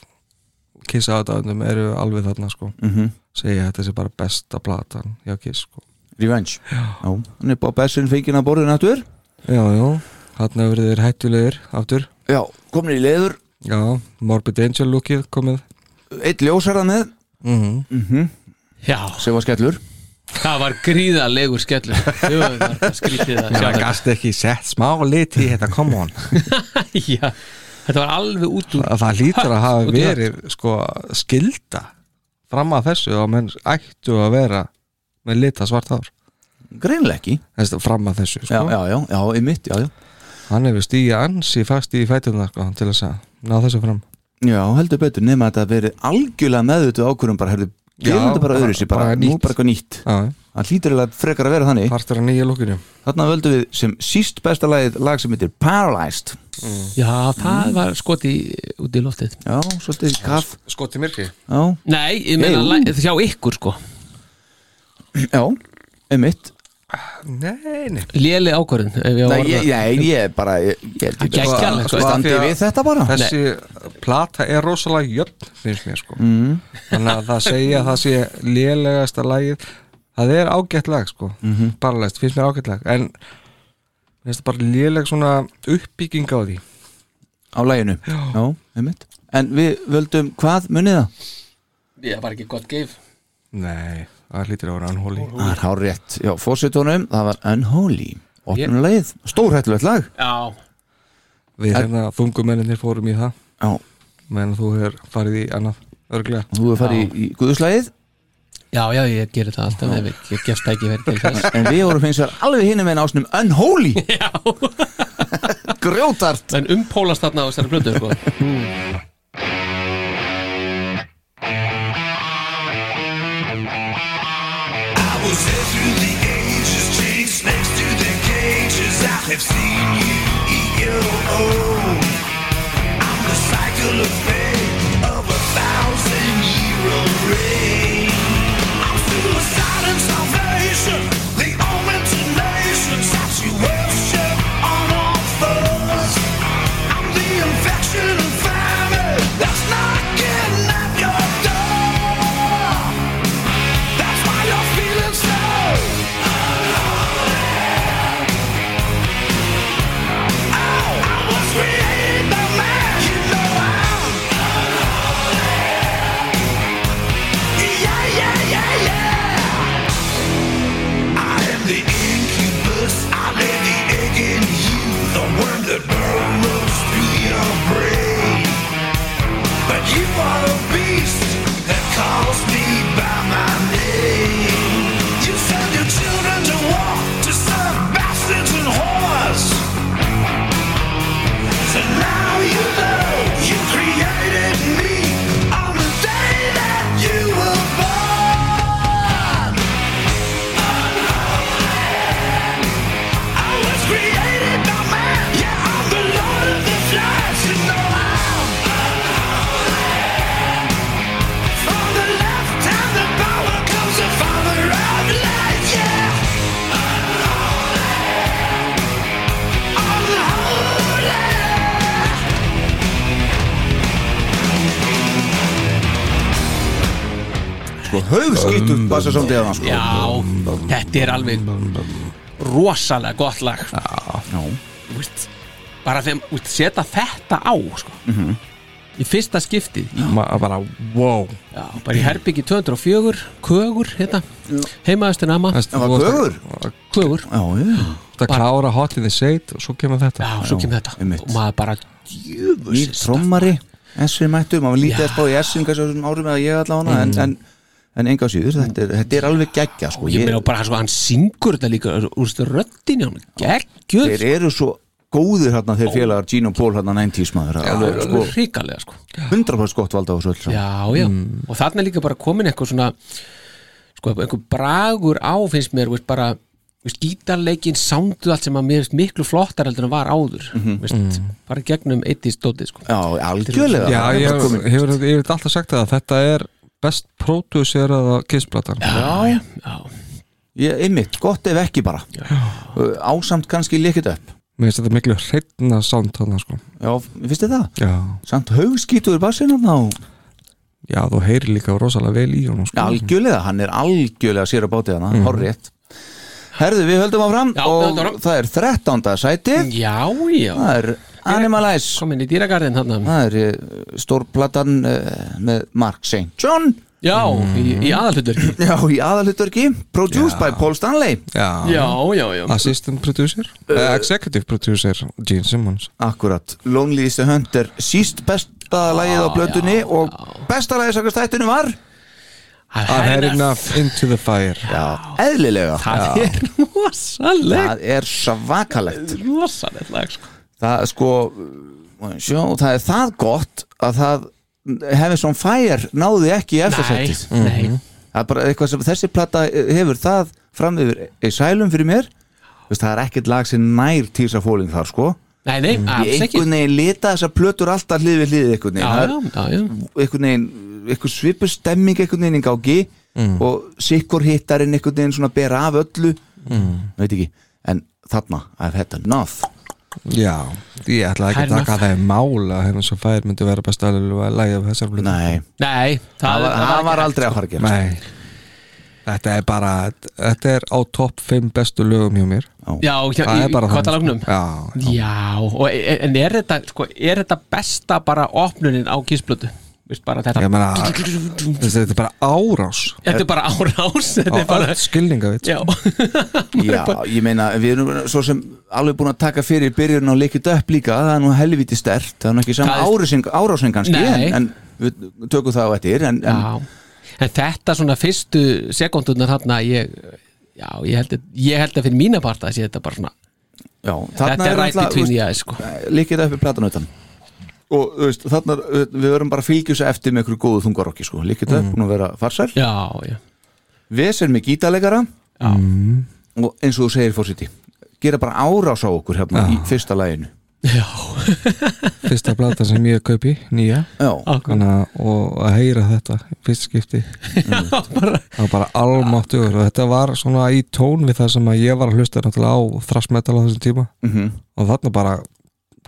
Speaker 4: kissa aðdáðunum eru alveg þarna sko mm
Speaker 1: Mhm,
Speaker 4: -hmm. segja þetta sé bara besta platan hjá kiss sko
Speaker 1: Revenge, já, hann er bara bessin fengið að borðin aftur
Speaker 4: Já, já, þarna verður þeir hættulegir aftur
Speaker 1: já, komin í leiður,
Speaker 4: Já, Morbid Angel lookið komið
Speaker 1: eitt ljósara með
Speaker 4: mm
Speaker 3: já,
Speaker 1: sem var skellur
Speaker 3: það var gríðalegur skellur Jú, það var bara skrítið að sjá
Speaker 4: Það
Speaker 3: þetta.
Speaker 4: gast ekki sett smá lit í þetta, come on
Speaker 3: Já, þetta var alveg út úr
Speaker 4: Það, það lítur að hafa
Speaker 3: Út í
Speaker 4: verið sko skilda fram að þessu og menn ættu að vera með lita svart hár
Speaker 1: greinleggi,
Speaker 4: Þessi, fram að þessu
Speaker 1: já,
Speaker 4: sko.
Speaker 1: já, já, já, í mitt já, já.
Speaker 4: hann hefur stíja ansi fast í fætuna sko, til þess að ná þessu fram
Speaker 1: já, heldur betur nema að þetta verið algjörlega meðvituð ákvörum bara, herðu,
Speaker 4: Já,
Speaker 1: gerum þetta bara
Speaker 4: bara-
Speaker 1: öðru sér bara,
Speaker 4: bara
Speaker 1: nú
Speaker 4: nýtt.
Speaker 1: bara eitthvað nýtt
Speaker 4: Já,
Speaker 1: það hlýtur eiginlega frekar að vera þannig
Speaker 4: partur að nýja lúkinu
Speaker 1: Þarna völdum við sem síst besta lagið lag sem heitir Paralyzed
Speaker 3: Já, það var skoti út í loftið
Speaker 1: Já, svolítið kaff
Speaker 4: skoti myrki
Speaker 1: Já,
Speaker 3: Nei, ég meina,
Speaker 1: Jú.
Speaker 3: la- sjá ykkur sko
Speaker 1: já einmitt
Speaker 4: nei, nei
Speaker 3: Léli ákvörðin ef ég á að
Speaker 1: Nei,
Speaker 3: orða-
Speaker 1: ég, ég, ég er bara ég, ég, ég,
Speaker 3: Geggjað,
Speaker 1: bara-
Speaker 3: sko.
Speaker 1: standi við þetta bara
Speaker 4: þessi plata er rosalega jöfn finnst mér sko mm. þannig að það segja að það sé lélegasta lagið það er ágætt lag sko mm
Speaker 1: Mhm.
Speaker 4: -hmm. bara læst, finnst mér ágætt lag en mér finnst það bara léleg svona uppbygging á því
Speaker 1: á laginu Já, einmitt En við völdum hvað munið það?
Speaker 3: Ég var ekki gott geif
Speaker 4: nei, það hlýtir að vera anhóli
Speaker 1: Það er hár rétt Já, fórsetunum, það var Unholy Opnulagið, stórhættulegt lag
Speaker 3: Já,
Speaker 4: við hérna þungumenninir fórum í það
Speaker 1: Já,
Speaker 4: menn þú hefur farið í annað örglega
Speaker 1: þú hefur farið í, í guðuslagið
Speaker 3: já, já, ég gerir það alltaf ef ég- ég gefst ekki verið til þess
Speaker 1: En við vorum finnst þar alveg hinum en ásnum Unholy
Speaker 3: Já,
Speaker 1: Grjótart
Speaker 3: en umpólast þarna á þessari plötu sko
Speaker 2: I was there through the ages, chased next to the cages. I have seen you eat your own. I'm the cycle of fate of a thousand year old reign. I'm suicide and salvation, the omen to nations. Saturation on all fours. I'm the infection and famine that's knocking at your door. That's why you're feeling so alone. Oh, I was created by man. You know I'm alone. Yeah, yeah, yeah, yeah. I am the incubus. I lay the egg in you, the worm that burrows through your brain. But you are a beast that calls me by my name. You send your children to war to serve bastards and whores. So now you know you created me on the day that you were born. I was created by man. Yeah, I'm the Lord of the Flies. You know I'm. From the left and the power comes the father of lies, yeah. Unholy, unholy.
Speaker 1: Sko, haugskýtur bassa svolítið að hann sko
Speaker 3: Já, þetta er alveg rosalega gott lag
Speaker 1: Já.
Speaker 3: Úst, bara þeim úst, setja þetta á sko.
Speaker 1: Mhm.
Speaker 3: í fyrsta skiptið
Speaker 4: bara wow
Speaker 3: já, bara í herbyggi 204 kögur hérna, heimaðustin amma
Speaker 1: Það var kögur
Speaker 3: kögur,
Speaker 1: Já, já
Speaker 4: Það klára hot in the shade og svo kemur þetta
Speaker 3: já, svo kemur þetta
Speaker 1: einmitt.
Speaker 3: og maður bara
Speaker 1: Nýr trommari S við mættum, maður lítið að spá í S-in kannski á þessum árum eða ég allavega mm. en, en, en enga síður, þetta er, þetta er alveg geggja sko.
Speaker 3: ég meina bara svo hann syngur þetta líka úrstu röddin hjá hann, geggjur
Speaker 1: þeir eru svo góðir hérna þeir félagar Gene og Paul hérna 90s maður alveg, sko,
Speaker 3: hrikalega sko
Speaker 1: 100% gott valda á þessu öll saman.
Speaker 3: já, já,
Speaker 1: Mm.
Speaker 3: og þarna er líka bara komin eitthvað svona sko, einhver bragur á finnst mér, veist bara veist, gítarleikin, soundu allt sem að mér finnst miklu flottar heldur en var áður
Speaker 1: Mhm.
Speaker 3: veist,
Speaker 1: Mm.
Speaker 3: bara í gegnum eitt í stóti sko.
Speaker 1: já, algjörlega
Speaker 4: Já,
Speaker 1: Það er bara
Speaker 4: ég hefur,
Speaker 1: komin-
Speaker 4: hefur, ég hefur alltaf sagt það að þetta er best pródúseraða kissplatan
Speaker 3: já, já,
Speaker 1: ég, einmitt, gott ef ekki bara Uh, ásamt kannski líkit upp
Speaker 4: Mér finnst þetta miklu hreitna sound þarna sko
Speaker 1: já, finnst þið það?
Speaker 4: Já,
Speaker 1: samt haugskítur bassin hann á
Speaker 4: já þú heyrir líka rosalega vel í honum sko
Speaker 1: algjörlega, hann er algjörlega sér að báti hana, mm. horrétt herðu, við höldum áfram
Speaker 3: Já, við
Speaker 1: og
Speaker 3: höldum áfram.
Speaker 1: það er 13. sæti
Speaker 3: já, já.
Speaker 1: það er Animalize
Speaker 3: komin í dýragarðin þarna
Speaker 1: það er eh, stórplatan eh, með Mark St. John
Speaker 3: já, í,
Speaker 1: Mm.
Speaker 3: í aðalhutverki
Speaker 1: Já, í aðalhutverki Produced by Paul Stanley
Speaker 4: Já,
Speaker 3: já, já, já,
Speaker 4: assistant producer uh, Executive producer Gene Simmons
Speaker 1: Akkurat, Lonely is the Hunt er síst besta lagið á blöndunni og besta lagið sakast þættinu var Ah.
Speaker 4: I've had enough into the fire
Speaker 1: hérna- Já, eðlilega
Speaker 3: það er rosalegt
Speaker 1: Það er svakalegt
Speaker 3: rosalegt lag sko.
Speaker 1: Það sko, uh, sjó, það er það gott að það hefði svona fire náði ekki í
Speaker 3: nei,
Speaker 1: eftirsættið
Speaker 3: nei,
Speaker 1: Það er bara eitthvað sem þessi plata eh, hefur það fram yfir í sælum fyrir mér Veist, Það er ekkert lag sem nær tísa fóling þar sko
Speaker 3: nei, nei,
Speaker 1: Ég
Speaker 3: alls ekki
Speaker 1: einhvern veginn lita þessar plötur alltaf hlið við hlið einhvern
Speaker 3: já,
Speaker 1: veginn Það
Speaker 3: já, já, já
Speaker 1: er- einhvern veginn, einhvern svipu stemming einhvern veginn í gangi og sikkur hittarinn einhvern veginn svona bera af öllu mm. veit ekki, en þarna I've had enough
Speaker 4: Já, ég ætla ekki
Speaker 3: Fair
Speaker 4: að taka
Speaker 3: enough.
Speaker 4: það í mál að hérna svo fær myndi vera best að lægja af þessar blötu
Speaker 1: nei,
Speaker 3: Nei,
Speaker 1: það, var, það var aldrei að fara að gera
Speaker 4: Nei Þetta er bara, þetta er á topp 5 bestu lögum hjá mér
Speaker 3: Já, hjá,
Speaker 4: Það
Speaker 3: í,
Speaker 4: er bara
Speaker 3: í
Speaker 4: þannig,
Speaker 3: katalagnum
Speaker 4: sko. Já, já.
Speaker 3: og, e- en er þetta, sko, er þetta besta bara opnunin á kísblötu? Vist bara þetta
Speaker 4: Ég meina, þetta er bara árás
Speaker 3: Þetta er bara árás Þetta
Speaker 4: á
Speaker 3: er bara
Speaker 4: öll skilninga við
Speaker 3: Já,
Speaker 1: Já, ég meina, við erum svo sem alveg búin að taka fyrir byrjun og leikið upp líka, það er nú helviti stert það er nú ekki
Speaker 3: Það er-
Speaker 1: saman árásing kannski en,
Speaker 3: Nei.
Speaker 1: en við tökum það á eftir en, en
Speaker 3: já En þetta svona fyrstu sekundurnar þarna ég, Já, ég held, að- ég held að fyrir mína parta sé þetta bara svona
Speaker 1: já, þarna
Speaker 3: Þetta er rætt í
Speaker 1: náttúrulega,
Speaker 3: tvín
Speaker 1: þú
Speaker 3: í
Speaker 1: veist,
Speaker 3: aðeins sko
Speaker 1: líkið upp í platan utan og þú veist, þarna, við við verum bara að fylgja þessu eftir með einhverju góðu þungarokki sko. líkið upp, búin að vera farsæl
Speaker 3: Já, já,
Speaker 1: Vesen með gítalegara
Speaker 3: já,
Speaker 1: Mm. og eins og þú segir fórsiti gera bara árás á okkur hérna í fyrsta læginu
Speaker 3: já.
Speaker 4: Fyrsta blata sem ég kaupi, nýja
Speaker 1: Já,
Speaker 4: Þannig að- og að heyra þetta í fyrst skipti það var bara almáttugur og þetta var svona í tón við það sem að ég var að hlusta náttúrulega á þrassmetal á þessum tíma -hmm. og þarna bara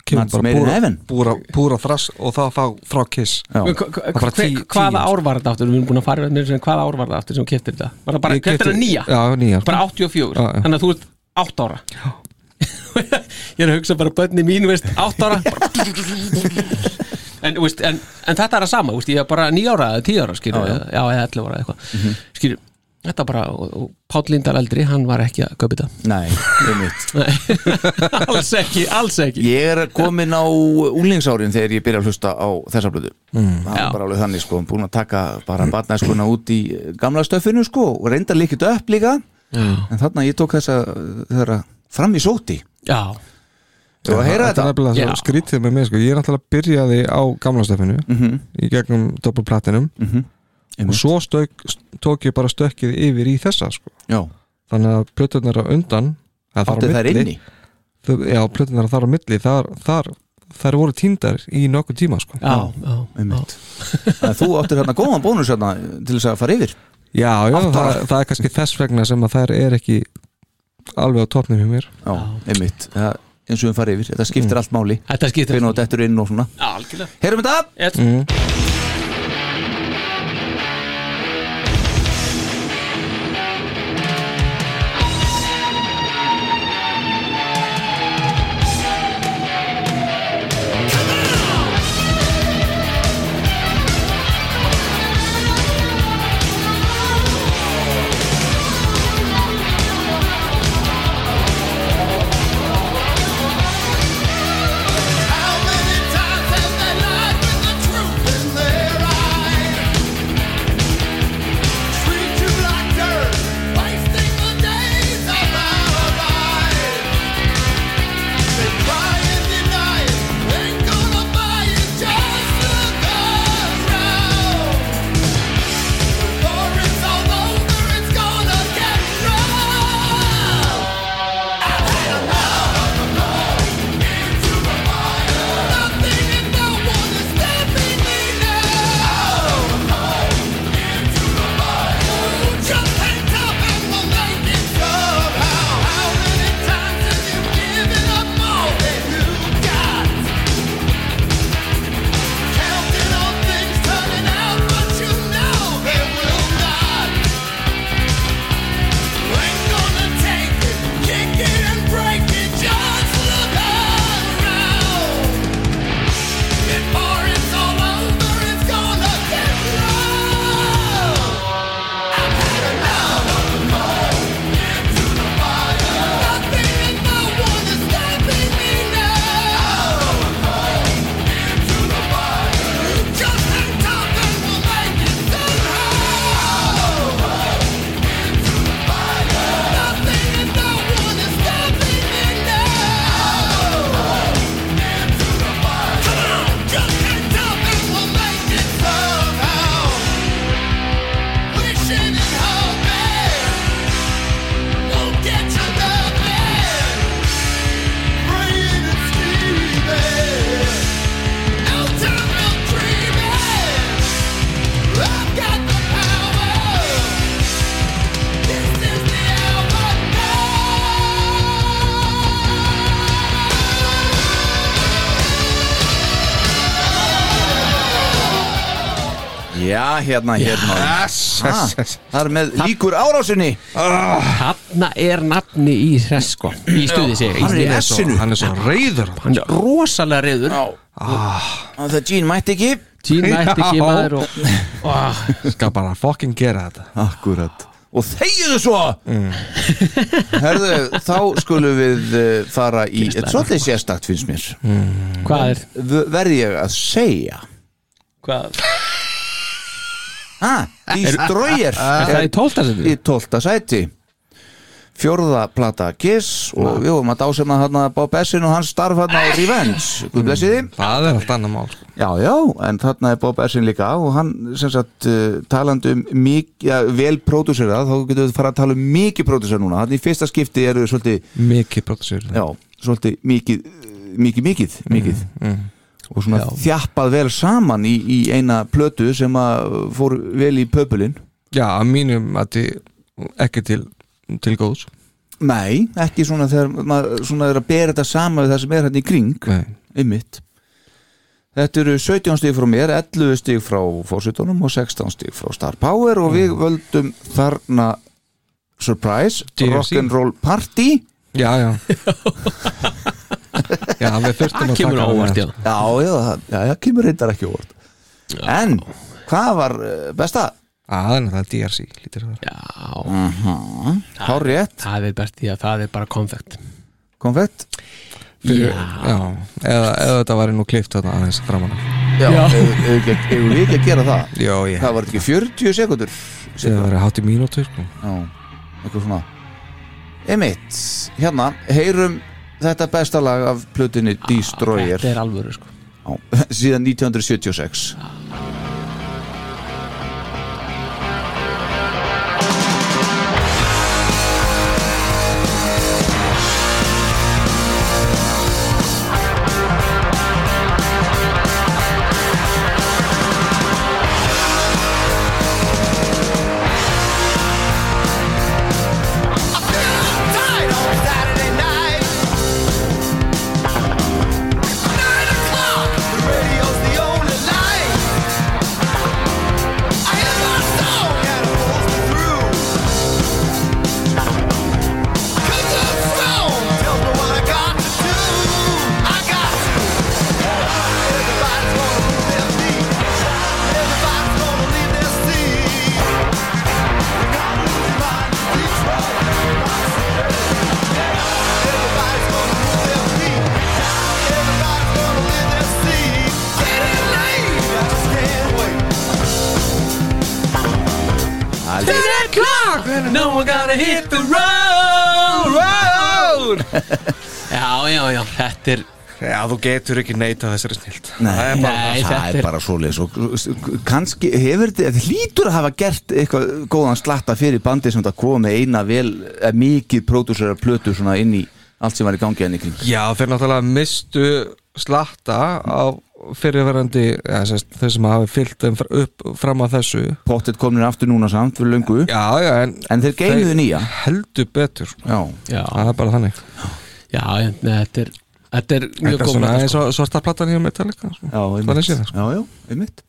Speaker 4: kemur
Speaker 1: Mhm. That's made in
Speaker 4: bara
Speaker 1: heaven.
Speaker 4: púra, púra, púra þrass og það fá, frá kiss
Speaker 1: já.
Speaker 3: Hva, hva,
Speaker 4: Bara
Speaker 3: hva,
Speaker 4: tí-
Speaker 3: hvaða
Speaker 4: tíu,
Speaker 3: ár var þetta aftur? Við erum búin að fara með þessu hvaða ár var þetta aftur sem þú keftir þetta? Var það bara,
Speaker 4: Ég
Speaker 3: keftir
Speaker 4: keypti-
Speaker 3: þetta nýja?
Speaker 4: já, nýja sko.
Speaker 3: Bara 84,
Speaker 4: Já, já.
Speaker 3: þannig að þú ert 8 ára Ég er að hugsa bara bönni mín, veist, 8 ára bara, en, veist, en, en þetta er að sama, veist, ég er bara 9 ára eða 10 ára, skilur, já, já. eða 11 ára eða eitthvað,
Speaker 4: Mhm.
Speaker 3: skilur, þetta bara og, og Páll Lindar eldri, hann var ekki að köpa þetta
Speaker 1: Nei, einmitt
Speaker 3: Nei, alls ekki, alls ekki
Speaker 1: Ég er komin á úlingsárin þegar ég byrja að hlusta á þessa blödu Það
Speaker 3: Já.
Speaker 1: var bara alveg þannig sko, búin að taka bara batnæskuna út í gamla stöffinu sko og reynda líkið upp líka
Speaker 3: Já,
Speaker 1: en þarna ég tók þessa þeirra fram í sóti
Speaker 3: já,
Speaker 1: Þú að heyra
Speaker 4: er
Speaker 1: þetta?
Speaker 4: nefnilega svo
Speaker 3: Já.
Speaker 4: skrítið með mig sko. ég er náttúrulega byrjaði á gamla stefinu
Speaker 1: Mhm,
Speaker 4: í gegnum doppelplatinum og svo stök, tók ég bara stökkið yfir í þessa sko.
Speaker 1: Já,
Speaker 4: þannig að plötunar á undan eða þar á
Speaker 1: áttu þær
Speaker 4: milli,
Speaker 1: inni
Speaker 4: þau- já, plötunar þar á milli þar, þar, þar voru týndar í nokkuð tíma sko.
Speaker 3: já, já, já.
Speaker 1: Einmitt Þannig að Þú áttir hérna góðan bónus hérna til þess að fara yfir
Speaker 4: já, já
Speaker 1: Átta ára.
Speaker 4: það, það er kannski þess vegna sem að þær er ekki alveg á topnum hjá mér
Speaker 1: Já, einmitt Það- eins og við fara yfir, þetta skiptir allt máli
Speaker 3: Þetta skiptir
Speaker 1: Hvenær þetta er inn og svona
Speaker 3: Já, Algjörlega
Speaker 1: Heyrum þetta?
Speaker 3: Yes.
Speaker 4: Mm.
Speaker 2: How many times have they lied with the truth?
Speaker 1: Já, hérna, hérna
Speaker 4: Yes,
Speaker 1: Ah,
Speaker 4: yes, yes.
Speaker 1: Það er með líkur árásinni
Speaker 3: Hanna er nafni í hress sko Í stuði sig
Speaker 1: Hann er í
Speaker 3: Hann er,
Speaker 1: essinu
Speaker 4: Hann er svo reyður
Speaker 3: hann er rosalega reyður
Speaker 1: Já. Ah, Það Gene mætti ekki
Speaker 3: Tína ætti ekki
Speaker 4: Já.
Speaker 3: maður og, og,
Speaker 4: Skal bara fucking gera þetta
Speaker 1: Akkurat Og þegiðu svo Herðu, þá skulum við uh, fara í Eitt svolítið sérstakt finnst mér
Speaker 3: Hvað er
Speaker 1: V- Verð ég að segja
Speaker 3: Hvað?
Speaker 1: Ha, Destroyer
Speaker 3: Er það í tóltasættu?
Speaker 1: í tólta sæti fjórða plata Kiss og við vorum að dásema þarna Bob Essin og hans starf þarna á Revenge Guð blessi þið
Speaker 4: Það er allt annað mál sko.
Speaker 1: Já, já, en þarna er Bob Essin líka og hann sem sagt uh, talandi um mikið, ja, vel pródúsera þá getum við fara að tala um mikið pródúsera núna þannig í fyrsta skipti eru svolítið
Speaker 4: Mikið pródusir
Speaker 1: já, svolítið mikið eh, mikið, mikið, mikið og svona þjappað vel saman í, í eina plötu sem að fór vel í pöpulinn
Speaker 4: Já, að mínum að þið ekki til, til góðs
Speaker 1: Nei, ekki svona þegar maður svona er að bera þetta sama við það sem er hérna í kring
Speaker 4: Nei.
Speaker 1: ymmit Þetta eru 17 stík frá mér, 11 stík frá fórsetunum og 16 stík frá Star Power og við völdum þarna Surprise,
Speaker 4: DFC.
Speaker 1: Rock'n'Roll Party
Speaker 4: Já, já Já, við
Speaker 3: Það
Speaker 4: þurftum að
Speaker 3: kemur á
Speaker 4: taka
Speaker 3: óvart já
Speaker 4: það.
Speaker 1: Já, já, það- já, já kemur reyndar ekki úr En, hvað var eh, besta?
Speaker 4: Já, þannig að það er DRC lítur það
Speaker 3: Já,
Speaker 1: Hár rétt,
Speaker 3: það er best því að það er bara konfekt
Speaker 1: konfett
Speaker 4: Fyrir, já eða, eða þetta væri nú klift þarna aðeins framan af.
Speaker 1: Já, hefur við ekki að gera það?
Speaker 4: Já, ég
Speaker 1: Það var ekki 40 sekundur
Speaker 4: Það væri hátt í mínútur sko.
Speaker 1: Já, eitthvað svona Emmitt, hérna, heyrum þetta besta lag af plötunni Destroyer
Speaker 3: Þetta er alvöru sko
Speaker 1: á, síðan 1976
Speaker 3: No one gotta hit the road Road Já, já, já, þetta er
Speaker 4: Já, þú getur ekki neita þessari snilt
Speaker 1: Nei,
Speaker 3: Nei,
Speaker 1: það
Speaker 3: þetta
Speaker 1: er
Speaker 3: er
Speaker 1: bara svoleiðis og uh, kannski hefur þetta þetta hlýtur að hafa gert eitthvað góðan slatta fyrir bandi sem þetta komið eina vel eh, mikið pródúsera plötu svona inn í allt sem var í gangi henni kring
Speaker 4: Já, þeir náttúrulega mistu slatta á fyrirverandi ja, sérst, þeir sem hafi fyllt þeim fr- upp fram að þessu
Speaker 1: Pottet komin aftur núna samt fyrir löngu
Speaker 4: Já, já, en,
Speaker 1: En þeir geinuðu nýja
Speaker 4: heldur betur
Speaker 1: Já,
Speaker 3: Já,
Speaker 4: Það er bara þannig
Speaker 3: já, en þetta er Þetta er mjög
Speaker 4: Þetta er
Speaker 3: góð
Speaker 4: svona
Speaker 3: plata,
Speaker 4: eins
Speaker 3: sko.
Speaker 4: og svarta platan hjá Metallica sko.
Speaker 1: já,
Speaker 4: Þannig sé það, sko.
Speaker 1: já, já, einmitt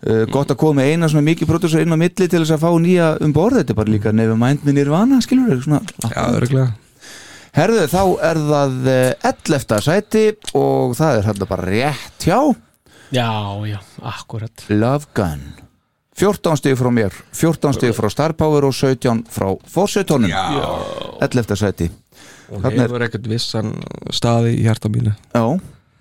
Speaker 1: Uh, gott að koma með eina svona mikið pródúsar inn á milli til þess að fá nýja um borð þetta er bara líka nefnum mind með nýrvana skilur þau svona
Speaker 4: Já, örgulega
Speaker 1: herðu þá er það eh, 11. sæti og það er hérna bara rétt hjá
Speaker 3: Já, já, akkurat
Speaker 1: Love Gun 14 stig frá mér 14 stig frá Star Power og 17 frá Fórsetónum 11. sæti
Speaker 4: Hún
Speaker 1: Þarna er-
Speaker 4: hefur ekkert vissan staði í hjarta mínu
Speaker 1: já, um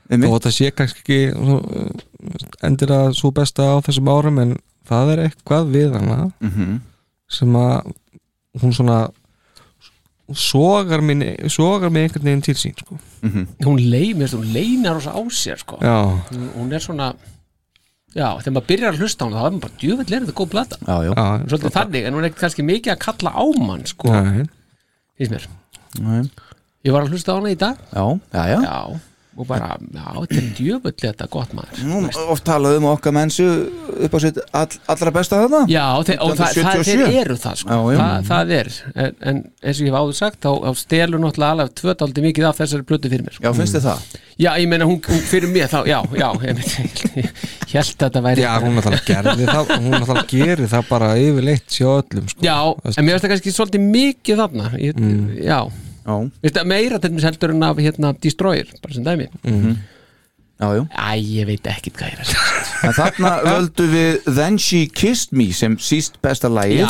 Speaker 4: Þó
Speaker 1: einmitt
Speaker 4: að það sé kannski ekki svo, uh, endilega svo besta á þessum árum en það er eitthvað við hana Mhm. sem að hún svona sogar minni, sogar mig einhvern veginn til sín sko.
Speaker 3: Hún leimist, hún leinar oss á sér sko
Speaker 4: Já,
Speaker 3: hún, hún er svona Já, þegar maður byrjar að hlusta á hún þá er maður bara djöfell er þetta góð plata
Speaker 1: já, já,
Speaker 4: já
Speaker 3: Svolítið þannig, en hún er ekkert kannski mikið að kalla á mann sko,
Speaker 4: Nei,
Speaker 3: finnst mér
Speaker 1: Nei.
Speaker 3: Ég var að hlusta á hana í dag
Speaker 1: já, já, já.
Speaker 3: Já, og bara, já, þetta er djöfell þetta gott maður
Speaker 1: Nú, oft talaðu um okkar mennsu upp á sitt all, allra besta þarna
Speaker 3: Já, og þe- og það, það,
Speaker 1: 1977.
Speaker 3: þeir eru það sko.
Speaker 1: Já, já.
Speaker 3: Það, það er, en, en eins og ég hef áður sagt þá, þá stelur náttúrulega alveg tvötaldi mikið af þessari plötu fyrir mér sko.
Speaker 1: Já, finnst þið það?
Speaker 3: Já, ég meina hún, hún fyrir mér þá, já, já, einmitt, ég, held að þetta væri
Speaker 4: Já, hún náttúrulega gerði það Hún náttúrulega gerir það bara yfirleitt sjá öllum sko.
Speaker 3: Já, en mér finnst það kannski svolítið mikið þarna ég, Já,
Speaker 1: Já,
Speaker 3: veist það meira til mér heldur en af hérna Destroyer, bara sem dæmi
Speaker 1: já, já
Speaker 3: Æ, ég veit ekkit hvað er þetta
Speaker 1: En þarna völdu við Then She Kissed Me sem síst besta lagið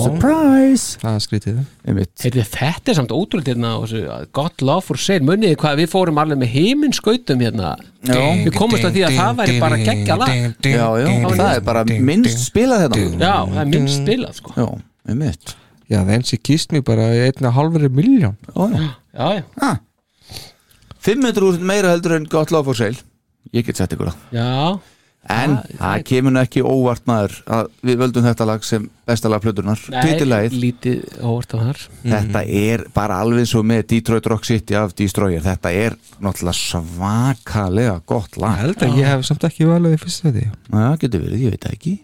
Speaker 1: Surprise
Speaker 4: Það er skrítið
Speaker 1: Einmitt.
Speaker 3: Heyrðu, þetta er samt ótrúlega hérna á þessu, að God Love for Sale Munniði hvað við fórum alveg með heiminskautum hérna
Speaker 1: Já.
Speaker 3: Við komumst að því að það væri bara geggja lag Já,
Speaker 1: Já, já, það er bara minnst spilað þetta
Speaker 3: það er minnst spilað sko
Speaker 1: Já, um mitt
Speaker 4: Já, þenns ég kýst mér bara í einna halveri miljón
Speaker 3: Já, já,
Speaker 1: 500 úr meira heldur en gott lof og seil Ég get sett ykkur það
Speaker 3: já
Speaker 1: En
Speaker 3: Það-
Speaker 1: það kemur nú ekki óvart maður að við völdum þetta lag sem besta lag plöturnar
Speaker 3: Nei,
Speaker 1: Titilagið,
Speaker 3: Lítið óvart af þar
Speaker 1: þetta er bara alveg svo með Detroit Rock City af Destroyer Þetta er náttúrulega svakalega gott
Speaker 4: Ég
Speaker 1: lag
Speaker 4: held að ég hef samt ekki valið í fyrsta þetta
Speaker 1: Það getur verið, ég veit það ekki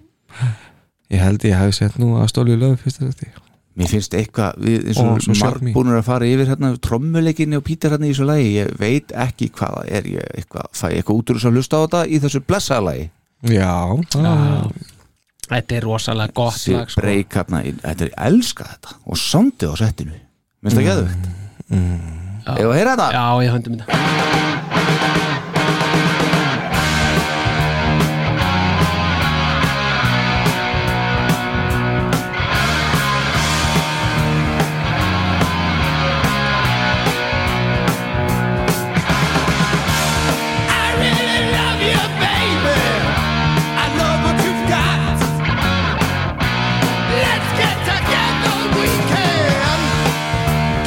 Speaker 4: Ég held ég hef sett nú að stólu í lög fyrsta þetta
Speaker 1: Mér finnst eitthvað, við eins og,
Speaker 4: Og svo
Speaker 1: og
Speaker 4: Shock Me.
Speaker 1: margbúnur að fara yfir hérna trommuleikinni og pítir hérna í þessu lagi ég veit ekki hvað það er ég eitthvað, fæ ég eitthvað út úr þess að hlusta á þetta í þessu blessaða lagi
Speaker 4: Já,
Speaker 3: Já. Þetta er rosalega gott
Speaker 1: þessi
Speaker 3: lag sko.
Speaker 1: breyk hérna, í- þetta er ég elska þetta og samtið á settinu minnst það geðu þetta? Ef að heyra þetta?
Speaker 3: Mm, Já, ég höndum þetta
Speaker 2: I really love you, baby. I know what you've got. Let's get together, we can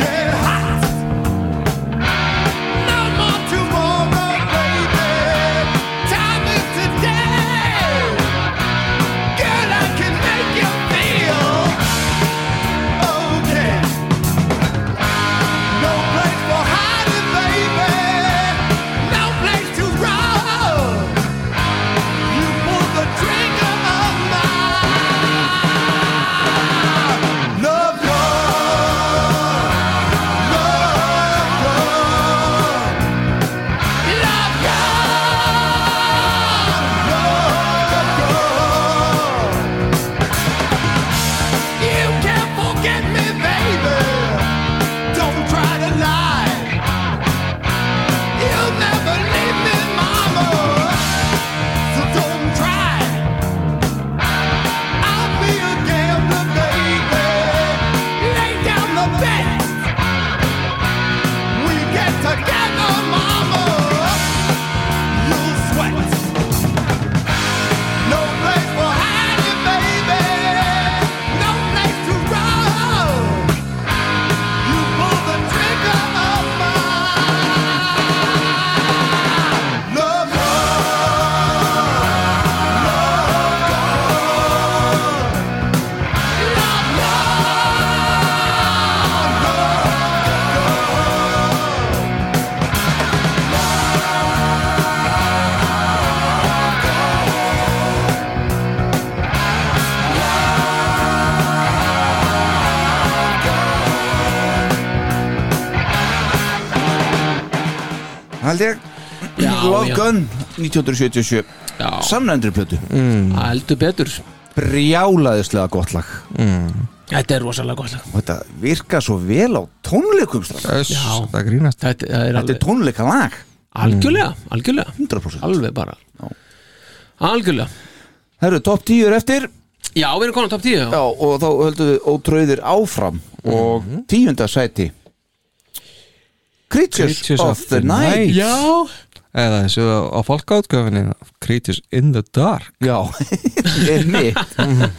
Speaker 2: get hot. No more tomorrow, baby. Time is today. Girl, I can make you feel okay. No place for hiding, baby. No place to run. You pull the trigger on my love, love, love, love, love, love, love. You can't forget me, baby. Don't try to lie. You'll never leave me, mama. So don't try. I'll be a gambler, baby. Lay down the bet. We get together, mama. You'll sweat. No place for hiding, baby. No place to run. You pull the trigger of my love,
Speaker 1: Held ég Love
Speaker 3: já.
Speaker 1: Gun 1977
Speaker 3: Já, Mm.
Speaker 1: samnændri plötu
Speaker 3: heldur betur
Speaker 1: brjálaðislega gott lag
Speaker 3: Þetta er rosalega gott lag
Speaker 1: og þetta virka svo vel á tónleikum strákar.
Speaker 4: Öss,
Speaker 3: Já.
Speaker 4: það grínast
Speaker 3: Þetta það er
Speaker 1: þetta er
Speaker 3: alveg,
Speaker 1: tónleika lag
Speaker 3: algjörlega, algjörlega
Speaker 1: 100%
Speaker 3: Alveg bara Algjörlega
Speaker 1: Það eru topp 10 er eftir
Speaker 3: Já, við erum konar top 10
Speaker 1: Já,
Speaker 3: já.
Speaker 1: og þá höldum við ótröðir áfram og tíunda sæti Creatures,
Speaker 4: Creatures
Speaker 1: of, the Night,
Speaker 3: já,
Speaker 4: Eða eins og á fólkátgöfinni Creatures in the Dark
Speaker 1: Já, er mitt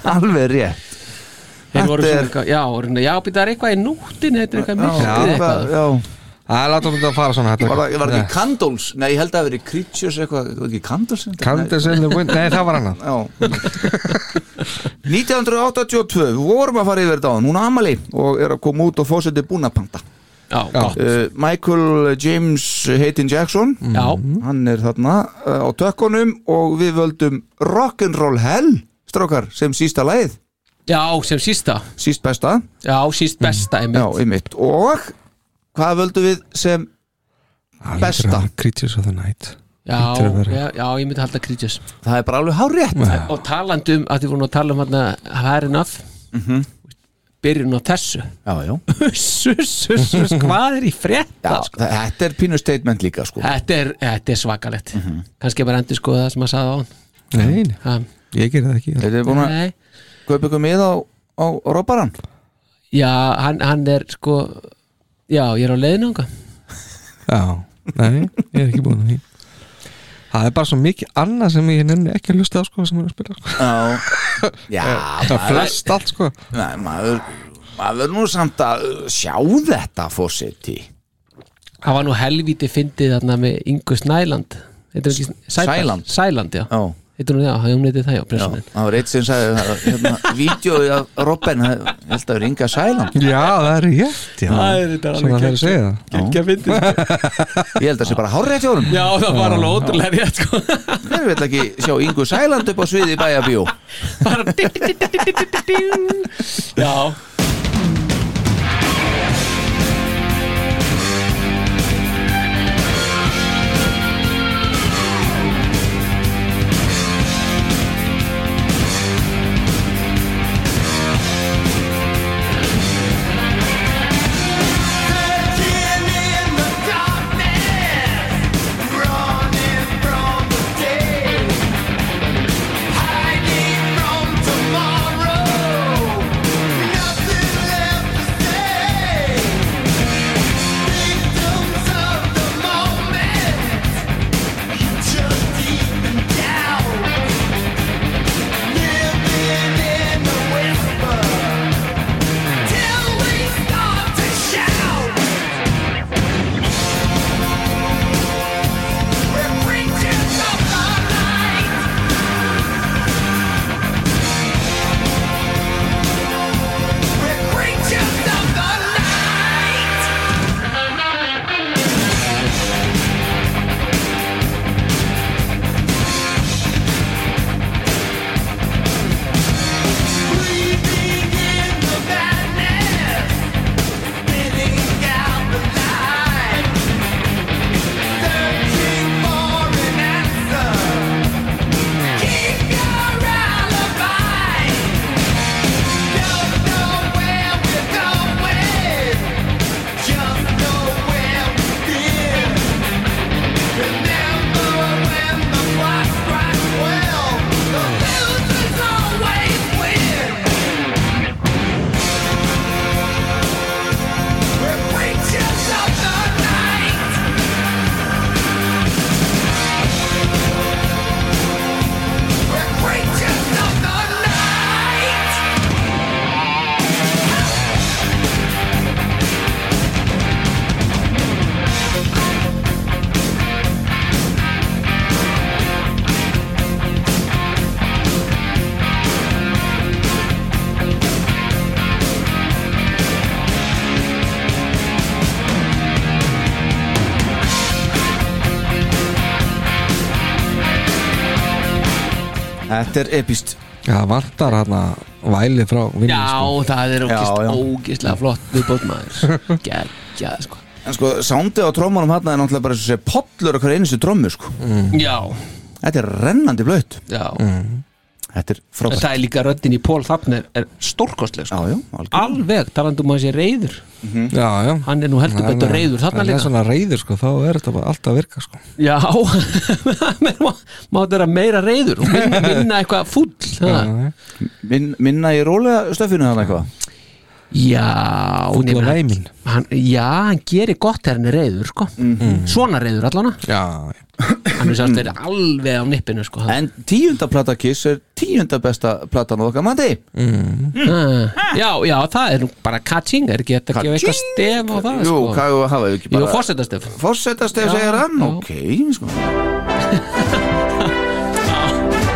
Speaker 1: alveg rétt
Speaker 3: þeir voru
Speaker 1: Þetta
Speaker 3: svona
Speaker 1: er-
Speaker 3: eitthvað Já, voru svona, já, býta er eitthvað í nóttin Þetta er eitthvað
Speaker 1: Já,
Speaker 3: myrkrið
Speaker 1: eitthvað,
Speaker 3: eitthvað
Speaker 1: já.
Speaker 4: Það er látum þetta að fara svona þetta-
Speaker 1: Var, það- var það
Speaker 4: Nei.
Speaker 1: ekki Candles? Nei, ég held að það hafi verið Creatures eitthvað, var ekki Candles?
Speaker 4: Candles in the Wind, nei það var annað
Speaker 1: Já 1982, við vorum að fara yfir þetta á hún er amali og er að koma út og fósiti búnapanta
Speaker 3: Já, gott
Speaker 1: uh, Michael James Hayden Jackson
Speaker 3: Já,
Speaker 1: Mm. hann er þarna uh, á tökkunum og við völdum Rock'n'Roll Hell strákar, sem sísta leið,
Speaker 3: já, sem sísta
Speaker 1: síst besta
Speaker 3: Já, síst besta einmitt
Speaker 1: já, einmitt, og hvað völdum við sem Besta.
Speaker 4: Creatures of the Night Hlýtur að
Speaker 3: já,
Speaker 4: vera.
Speaker 3: já, já, ég myndi halda Creatures
Speaker 1: það er bara alveg hár rétt
Speaker 3: og talandi um, að þið vorum að tala um hérna Fair Enough
Speaker 1: Mhm.
Speaker 3: byrjun á þessu
Speaker 1: já, já.
Speaker 3: sus, sus, sus, hvað er í
Speaker 1: Já,
Speaker 3: frétta sko?
Speaker 1: þa- þetta er pínu statement líka sko.
Speaker 3: þetta, er, þetta er svakalegt
Speaker 1: Mhm.
Speaker 3: kannski bara endur skoða það sem að sagði á
Speaker 4: Nei, nei,
Speaker 3: hann
Speaker 4: ég gerir það ekki
Speaker 1: Þetta er búin að
Speaker 3: Nei,
Speaker 1: kaupa ykkur mið á, á roparan
Speaker 3: já, hann, hann er sko já, ég er á leiðinu ánga
Speaker 4: Já, nei, ég er ekki búin að því Það er bara svo mikið annað sem ég nenni ekki að hlusta á sko sem er að spila sko.
Speaker 1: Já, já
Speaker 4: Það er
Speaker 1: maður-
Speaker 4: flest allt sko
Speaker 1: Nei, maður, maður nú samt að uh, sjá þetta fórseti
Speaker 3: Það var nú helvíti fyndið þarna með Ingu Snæland Heitir hún ekki Sædal?
Speaker 1: Sæland?
Speaker 3: Sæland, já
Speaker 1: Já.
Speaker 3: Heitir hún, já, hún heitir það, já,
Speaker 1: Já,
Speaker 3: pressunin
Speaker 1: það var eitt sem sagði það, hérna, Vídeóið af Robben það- Ég held að vera Inga Sæland
Speaker 4: Já, það er rétt já.
Speaker 3: Það er þetta
Speaker 4: Svona það er að segja það
Speaker 3: Ekki að fyndið
Speaker 1: Ég held að sé bara hárrétt hjá honum
Speaker 3: Já, það var alveg ótrúlega rétt sko
Speaker 1: Hver vill ekki sjá Ingu Sæland upp á sviði í bæjabíó
Speaker 3: Bara ding, ding, ding, ding, ding, ding, ding. Já
Speaker 7: Till we start to shout We're preachers of the light We're preachers of the light Breathing in the madness Spinning out the light Searching for an answer Keep your alibi Don't know where we're going Just know where we've been Remember when the clock strikes twelve The losers always win We're preachers of the night We're preachers of the night
Speaker 1: Þetta er epist
Speaker 4: Já, vantar hérna væli frá vinnu
Speaker 3: Já,
Speaker 4: sko.
Speaker 3: það er
Speaker 1: Já, já.
Speaker 3: ógist, ógislega flott viðbótmaður Gægja, sko
Speaker 1: En sko, sándið á trommunum hann er náttúrulega bara eins og sé pollur okkar einustu trommu sko.
Speaker 3: Já,
Speaker 1: Þetta er rennandi blöitt
Speaker 3: já
Speaker 1: Þetta er
Speaker 3: En
Speaker 1: frábært
Speaker 3: það er líka röddin í Pól Þafner er stórkostleg
Speaker 1: Já,
Speaker 3: sko.
Speaker 1: já, algjörlega.
Speaker 3: Alveg, talandum að sé reyður
Speaker 4: já, já
Speaker 3: Hann er nú heldur
Speaker 4: Hann
Speaker 3: betur
Speaker 4: er-
Speaker 3: reyður þarna
Speaker 4: hann
Speaker 3: líka.
Speaker 4: er svona reyður sko, þá er þetta bara alltaf að virka sko.
Speaker 3: Já, máttu vera meira reyður og minna, minna eitthvað fúll það.
Speaker 4: Já,
Speaker 1: Min, Minna í rólega stöfinu hann eitthvað
Speaker 3: Já,
Speaker 4: Fúll
Speaker 3: nema
Speaker 4: á
Speaker 3: hann-
Speaker 4: væminn.
Speaker 3: hann, Já, hann gerir gott þegar hann er reyður sko.
Speaker 1: Mhm.
Speaker 4: Mm.
Speaker 3: Svona reyður allan
Speaker 4: já,
Speaker 3: Hann er
Speaker 1: Mm.
Speaker 3: sátt verið alveg á nippinu sko. hann,
Speaker 1: En tíunda plata Kiss er tíunda besta platan á okkar mati
Speaker 3: Ah, Já, já, það er nú bara catching Er ekki þetta að gefa eitthvað
Speaker 1: Ka-ching!
Speaker 3: stef á það
Speaker 1: Jú,
Speaker 3: sko.
Speaker 1: hvað hafa við ekki
Speaker 3: Jú,
Speaker 1: bara
Speaker 3: fórsetastef
Speaker 1: Fórsetastef
Speaker 3: Já,
Speaker 1: segir hann,
Speaker 3: já.
Speaker 1: ok sko.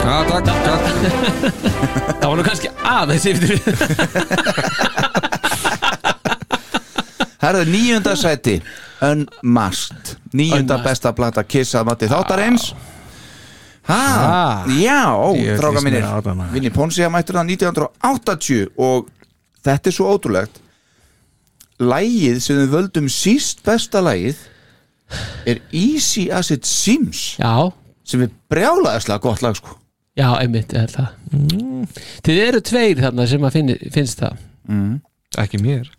Speaker 4: já, takk, takk
Speaker 3: Það var nú kannski aðeins yfir
Speaker 1: Herðu níunda sæti Unmasked Níunda
Speaker 3: Unmasked.
Speaker 1: besta plata Kiss að mati þáttar eins
Speaker 4: Ah.
Speaker 1: Ha, já, ó,
Speaker 4: Ég
Speaker 1: stráka
Speaker 4: finnst
Speaker 1: mínir
Speaker 4: mér á það, maður.
Speaker 1: Vinni Ponsi að mættur það 1980 og þetta er svo ótrúlegt Lægið sem við völdum síst besta lægið er Easy As It Seems
Speaker 3: já,
Speaker 1: sem er brjálaðislega gott lag sko
Speaker 3: já, einmitt er það þið eru tveir þarna sem að finni, finnst það
Speaker 4: Ekki mér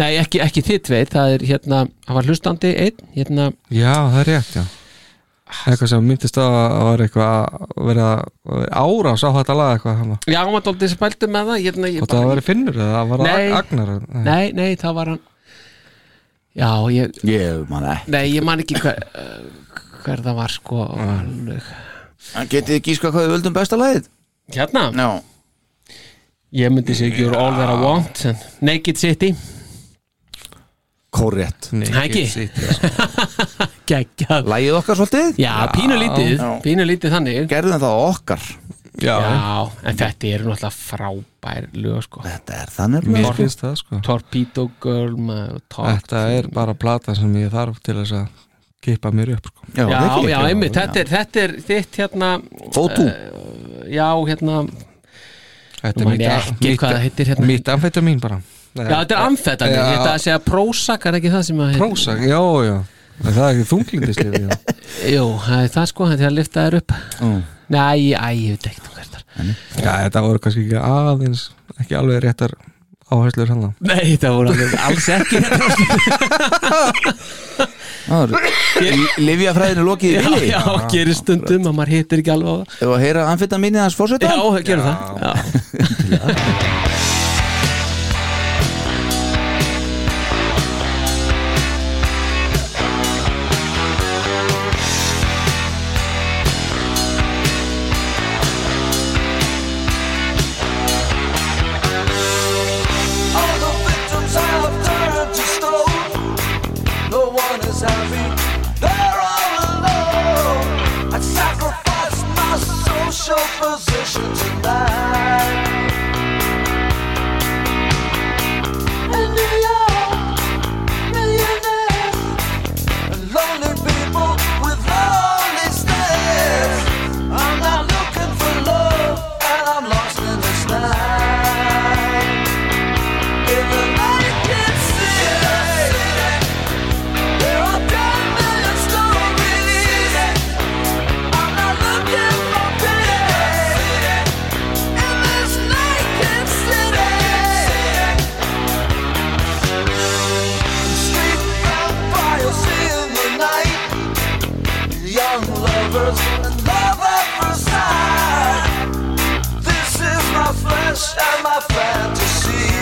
Speaker 3: nei, ekki, ekki þið tveir, það er hérna það var hlustandi einn, hérna
Speaker 4: Já, það er rétt, já Eitthvað sem myndist á að vera eitthvað að vera árás á þetta lag eitthvað hann var-
Speaker 3: já, hann var dóldið sem pældu með það hérna, ég,
Speaker 4: Þótt að það væri Finnur eða það var
Speaker 3: Nei.
Speaker 4: Agnar Nei,
Speaker 3: nei, nei, það var hann já, ég,
Speaker 1: ég man það
Speaker 3: nei, ég man ekki hver, eh, hver það var sko
Speaker 4: Ah.
Speaker 3: alveg.
Speaker 1: En getið þið gíska hvað við völdum besta lagið?
Speaker 3: hérna,
Speaker 1: Já
Speaker 3: ég myndi sér ekki úr All That I Want en Naked City
Speaker 1: Korrétt
Speaker 4: Nei,
Speaker 3: Nei, ekki.
Speaker 4: sitt, já.
Speaker 3: geggjað
Speaker 1: Lagið okkar svolítið?
Speaker 3: já, pínulítið,
Speaker 1: Já.
Speaker 3: pínulítið þannig
Speaker 1: Gerðum það okkar
Speaker 4: Já,
Speaker 3: Já, en þetta eru náttúrulega frábær lög sko
Speaker 1: Þetta er þannig
Speaker 4: mér finnst það sko
Speaker 3: Torpedo Girl maður, Torp-
Speaker 4: Þetta er bara plata sem ég þarf til þess að kippa mér upp sko.
Speaker 3: Já, já, einmitt, þetta er, þetta er þitt hérna
Speaker 1: Fótú
Speaker 3: Já, hérna,
Speaker 4: Þetta
Speaker 3: Nú
Speaker 4: er
Speaker 3: man ég
Speaker 4: mitt-
Speaker 3: ekki hvað það heitir hérna.
Speaker 4: mitt amfetamin bara Nei,
Speaker 3: já, þetta er amfetamín
Speaker 4: Já.
Speaker 3: Þetta að segja prósak, er ekki það sem að
Speaker 4: Prósak, já, já En Það er ekki þunglindislifi já.
Speaker 3: Jú, það er það sko, þetta er að lifta þér upp Nei, æ, ég veit ekkert um hvert þar
Speaker 4: já, þetta voru kannski ekki aðeins ekki alveg réttar áherslur hérna. hann
Speaker 3: Nei, þetta voru alveg alls ekki
Speaker 1: Livjafræðin er lokið í
Speaker 3: Já,
Speaker 1: bili
Speaker 3: já, gerir stundum að maður hittir ekki alveg á það
Speaker 1: Ef að heyra amfetaminið hans fórseta
Speaker 3: Já, gerir það já.
Speaker 7: All the victims have turned to stone. No one is happy. They're all alone. I sacrifice my social position tonight. In New York, millionaires and lonely people with lonely stares. I'm not looking for love, and I'm lost in this night. In the night can see it. There are ten million stories. I'm not looking for pity. In this night can see Street vampires in the night. Young lovers and love at first sight. This is my flesh and my fantasy.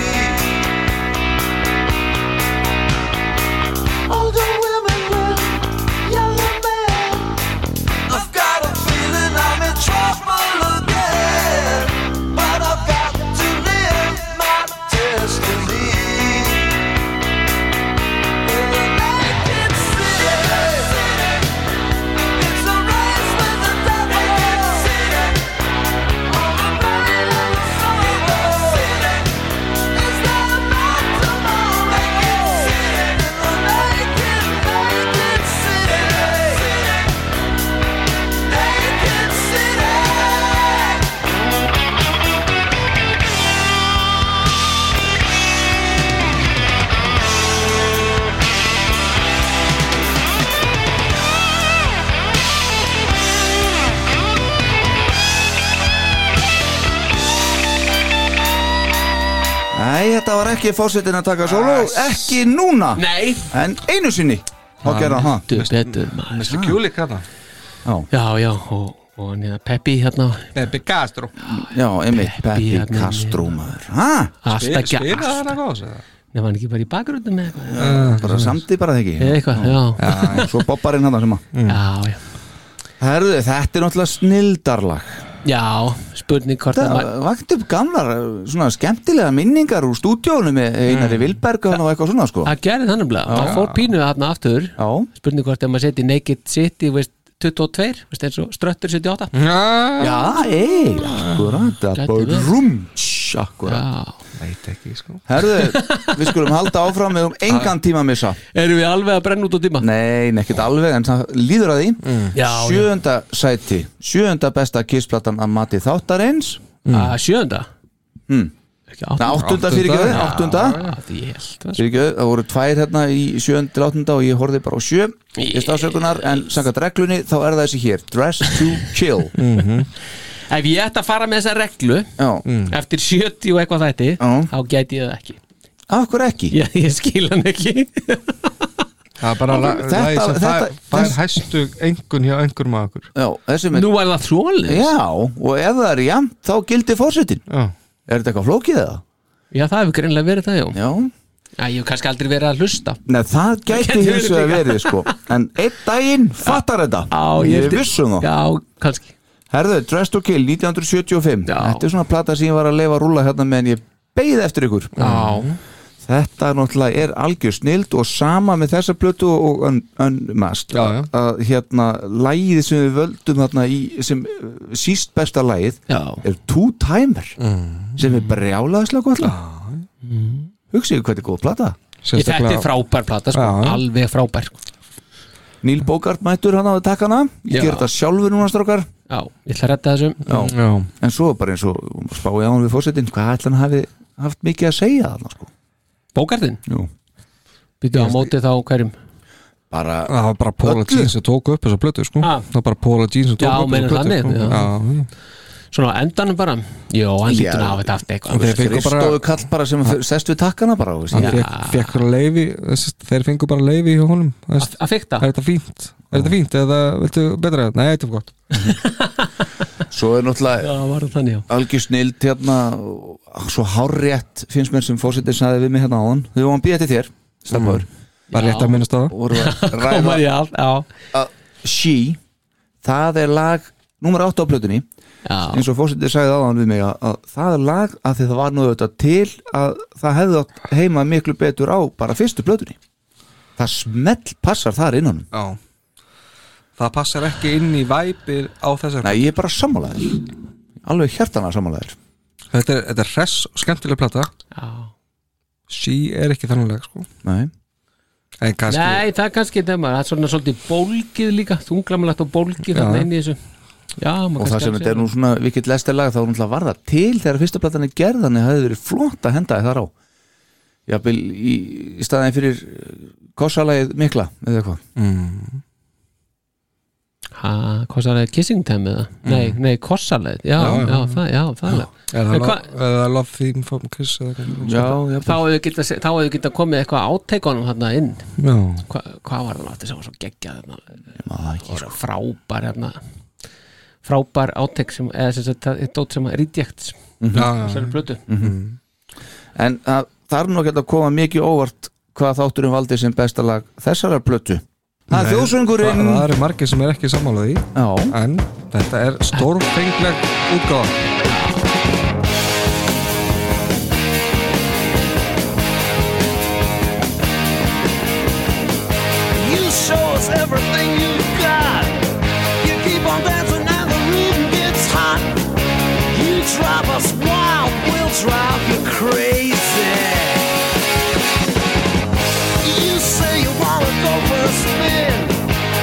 Speaker 7: Older women with younger men. I've got a feeling I'm in trouble again. But I've got to live my destiny. In the naked city, it's a race with the devil. All the pain and the sorrow. It's not about tomorrow. In the naked, naked city. Naked city.
Speaker 1: Æ, þetta var ekki fórsetin að taka sóló Ekki núna
Speaker 3: Nei,
Speaker 1: En einu sinni Þá gerði hann það
Speaker 3: du betur maður
Speaker 4: Mr. Kulik hann
Speaker 3: Já, já, og, og hann hérna Peppi hérna
Speaker 4: Nei, Bigastro
Speaker 1: Já, einmitt Peppi
Speaker 3: hérna.
Speaker 1: Castro maður Hæ?
Speaker 3: Alltaf ekki
Speaker 4: Spila
Speaker 3: allt
Speaker 4: hann að góðs eða?
Speaker 3: Nefnir hann ekki bara í bakgröndum eða eitthvað
Speaker 1: Bara samdi bara þegi
Speaker 3: Eða eitthvað, já Mm.
Speaker 1: Já, svo bobbarinn hann sem að
Speaker 3: Já, já,
Speaker 1: Herðu, þetta er náttúrulega snildarlag
Speaker 3: já spurning hvort að
Speaker 1: Það
Speaker 3: maður
Speaker 1: vakti upp gamlar, svona skemmtilega minningar úr stúdjónu með Einari Vilberg og hann og eitthvað svona sko
Speaker 3: Það gerði þannig bleið, það fór pínu þarna aftur
Speaker 1: Já,
Speaker 3: Spurning hvort að maður seti Naked City veist, 22, veist, eins og Ströttur 78
Speaker 4: Já,
Speaker 1: já, ei, akkurat
Speaker 3: Gæti
Speaker 1: Bara
Speaker 3: verið.
Speaker 1: rúmts, akkurat
Speaker 3: Já
Speaker 4: veit ekki sko
Speaker 1: Herðu, við skulum halda áfram við um engan tíma að missa
Speaker 3: Erum við alveg að brenna út á tíma?
Speaker 1: Nei, nekkit alveg, en það líður að því
Speaker 3: Já, já.
Speaker 1: Sjöunda sæti Sjöunda besta kissplattan að mati þáttarins
Speaker 3: Að, Sjönda?
Speaker 1: Mm.
Speaker 3: Ah, ekki
Speaker 1: Nei,
Speaker 3: áttunda
Speaker 1: áttunda
Speaker 4: Áttunda,
Speaker 1: fyrir ekki,
Speaker 4: já.
Speaker 1: áttunda
Speaker 3: Já, því ég held það, sko.
Speaker 1: fyrir ekki, það voru tvær hérna í sjönd til áttunda og ég horfði bara á sjö í stafsökunar, en samkvæmt reglunni þá er það þessi hér, dress to kill
Speaker 3: Ef ég ætti að fara með þessa reglu
Speaker 1: já,
Speaker 3: Eftir 70 og eitthvað þætti
Speaker 1: Mm. Já.
Speaker 3: Þá gæti ég það ekki
Speaker 1: af hverju ekki
Speaker 3: Ég, ég skil hann ekki
Speaker 4: Það er bara la-
Speaker 1: Þetta-
Speaker 4: lagið sem
Speaker 1: þetta-
Speaker 4: fær- fær
Speaker 1: þess-
Speaker 4: hæstu engun hjá einhverjum af okkur
Speaker 1: já, þessi mynd,
Speaker 3: Nú er það þrólis
Speaker 1: já, og ef það er jæmt þá gildi fórsetin,
Speaker 4: Já,
Speaker 1: er þetta eitthvað flókið eða?
Speaker 3: Já, það hefur greinlega verið það, já
Speaker 1: Já,
Speaker 3: Já, ég hef kannski aldrei verið að hlusta
Speaker 1: Nei, það gæti
Speaker 3: gæti
Speaker 1: hins vegar
Speaker 3: verið
Speaker 1: verið sko En einn daginn fattar þetta Ég er viss um það
Speaker 3: Já, kannski
Speaker 1: Herðu, Dress to Kill 1975
Speaker 3: Já.
Speaker 1: Þetta er svona plata sem ég var að leifa að rúla hérna meðan ég beið eftir ykkur
Speaker 3: Já,
Speaker 1: Þetta náttúrulega er algjör snild og sama með þessa plötu og ön- Unmasked
Speaker 4: Já, já.
Speaker 1: að hérna lægið sem við völdum þarna í sem uh, síst besta lægið
Speaker 3: já
Speaker 1: er Two Timer sem er brjálaðislega gott lag Hugsiðu hvað þetta er góð plata
Speaker 3: Ég þetta er frábær plata, sko,
Speaker 4: Já, já.
Speaker 3: alveg frábær sko.
Speaker 1: Níl Bókart mættur hann á að taka hana
Speaker 3: Já.
Speaker 1: Ég ger þetta sjálfur núna strákar
Speaker 3: Já, ég ætla að redda þessum
Speaker 1: Já.
Speaker 4: Já,
Speaker 1: En svo bara eins og spáði á hann við fórsetin Hvað ætla hann hafi haft mikið að segja þarna sko
Speaker 3: Bókarðin,
Speaker 1: Jú.
Speaker 3: býttu á móti þá hverjum
Speaker 1: Bara
Speaker 4: það var bara Paula
Speaker 1: Öllu.
Speaker 4: Jean sem tók upp þessa plötu sko.
Speaker 3: Ha.
Speaker 4: Það var bara Paula Jean sem tók
Speaker 3: Já,
Speaker 4: upp
Speaker 3: meinar
Speaker 4: þessa plötu
Speaker 3: þannig,
Speaker 4: sko.
Speaker 3: já. já. Svona á endanum bara Jó, hann
Speaker 1: Já.
Speaker 3: lítur að hafa þetta haft eitthvað
Speaker 4: Þeir fengu bara-
Speaker 1: Kristóðu kall bara sem f- sest við takkana bara þú veist.
Speaker 4: Hann fekk, fekk bara leifi Þeir fengu bara leifi hjá honum Þú veist,
Speaker 3: Að- Að fykta
Speaker 4: Er þetta fínt? Er þetta fínt eða viltu betra? Nei, þetta er gott
Speaker 1: Svo er náttúrulega
Speaker 3: Já, var það þannig, já
Speaker 1: algjör snild hérna og Svo hárétt finnst mér sem fórsetin saði við mig hérna á hann Þau varum býða til þér Stafur
Speaker 4: Bara rétt að minnast á það
Speaker 1: Og voru að
Speaker 3: Koma
Speaker 1: ræða
Speaker 3: í allt, já
Speaker 1: She Það er lag Númer 8 á plötunni
Speaker 3: Já,
Speaker 1: eins og fórsetið sagði áðan við mig að, að það er lag að því það var nú auðvitað til að það hefði átt heima miklu betur á bara fyrstu plötunni það smell passar þar innan
Speaker 4: Já Það passar ekki inn í væpir á þessar
Speaker 1: Nei, ég er bara sammálaður alveg hjartana sammálaður
Speaker 4: þetta er, þetta er hress og skemmtileg plata
Speaker 3: já
Speaker 4: She er ekki þanniglega sko
Speaker 1: Nei.
Speaker 4: En kannski
Speaker 3: Nei, það er kannski þetta maður, það er svona svolítið bólgið líka, þunglamulegt og bólgið
Speaker 4: Já.
Speaker 3: þarna inn í þessu Já, maður
Speaker 1: og það sem
Speaker 3: alveg
Speaker 1: þetta er nú svona vikill lestarlag þá er náttúrulega var það til þegar fyrsta platan er gerð þannig hafði verið flott að henda þar á jafnvel í, í staðin fyrir eh, kossalagið mikla eða eitthvað
Speaker 3: Ha, kossalegið kissing time eða? Nei, nei, kossalegið, Mm. já, já,
Speaker 4: Já, já.
Speaker 3: það, já, það já.
Speaker 4: Eða
Speaker 3: En
Speaker 4: love,
Speaker 3: hvað-
Speaker 4: eða love theme from Chris eða eitthvað
Speaker 1: já, jafnvel.
Speaker 3: Þá hefur geta, þá hefur geta komið eitthvað áteikunum þarna inn
Speaker 4: Já
Speaker 3: Hva, Hvað var það aftur sem var svo geggjað þarna?
Speaker 1: Maður ekki, sko.
Speaker 3: Var frábær þarna frábær átek sem, eða sem sagt, það er dót sem að rejects
Speaker 4: Já, já
Speaker 3: þessari plötu
Speaker 1: En það þarf nú ekki að koma mikið óvart hvað þátturinn valdi sem besta lag þessarar plötu Það er
Speaker 4: Það
Speaker 1: þjóðsöngurinn
Speaker 4: það eru margir sem er ekki sammálaði
Speaker 1: Já,
Speaker 4: En þetta er stórfengleg útgáð
Speaker 2: You show us everything you've got. You keep on dancing and the rhythm gets hot. You drive us wild, we'll drive you crazy. You say you wanna go for a spin.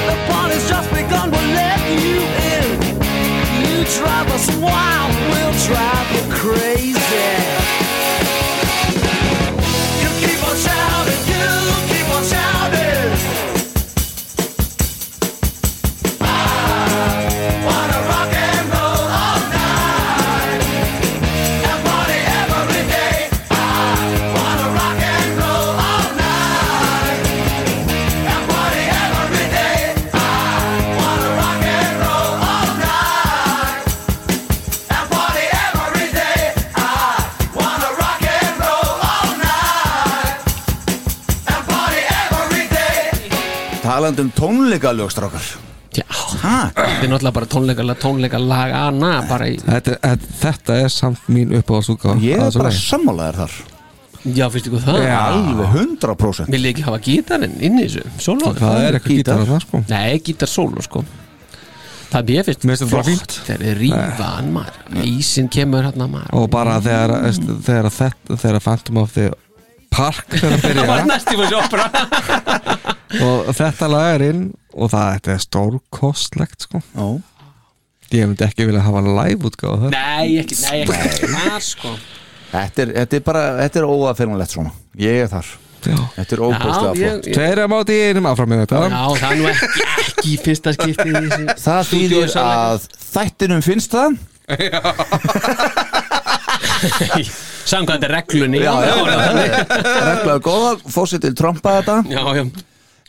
Speaker 2: The party's just begun, we'll let you in. You drive us wild, we'll drive you crazy. You keep on shouting, you keep on shouting. I wanna rock and roll all night and party every day. I wanna rock and roll all night and party every day. I wanna rock and roll all night and party every day. I wanna rock and roll all night and party every day.
Speaker 1: talandi um tónleikalögstrákar
Speaker 3: Já, þetta er náttúrulega bara tónleikala tónleikalag anna, bara í,
Speaker 4: þetta, þetta, þetta er samt mín uppáðsútgáð
Speaker 1: Ég er bara sammálaður þar
Speaker 3: já, finnst ykkur það
Speaker 1: Alveg 100%
Speaker 3: Vil ég ekki hafa gítarinn inn í þessu, solo
Speaker 4: Það er eitthvað
Speaker 1: Gítar.
Speaker 4: gítar að það sko
Speaker 3: Nei, gítar solo, sko Það er mér finnst
Speaker 4: Mér finnst þetta bara fínt.
Speaker 3: þegar þeir rífa hann maður Ísinn kemur hann maður
Speaker 4: og bara þegar, veist, þegar þetta þegar Phantom of the Park þegar að
Speaker 3: Það var
Speaker 4: byrja
Speaker 3: næstum þessu opera
Speaker 4: og þetta lag er inn og það þetta er stórkostlegt sko.
Speaker 1: Já.
Speaker 4: ég myndi ekki vilja hafa live útgáð það
Speaker 3: Nei, ekki, nei, ekki Það sko
Speaker 1: Þetta er, þetta er bara, þetta er óaðfengalegt svona Ég er þar
Speaker 4: Já.
Speaker 1: Þetta er óbúðslega
Speaker 3: Já,
Speaker 1: flott
Speaker 3: ég-
Speaker 4: Tveir að máti í einum um áfram með þetta
Speaker 3: Já, það er nú ekki, ekki í fyrsta skiptið í þessu
Speaker 1: Það
Speaker 3: stúdíói
Speaker 1: þýðir
Speaker 3: sannleikans.
Speaker 1: að þættinum finnst það
Speaker 3: Samkvæmt reglunni
Speaker 1: Já, já, reglaðu góða Fósitil trompa þetta
Speaker 3: já, já.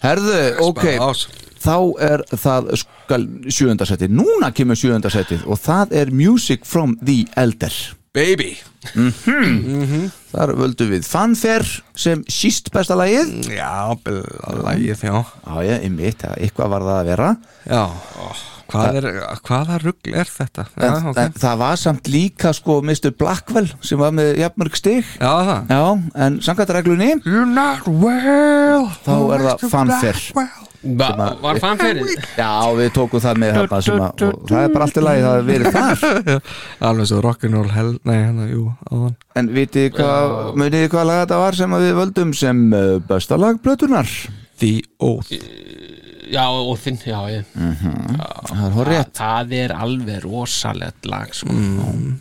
Speaker 1: Herðu, ok,
Speaker 4: ás.
Speaker 1: þá er það skal sjöundasettið Núna kemur sjöundasettið og það er Music from the Elder Mhm.
Speaker 4: Baby Mhm.
Speaker 1: Þar völdu við fanfare sem síst besta lagið
Speaker 4: Já, blæðið, já
Speaker 1: Já, ég, einmitt, það- eitthvað var það að vera
Speaker 4: Já, Oh, hvað er, hvaða rugl er þetta? Já,
Speaker 1: en,
Speaker 4: ok
Speaker 1: en það var samt líka sko Mr. Blackwell sem var með jafnmörg stig
Speaker 4: Já, það
Speaker 1: Já, en samkvæmt reglunni
Speaker 4: You're not well
Speaker 1: Þá er það fanfare.
Speaker 3: Ba Var fanferinn?
Speaker 1: Já, við tókum það með hérna sem að og það er bara allt í lagi það að verið þar
Speaker 4: Alveg svo rock'n'roll hell Nei, hérna, jú, áðan
Speaker 1: En vitið þið hvað, munið þið hvað lag þetta var sem að við völdum sem uh, besta lag blötunar
Speaker 4: The Oath
Speaker 3: Já, og þinn, já, ég
Speaker 1: Það er horrið rétt
Speaker 3: Það er alveg rosalegt lag sko.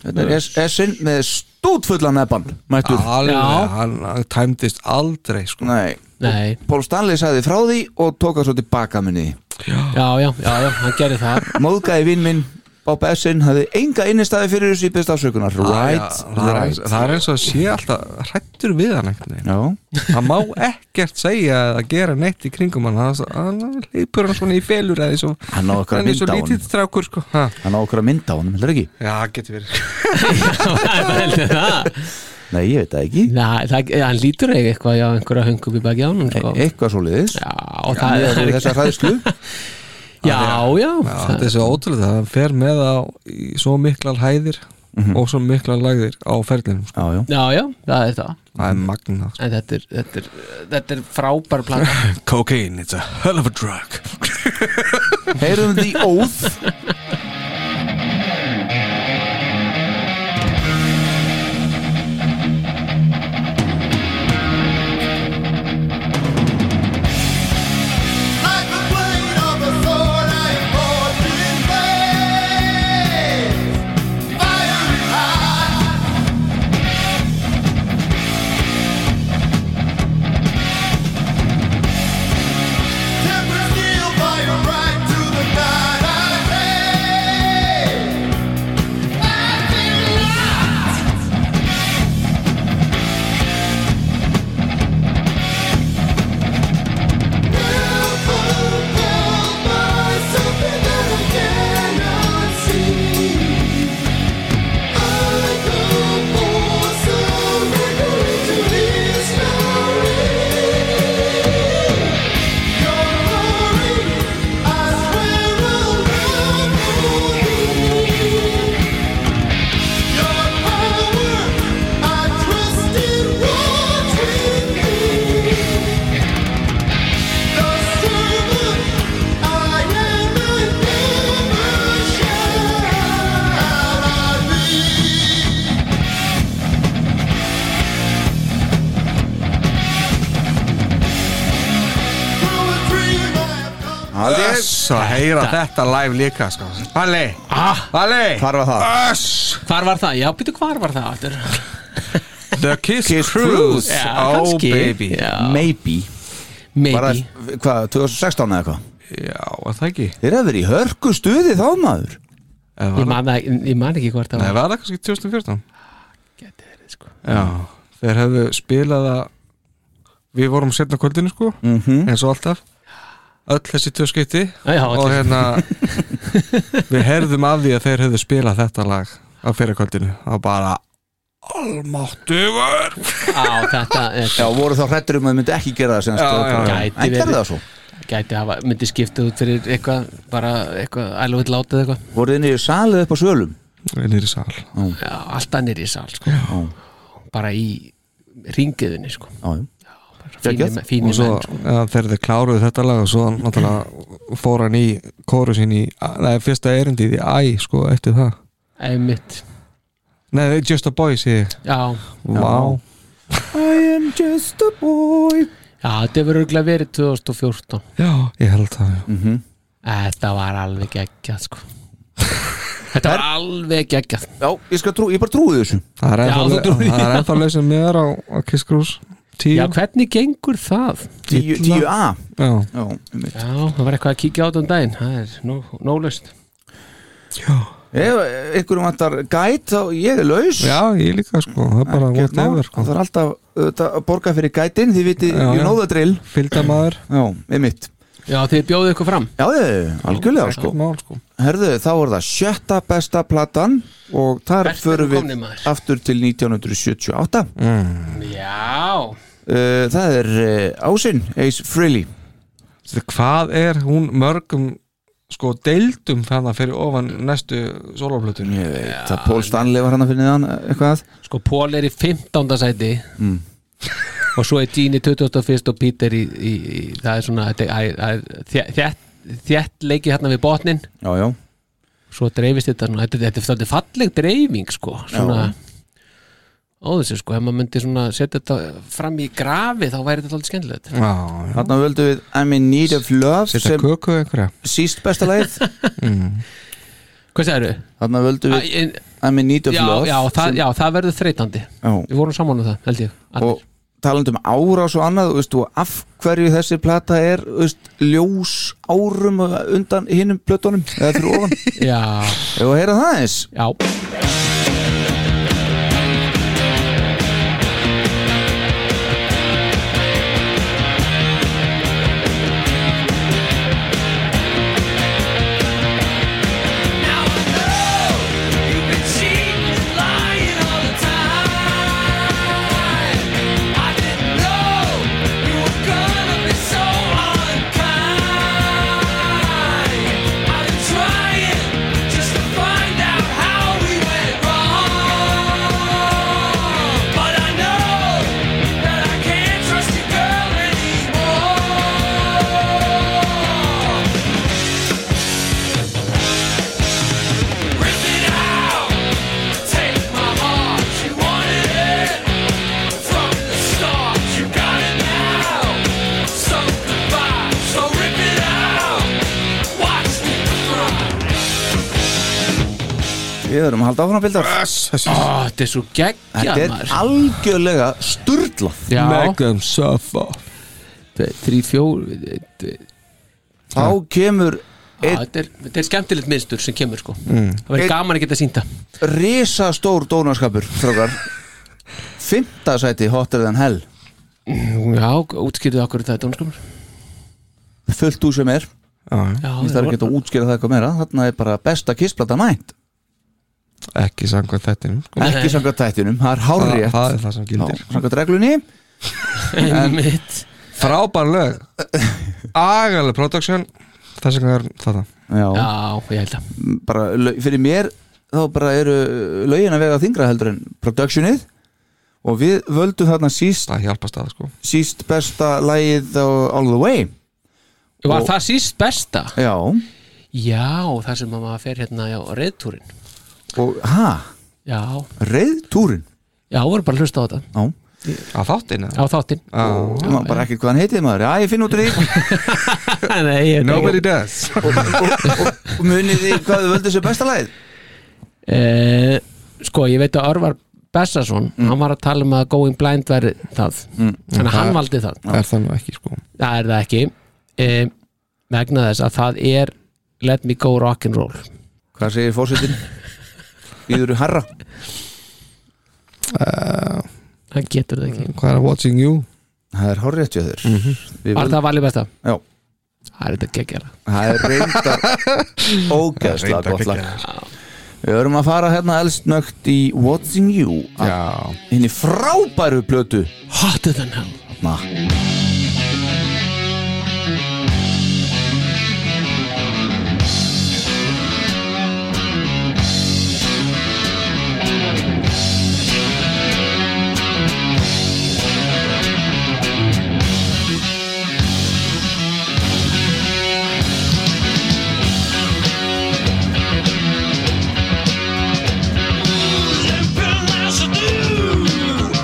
Speaker 1: Þetta er Essin með stútfullan ebban Mættur
Speaker 3: Já.
Speaker 4: Alveg, hann hann tæmdist aldrei, sko
Speaker 1: Nei
Speaker 3: Nei,
Speaker 1: Pól Stanley sagði frá því og tók það svo tilbaka minni
Speaker 3: já, já, já, já, hann gerir það
Speaker 1: Móðgæði vinn minn Bob Essin hafði enga innistæði fyrir þessu í besta afsökunar Right,
Speaker 4: Já, það er eins-
Speaker 1: right
Speaker 4: Það er eins og að sé alltaf hrættur við hann einhvern veginn
Speaker 1: Já,
Speaker 4: Það má ekkert segja að gera neitt í kringum hann það- Hann leipur hann svona í felur eða svo
Speaker 1: hann á okkur að
Speaker 4: Hann er
Speaker 1: mynda
Speaker 4: svo
Speaker 1: á hann
Speaker 4: lítið strákur, sko ha.
Speaker 1: Hann á okkur að mynda á hann, heldur ekki?
Speaker 4: Já, getur verið
Speaker 3: Það heldur það
Speaker 1: Nei, ég veit það ekki
Speaker 3: Nei, það, hann lítur eiginlega eitthvað já, einhverja höngu upp í baki á hann sko.
Speaker 1: e Eitthvað svo liðis
Speaker 3: Já, og það er
Speaker 1: Þessar hræðslu
Speaker 3: Já, já,
Speaker 4: Já, þetta er svo ótrúlega, það fer með á í svo miklar hæðir og svo miklar lægðir á ferðlinum sko.
Speaker 1: Já, já
Speaker 3: já, já, það er það
Speaker 4: Það er magnað sko.
Speaker 3: En þetta er, þetta er, þetta er frábær plata
Speaker 4: Cocaine, it's a hell of a drug
Speaker 1: Heyrum The Oath
Speaker 2: Like the blade of a sword, I am forged in flames. Fire is hot. Tempered steel by a right to the night I pray. I feel lost. Thank you Thank you
Speaker 4: Þess að heyra þetta live líka sko. Palli,
Speaker 3: ah,
Speaker 4: Palli
Speaker 1: Hvar var það?
Speaker 4: Us,
Speaker 3: Hvar var það? Já, býtu, hvar var það? Þetta er-
Speaker 4: The Kiss,
Speaker 1: Kiss
Speaker 4: Cruise,
Speaker 1: Cruise.
Speaker 3: Já,
Speaker 4: Oh
Speaker 3: kannski
Speaker 4: baby Já,
Speaker 3: já,
Speaker 1: Maybe
Speaker 3: Maybe
Speaker 1: Bara, hvað, 2016 eða eitthvað
Speaker 4: var það ekki?
Speaker 1: Þeir hafa verið í hörku stuði þá maður
Speaker 4: Eða
Speaker 3: Ég
Speaker 4: var,
Speaker 3: man, það- ég man ekki hvort það
Speaker 4: nei,
Speaker 3: var
Speaker 4: var það kannski 2014?
Speaker 3: Gæti verið, sko.
Speaker 4: Já, þeir hefðu spilað að við vorum setna kvöldinu sko eins og alltaf öll þessi tvö skipti
Speaker 3: Mm. Já, já,
Speaker 4: og
Speaker 3: öll.
Speaker 4: hérna við herðum af því að þeir hefðu spilað þetta lag á fyrra kvöldinu og bara almáttugur
Speaker 3: Á, þetta er,
Speaker 1: Já, voru þá hrættur um að þau myndi ekki gera það sem
Speaker 4: Já,
Speaker 1: stöðu-
Speaker 4: já,
Speaker 3: já.
Speaker 1: En
Speaker 3: Gæti
Speaker 1: gerði
Speaker 3: verið.
Speaker 1: það svo
Speaker 3: gæti hafa, myndi skipta út fyrir eitthvað, bara eitthvað, ælu vill látið eitthvað
Speaker 1: Voru þið niður salið upp á svölum
Speaker 4: innir í sal
Speaker 3: Já, alltaf nýr í sal, sko Bara í ringiðinni, sko
Speaker 1: Já, já
Speaker 3: Bara
Speaker 1: Geggjað.
Speaker 3: Fínir me- fínir
Speaker 4: og
Speaker 3: menn,
Speaker 4: svo
Speaker 3: sko
Speaker 4: ja, þegar þeir kláruðu þetta lag og svo náttúrulega fór hann í kóru sín í, nei, fyrsta erindið í æ sko eftir það
Speaker 3: Einmitt,
Speaker 4: nei, Just a Boy sé ég
Speaker 3: já
Speaker 4: Vá.
Speaker 1: I am just a boy
Speaker 3: Já, þetta hefur örgulega verið 2014
Speaker 1: Mhm.
Speaker 4: já, ég held það já.
Speaker 3: Þetta var alveg geggjað, sko Þetta var alveg geggjað
Speaker 1: Já, ég, skal trú, ég bara trúi þessu
Speaker 4: Það er
Speaker 3: Já,
Speaker 4: ennþá
Speaker 3: þú
Speaker 4: le-
Speaker 3: trúir því.
Speaker 4: það er ennþá leysið meðar á, á Kiss Cruise 10
Speaker 3: Já, hvernig gengur það?
Speaker 1: 10,
Speaker 4: Illa.
Speaker 1: 10A
Speaker 4: Já.
Speaker 1: Já, einmitt.
Speaker 3: Já, það var eitthvað að kíkja á þetta um daginn Það er nó- nólaust
Speaker 1: Ef einhverjum vantar gæt þá ég er laus
Speaker 4: Já, ég líka sko, það er bara
Speaker 1: Ekkert
Speaker 4: vort
Speaker 1: mál.
Speaker 4: yfir sko.
Speaker 1: Það er alltaf auðvitað, að borga fyrir gætin Þið viti,
Speaker 4: Já,
Speaker 1: you
Speaker 4: já.
Speaker 1: know the drill
Speaker 4: Fylgdamaður,
Speaker 1: Já, einmitt
Speaker 3: Já, þið bjóðu ykkur fram
Speaker 1: Já, já, algjörlega sko
Speaker 4: ekkert mál sko
Speaker 1: Herðu, þá er það sjötta besta platan og þar
Speaker 3: Hvert
Speaker 1: förum
Speaker 3: eru
Speaker 1: við
Speaker 3: komnir, maður?
Speaker 1: aftur til 1978
Speaker 3: Já
Speaker 1: Uh, það er uh, Ásinn, Ace Frehley
Speaker 4: Þetta, Hvað er hún mörgum sko deildum þannig fyrir ofan næstu soloplötun
Speaker 1: Ég veit að Pól Stanley var hann að finna þann eitthvað
Speaker 3: Sko, Pól er í 15. sæti
Speaker 1: Mm.
Speaker 3: Og svo er Gene í 21. og Peter í, í, í Það er svona þetta er- það er þjætt- þjætt- Þjætt leiki hérna við botnin
Speaker 1: Já, já,
Speaker 3: Svo dreifist þetta svona Þetta, þetta, þetta er falleg dreifing, sko Svona Ó þessu sko, ef maður myndi svona setja þetta fram í grafi þá væri þetta alltaf skemmtilegt
Speaker 4: Já, já
Speaker 1: þarna völdu við I'm in need of love
Speaker 4: Þetta
Speaker 1: sem
Speaker 4: köku einhverja
Speaker 1: síst besta lagið
Speaker 3: Hvað segirðu?
Speaker 1: þarna völdu við
Speaker 3: Æ, en-
Speaker 1: I'm in need of
Speaker 3: já,
Speaker 1: love
Speaker 3: já, það,
Speaker 1: sem,
Speaker 3: já, það verður þreytandi
Speaker 1: já,
Speaker 3: Við vorum saman um það, held ég allir.
Speaker 1: og talandi um árás og annað veist, og af hverju þessi plata er veist, ljós árum undan hinnum plötunum eða fyrir ofan ef
Speaker 3: Já,
Speaker 1: við heyra það eins
Speaker 3: já
Speaker 1: við erum að halda áfram bildar
Speaker 3: Ó, Þetta er svo geggjað
Speaker 1: þetta er algjörlega sturglað
Speaker 3: Já,
Speaker 4: them suffer
Speaker 3: þrý, fjór Þetta
Speaker 1: þá kemur einn
Speaker 3: er- þetta er skemmtilegt minnstur sem kemur sko Það verður
Speaker 1: Einn-
Speaker 3: gaman að geta sýnta
Speaker 1: risastór dónaskapur frókar fymta sæti hotter than hell
Speaker 3: Já, útskýrðu okkur þetta er dónskumur
Speaker 1: fullt úr sem er
Speaker 3: Já,
Speaker 1: ég þarf ekki að útskýra það eitthvað meira þarna er bara besta kissplata mænt
Speaker 4: Ekki sangvað þetta sko.
Speaker 1: ekki samkvæmt tættinum, það er
Speaker 4: það,
Speaker 1: hárrið
Speaker 4: það er það sem gildir
Speaker 1: samkvæmt reglunni
Speaker 3: Einmitt.
Speaker 4: Frábær lög Agaleg production Þess vegna er þetta
Speaker 1: já,
Speaker 3: Já, ég held að
Speaker 1: bara lau- fyrir mér þá bara eru lögin að vega þingra heldur en productionið og við völdum þarna síst,
Speaker 4: Það hjálpast að sko
Speaker 1: síst besta lagið á All the Way
Speaker 3: Var
Speaker 1: Og-
Speaker 3: það síst besta?
Speaker 1: já,
Speaker 3: Já, það sem að maður fer hérna á reyðtúrin
Speaker 1: og ha,
Speaker 3: Já,
Speaker 1: reyðtúrin
Speaker 3: já, voru bara að hlusta á þetta
Speaker 1: já
Speaker 4: Að þáttin
Speaker 3: Á þáttinn
Speaker 4: eða?
Speaker 1: Ég man bara ekki hvað hann heitið maður, já ég finn út úr því
Speaker 3: Nei, ég veit ekki.
Speaker 4: Nobody does
Speaker 1: og munið því hvað þau völdu sér besta lagið
Speaker 3: Eh, sko ég veit að Örvar Bessason, hann var að tala um að Going Blind væri það þannig að hann valdi það,
Speaker 4: Er það nú ekki sko
Speaker 3: það er það ekki eh, vegna þess að það er Let Me Go Rock'n'Roll
Speaker 1: Hvað segir fórsetin? Íður harra
Speaker 3: hann getur það ekki,
Speaker 4: Hvað er Watching You?
Speaker 1: Það er horrið eftir þér
Speaker 3: Mhm.
Speaker 1: Mm.
Speaker 3: var það valið besta?
Speaker 1: Já.
Speaker 3: það er þetta geggjara
Speaker 1: Það er reyndar ógeðslega gott lag Við verum að fara hérna eldsnögt í Watching You
Speaker 4: Já
Speaker 1: hinn í frábæru plötu
Speaker 3: Hotter than hell
Speaker 1: Na.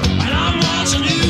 Speaker 7: And I'm watching you.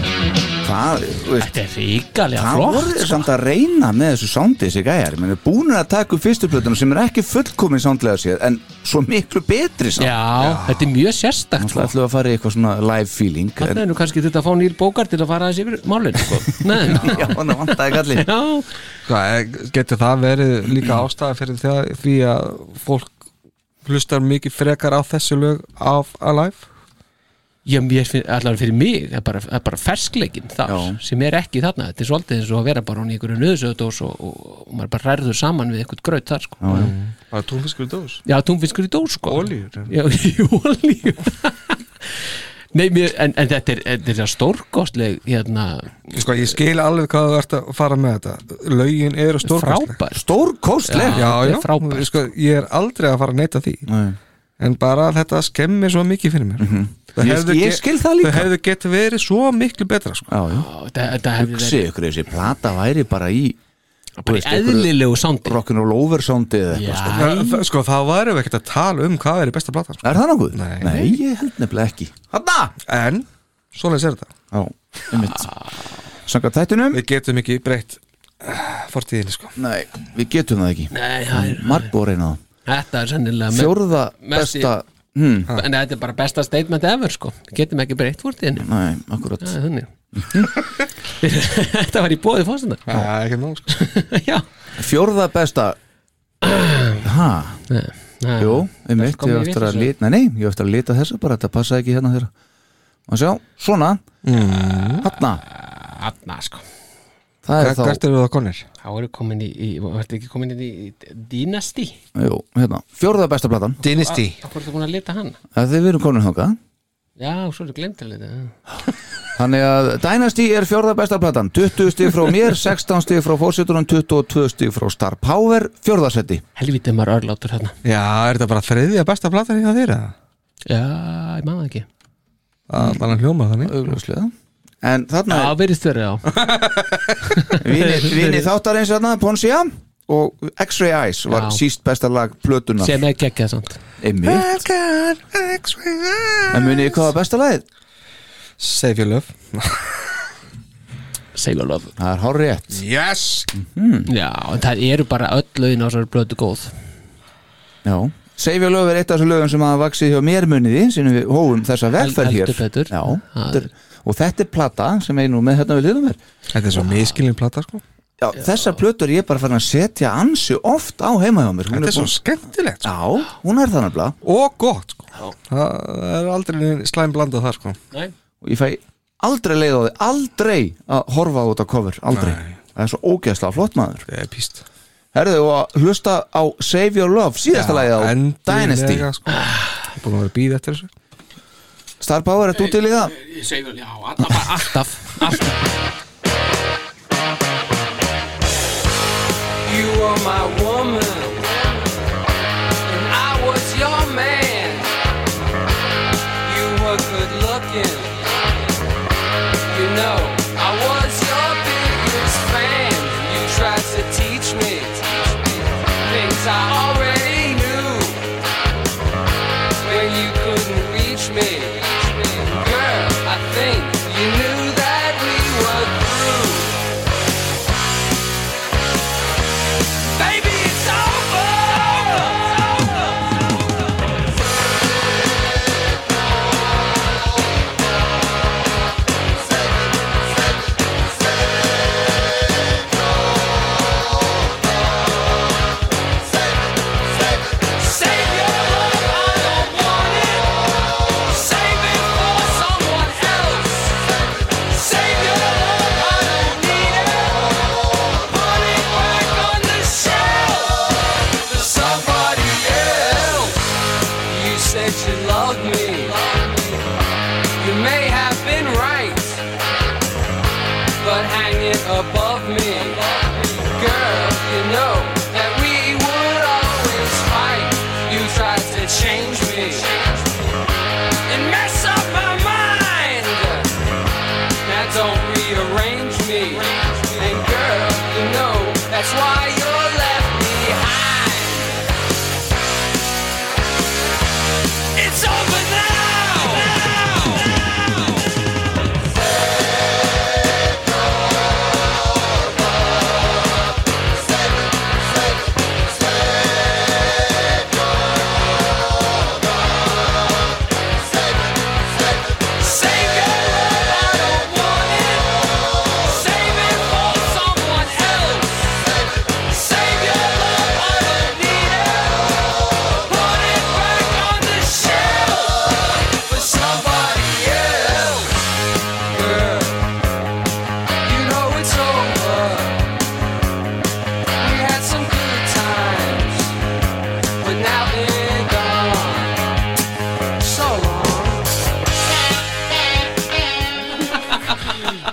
Speaker 1: þú veist,
Speaker 3: Þetta er ríkalega
Speaker 1: Það
Speaker 3: flott sko.
Speaker 1: voru samt að reyna með þessu soundi þessi gæjar, ég meina búin að taka upp fyrstu plötuna sem er ekki fullkomin soundlega séð en svo miklu betri
Speaker 3: já,
Speaker 1: samt
Speaker 3: þetta er mjög sérstakt
Speaker 1: Það ætlum við að fara í eitthvað svona live feeling
Speaker 3: Þannig
Speaker 1: en,
Speaker 3: er nú kannski þetta að fá nýr bókar til að fara aðeins yfir málin sko. Nei,
Speaker 1: Já, hann vantaði kallinn
Speaker 3: já,
Speaker 4: Hvað, eh, getur það verið líka ástæða fyrir það, því að fólk hlustar mikið frekar á þessu lög af Alive
Speaker 3: já mér finn, allan fyrir mig það er bara, það er bara ferskleikin þar
Speaker 1: Já.
Speaker 3: sem er ekki þarna, þetta er svolítið eins og að vera bara hún í einhverju nöðsöðdós og, og, og maður bara ræður saman við eitthvað graut þar sko. já,
Speaker 4: bara tónfiskur dós
Speaker 3: já túnfiskur í dós sko.
Speaker 4: Olíur.
Speaker 3: já, í olíu Nei, mér, en, en þetta er, þetta er stórkostleg hérna,
Speaker 4: sko, ég skil alveg hvað þú ert að fara með þetta lögin eru stórkostleg
Speaker 3: frábær
Speaker 1: Stórkostleg
Speaker 4: já,
Speaker 3: þetta er
Speaker 4: já,
Speaker 3: frábært.
Speaker 4: sko, ég er aldrei að fara að neyta því
Speaker 1: Nei.
Speaker 4: en bara þetta skemmir svo mikið fyrir mér mm
Speaker 1: Ég skil- ég skil það líka.
Speaker 4: þau hefðu gett verið svo miklu betra sko.
Speaker 1: Já, já
Speaker 3: Já, Þetta, þetta hefði
Speaker 1: Hugsi ykkur þessi plata væri bara í
Speaker 3: verið bara í
Speaker 1: veist, einhverju-
Speaker 3: eðlilegu sándi
Speaker 1: rock'n'roll over soundi eða
Speaker 3: Já,
Speaker 1: eitthvað sko.
Speaker 4: Það, það- sko, það væri við ekkert að tala um hvað er í besta plata sko.
Speaker 1: Er það nokkuð?
Speaker 4: Nei.
Speaker 1: ég held nefnilega ekki Hanna!
Speaker 4: en, svoleiðis er þetta
Speaker 1: Já, um mitt Sanga tættunum
Speaker 4: við getum ekki breytt eh, fortíðinni sko.
Speaker 1: Nei, við getum það ekki
Speaker 3: Nei, það er,
Speaker 1: Marbo reyna það
Speaker 3: þetta er sennilega með-
Speaker 1: Mm. Fjórða
Speaker 3: Messi.
Speaker 1: besta hmm.
Speaker 3: en þetta er bara besta statement ever sko getum ekki breytt fórtíðinni
Speaker 1: Nei, akkurat
Speaker 3: þannig þetta var í bóði fórstundar
Speaker 4: það er ekki nóg sko.
Speaker 3: já
Speaker 1: Fjórða besta Hæ,
Speaker 3: Nei, nei.
Speaker 1: jú, einmitt
Speaker 3: kom
Speaker 1: Ég á
Speaker 3: ég
Speaker 1: eftir að
Speaker 3: vitlaus.
Speaker 1: lita, nei, nei, ég á eftir að lita þessa bara Þetta passaði ekki hérna þeirra Og sjá, svona Hanna,
Speaker 3: Þarna, sko.
Speaker 1: það er þá
Speaker 4: hvert eru það konir?
Speaker 3: þá eru komin í, í vartu ekki komin inn í í Dynasty
Speaker 1: Jú, hérna, fjórða besta platan
Speaker 4: Dynasty
Speaker 3: hvað er það búin að lita hann
Speaker 1: Það þið við erum komin þóka
Speaker 3: já, svo er það glemt að lita
Speaker 1: Þannig að Dynasty er fjórða besta platan 20 stig frá mér, 16 stig frá fórsetunum 22 stig frá Star Power Fjórðasetti
Speaker 3: helvítið maður örlátur hérna. þarna
Speaker 4: já, er þetta bara þriðja besta platan hjá þér? eða?
Speaker 3: já, ég man það ekki
Speaker 4: Það er allan hljómað þannig
Speaker 1: Augljóslega En þarna
Speaker 3: já,
Speaker 1: er
Speaker 3: verðist verið á
Speaker 1: Vini, vini þáttarins hérna, Ponsia og X-Ray Eyes var
Speaker 3: Já.
Speaker 1: síst besta lag plötuna
Speaker 3: sem er geggjað samt
Speaker 1: Einmitt. En munið þið hvað var besta lagið?
Speaker 4: Save your love
Speaker 3: Sailor Love
Speaker 1: Það er hár rétt
Speaker 4: Yes
Speaker 3: já, en það eru bara öll lögin á svo blötu góð
Speaker 1: Já Save Your Love er eitt af þessu lögum sem hafa vaxið hjá mér munið því sinni við hófum þessa vegferð hér
Speaker 3: Heldur betur.
Speaker 1: Já,
Speaker 3: Það
Speaker 1: þetta er, og þetta er plata sem er nú með hérna við liðum mér
Speaker 4: Þetta er svo miskilin plata sko
Speaker 1: Já, þessar plötur ég er bara farin að setja ansi oft á heima hjá mér Hún
Speaker 4: Þetta er svo
Speaker 1: búin-
Speaker 4: skemmtilegt sko.
Speaker 1: Já, hún er þannig blá
Speaker 4: Og gott sko Það er aldrei neinn slæm blandað þar sko
Speaker 3: nei
Speaker 1: og ég fæ aldrei leið á því aldrei að horfa á þetta cover aldrei, það er svo ógeðslega flott maður
Speaker 4: Það er píst
Speaker 1: herðu og að hlusta á Save Your Love síðasta lagið á Dynasty
Speaker 4: sko. Búin að vera að býða eftir þessu
Speaker 1: Star Power, ertu út til í það?
Speaker 3: Seifur, já, alltaf, alltaf, alltaf.
Speaker 2: You were my woman, and I was your man. You were good looking, you know. I was your biggest fan. You tried to teach me things I already knew when you couldn't reach me. Girl, I think you knew that we were through. Baby, it's over. Save your love, I don't want it. Save it for someone else. Save your love, I don't need it. Put it back on the shelf for somebody else. You said you loved me. You may have been right, but hang it above me, girl. You know that we would always fight. You tried to change me and mess up my mind. Now don't rearrange me. And girl, you know that's why you're left behind. It's over now.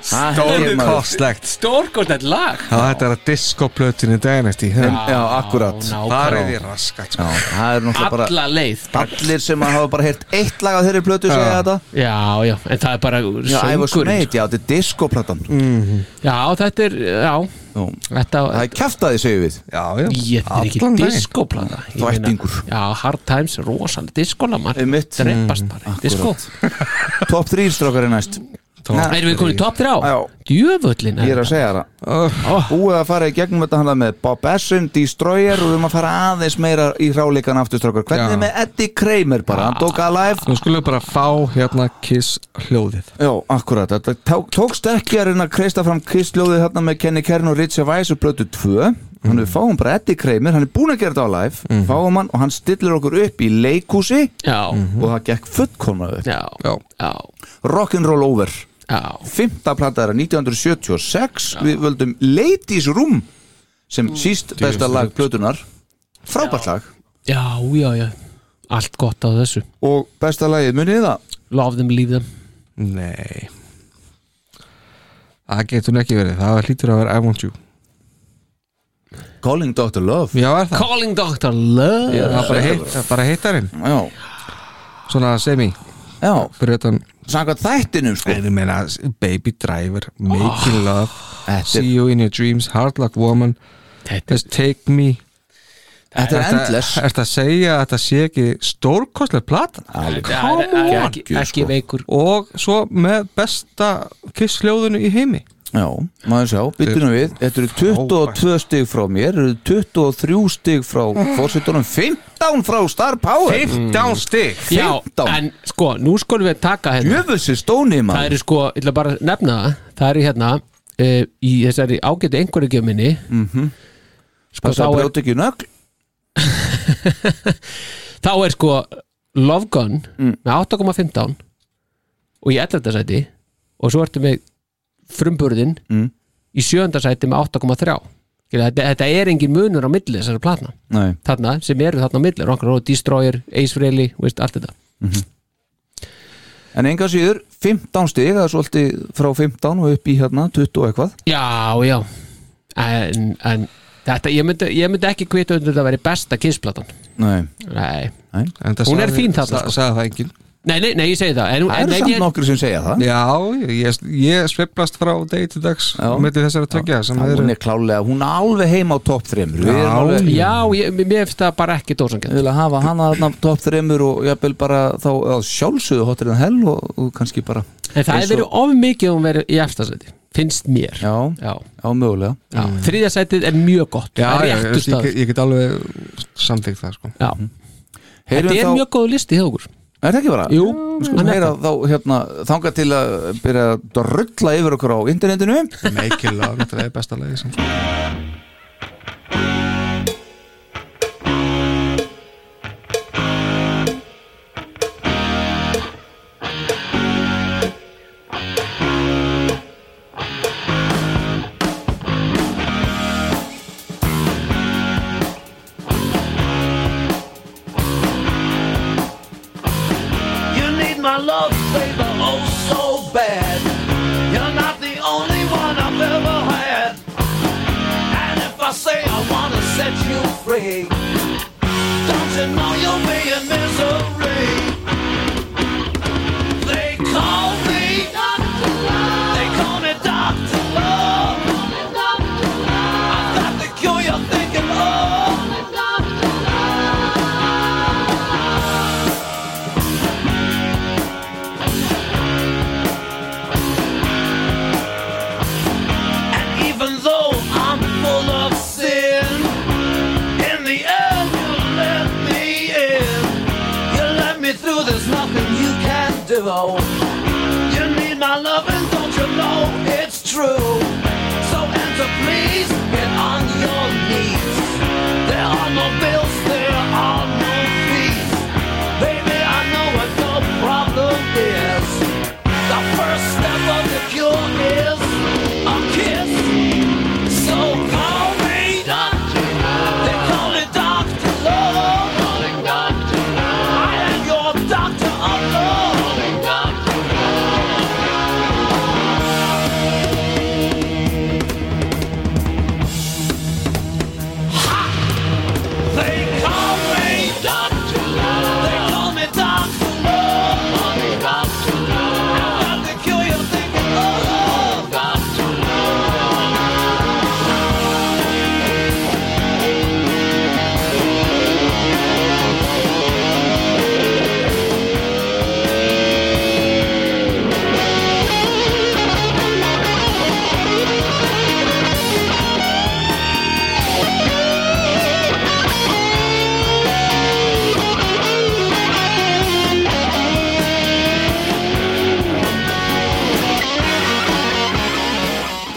Speaker 1: Það held ég, maður.
Speaker 4: Stórkostlegt
Speaker 3: Stórkostett lag
Speaker 4: Já, þetta er að diskoplötinu Dynasty
Speaker 1: En- Já, akkurat
Speaker 3: Ná, ná,
Speaker 4: Það er
Speaker 3: ná.
Speaker 4: því raskat
Speaker 1: Já,
Speaker 4: sko.
Speaker 1: það er náttúrulega bara
Speaker 3: Alla leið
Speaker 1: Allir sem að hafa bara heyrt eitt lag af þeirri plötu segja
Speaker 4: Já.
Speaker 1: þetta
Speaker 3: Já, já, en það er bara
Speaker 1: Já, I
Speaker 3: söngurinn
Speaker 1: was
Speaker 3: sko.
Speaker 1: made, já, þetta er diskoplatan
Speaker 4: Mm.
Speaker 3: Já, þetta er, já
Speaker 1: Nú,
Speaker 3: Þetta,
Speaker 1: Það er kjaftaði, segjum við
Speaker 4: Já, já
Speaker 3: ég þetta er ekki
Speaker 4: Allan daginn.
Speaker 3: diskoplata Ég meina-
Speaker 1: Þvættingur.
Speaker 3: Já, Hard Times, rosalega diskolamann
Speaker 1: Einmitt. Mm,
Speaker 3: Dreipast bara, í disko
Speaker 1: Top 3 strókar er næst Na,
Speaker 3: Erum við komin í top 3?
Speaker 1: Já.
Speaker 3: Djöfullin
Speaker 1: Ég er að segja það Búið að fara í gegnum þetta hana með Bob Essin, Destroyer og við erum að fara aðeins meira í ráleikan aftur strókar Hvernig
Speaker 4: Já.
Speaker 1: með Eddie Kramer bara, hann tók alive
Speaker 4: Nú skulum við bara fá hérna Kiss hljóðið
Speaker 1: Já, akkurat, þetta tók, tókst ekki að reyna að kreista fram kristljóðið þarna með Kenny Kern og Richie Weiss og blötu 2 Þannig við fáum bara Eddie Kramer, hann er búin að gera þetta á live Fáum hann og hann stillir okkur upp í leikhúsi
Speaker 3: Já,
Speaker 1: og það gekk fullkomnaðu
Speaker 3: já,
Speaker 4: Já.
Speaker 3: já,
Speaker 1: Rock'n'Roll Over
Speaker 3: já
Speaker 1: Fymta plata er að 1976 Við völdum Ladies Room sem síst besta lag plötunar Frábært lag
Speaker 3: Já, já, já Allt gott á þessu
Speaker 1: Og besta lagið munið þið það
Speaker 3: Love them, leave them
Speaker 4: Nei Það getur hún ekki verið Það hlýtur að vera I want you
Speaker 1: Calling Dr. Love
Speaker 4: Já, er það
Speaker 3: Calling Dr. Love
Speaker 4: Það er bara, heit, það er bara hittarinn
Speaker 1: Já,
Speaker 4: Svona semi
Speaker 1: já,
Speaker 4: Fyrir utan
Speaker 1: samkvæmt þættinum sko
Speaker 4: Ég meina Baby Driver Making Love
Speaker 1: Oh. Þetta
Speaker 4: See
Speaker 1: er,
Speaker 4: you in your dreams Hard luck woman
Speaker 3: Þetta
Speaker 4: Just take me
Speaker 1: þetta er endless
Speaker 4: Er þetta að segja að þetta sé ekki stórkostlega plata?
Speaker 3: er- það er- það er ekki,
Speaker 1: Geggjur,
Speaker 3: ekki
Speaker 1: sko.
Speaker 3: veikur
Speaker 4: og svo með besta kissljóðinu í heimi
Speaker 1: Já, maður sjá, byttunum við Þetta eru 22 stig frá mér eru 23 stig frá fórsetunum 15 frá Star Power Mm.
Speaker 4: 15 stig
Speaker 3: Já,
Speaker 1: 15.
Speaker 3: en sko, nú skulum við taka hérna
Speaker 1: Jöfussi stóni
Speaker 3: Það
Speaker 1: maður
Speaker 3: eru sko, ég ætla bara að nefna það Það eru hérna uh, í þessari ágæti einhverjagjöminni mm -hmm. Sko, þá
Speaker 1: Passa að
Speaker 3: er,
Speaker 1: brjóta ekki nögl
Speaker 3: þá er sko Love Gun
Speaker 1: Mm.
Speaker 3: með 8,15 og í 11. sæti og svo ertu með frumburðin
Speaker 1: Mm.
Speaker 3: í 7. sæti með 8,3 Skilja, þetta, þetta er engin munur á milli þessari platna
Speaker 1: Nei,
Speaker 3: þarna, sem eru þarna á milli Rock'n'Roll, Destroyer, Ace Frehley, þú veist, allt þetta
Speaker 1: En enga síður, 15 stig, það er svolítið frá 15 og upp í hérna 20 og eitthvað.
Speaker 3: Já, já En, en þetta, ég myndi, ég myndi ekki kvita undir þetta að vera besta kissplatan
Speaker 1: Nei.
Speaker 3: Nei,
Speaker 4: hún
Speaker 3: Hún er fín þarna, sko.
Speaker 4: sagði það enginn
Speaker 3: nei, nei, nei ég segi það En, en
Speaker 1: Það eru
Speaker 3: ef
Speaker 1: samt
Speaker 3: ég,
Speaker 1: nokkur sem segja það.
Speaker 4: já, ég, ég sveiflast frá degi til dags
Speaker 1: Já.
Speaker 4: með þessari tveggja sem
Speaker 1: það
Speaker 4: eru
Speaker 1: hún er klálega, hún er alveg heima á topp 3. Við
Speaker 4: Já.
Speaker 1: erum alveg,
Speaker 3: Já, ég, mér finnst það bara ekki
Speaker 1: við
Speaker 3: dósangjönd
Speaker 1: viljum hafa hana þarna topp 3 og jafnvel bara þá að sjálfsögðu hotir en hell og, og kannski bara,
Speaker 3: En það
Speaker 1: Eins
Speaker 3: hefur verið of mikið að hún verið í efstasæti Finnst mér
Speaker 1: já,
Speaker 3: já,
Speaker 1: já mögulega.
Speaker 3: já. Þriðja sætið er mjög gott
Speaker 4: já,
Speaker 3: Það
Speaker 4: já,
Speaker 3: er
Speaker 4: ég,
Speaker 3: réttur
Speaker 4: ég,
Speaker 3: stað
Speaker 4: ég get alveg samtíkt það sko.
Speaker 3: Já,
Speaker 1: Heyrum
Speaker 3: þetta er
Speaker 1: Mhm. þá,
Speaker 3: mjög góð listi hjá okkur
Speaker 1: er það ekki bara?
Speaker 3: Jú,
Speaker 1: Við skulum
Speaker 3: hann er
Speaker 1: heyra þá hérna, þanga til að byrja að rulla yfir okkur á internetinu.
Speaker 4: make it love, þetta er besta lagi sem sko.
Speaker 7: You need my love, baby, oh so bad. You're not the only one I've ever had. And if I say I wanna set you free, don't you know you'll be in misery? They call me Doctor Love. They call me Doctor Love. I've got the cure you're thinking of. And even though I'm full of sin, in the end you let me in. You let me through, there's nothing you can do. You need my loving, don't you know it's true? So enter, please, get on your knees. There are no bills, there are no fees. Baby, I know what your problem is. The first step of the cure is a kiss. So call me Doctor Love. They call it Doctor Love. Calling Doctor Love. I am your Doctor of Love. Calling Doctor Love.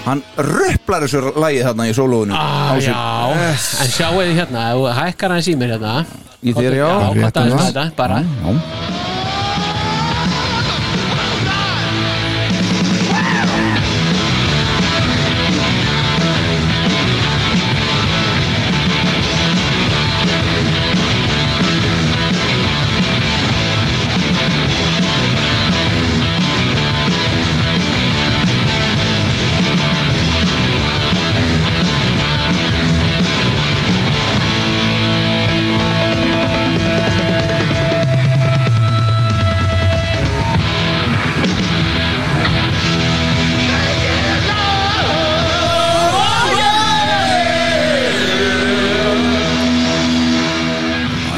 Speaker 1: hann röpplar þessu lagi þarna í sólóinu
Speaker 3: Ah, já, en sjáu þið hérna ef þú hækkar hans í mér hérna
Speaker 1: Í þér,
Speaker 3: já
Speaker 1: já, rétt Mhm.
Speaker 3: gott aðeins
Speaker 1: annað.
Speaker 3: með þetta, bara
Speaker 1: já.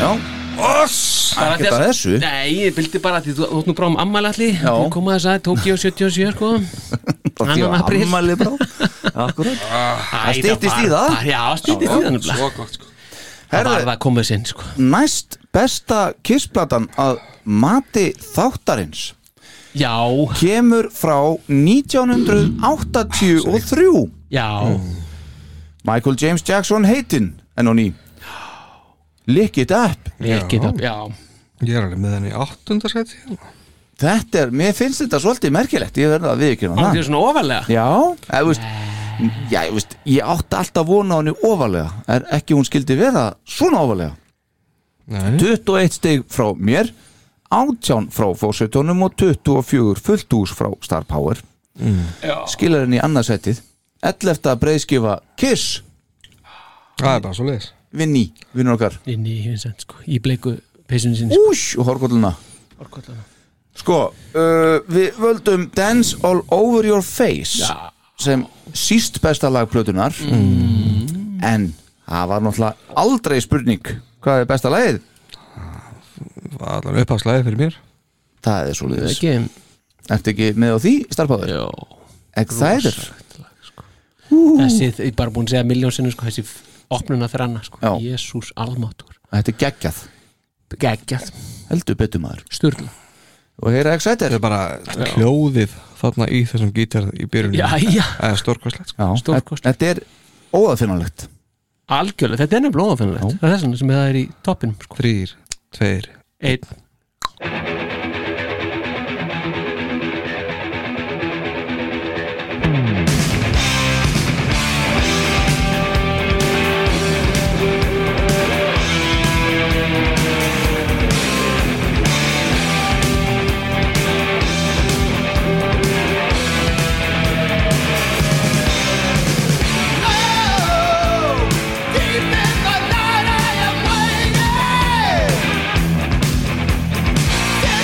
Speaker 1: já. Oss Ekkert að þessu
Speaker 3: Nei, ég vildi bara að því þú þú ert nú bráðum ammælalli
Speaker 1: Já.
Speaker 3: Þú kom að þess að Tokyo 77 sko
Speaker 1: Það því
Speaker 3: Annan
Speaker 1: að
Speaker 3: apríl.
Speaker 1: ammæli brá Akkurat
Speaker 3: Það
Speaker 1: styttist í það.
Speaker 3: Já, stýttist í það nefnilega
Speaker 4: Svo gott sko
Speaker 3: Það var
Speaker 1: Herðu,
Speaker 3: það komið sinn sko
Speaker 1: næst besta kissplatan að mati þáttarins
Speaker 3: Já,
Speaker 1: kemur frá 1983
Speaker 3: já,
Speaker 1: Michael James Jackson heitinn enn og ný Lick it up
Speaker 3: ekki það Já,
Speaker 4: Ég er alveg með henni í áttundarsæti
Speaker 1: Þetta er, mér finnst þetta svolítið merkilegt ég verða að við ekki
Speaker 3: það er svona ofalega
Speaker 1: Já, eða, veist, já ég, veist, ég átti alltaf vona á henni ofalega er ekki hún skildi vera svona ofalega
Speaker 4: Nei
Speaker 1: 21 stig frá mér 18 frá fósveitunum og 24 fullt hús frá Star Power mm. skilar henni í annarsettið 11. breiðskifa Kiss
Speaker 4: Það er bara svo leiðis
Speaker 1: Vinni, vinnur okkar
Speaker 3: Inn í hinsend sko, í bleiku peysunni sinni sko
Speaker 1: Úsh, og horkolluna Sko, uh, við völdum Dance All Over Your Face sem síst besta lag plötunar
Speaker 3: Mm.
Speaker 1: en það var náttúrulega aldrei spurning hvað er besta lagið?
Speaker 4: Það var allan upphavslæði fyrir mér
Speaker 1: Það er svo liðis
Speaker 3: Ekki,
Speaker 1: Ertu ekki með á því, starfbáður?
Speaker 3: já sko.
Speaker 1: Excited
Speaker 3: Þessi, ég er bara búin að segja miljónsinu sko Þessi opnuna þranna sko
Speaker 1: Já.
Speaker 3: Jésús almátur
Speaker 1: Þetta er geggjað,
Speaker 3: Geggjað,
Speaker 1: heldur betur maður
Speaker 3: sturla
Speaker 1: og heyra Excited
Speaker 4: Þetta er bara hljóðið þarna í þessum gítar í byrjunum
Speaker 3: Já, já,
Speaker 4: Það er stórkvæslegt sko
Speaker 1: Já,
Speaker 3: Stórkostlegt.
Speaker 1: Þetta er óafinnanlegt
Speaker 3: algjörlega, þetta er nefnilega óafinnlegt Það er þess vegna sem það er í toppinum sko.
Speaker 4: Þrýr, tveir
Speaker 3: Einn,
Speaker 8: Deep in the night I am waiting. Still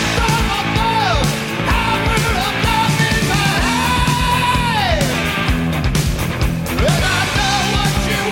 Speaker 7: Oh,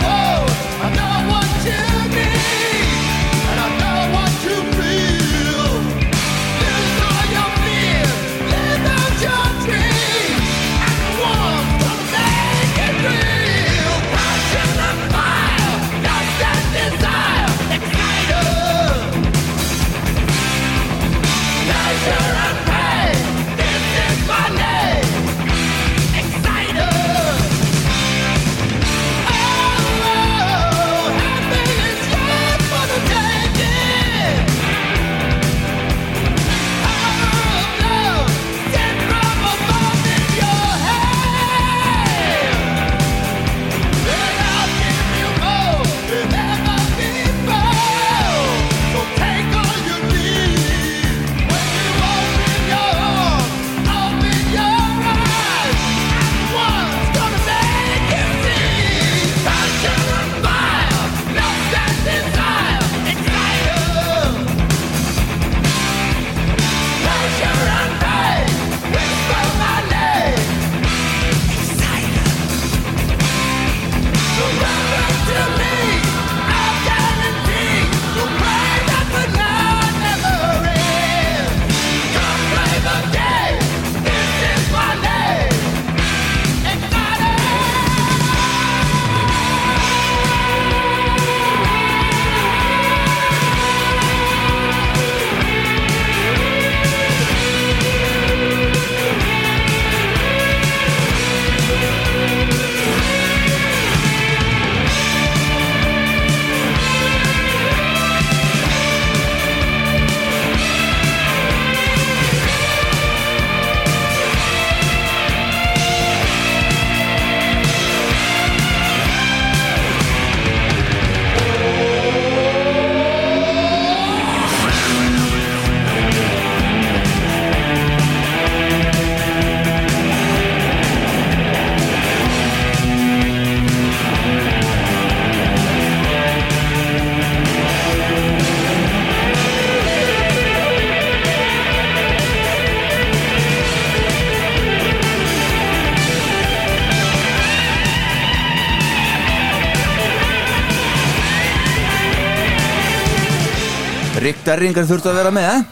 Speaker 1: Rick Derringar þurfti að vera með eh?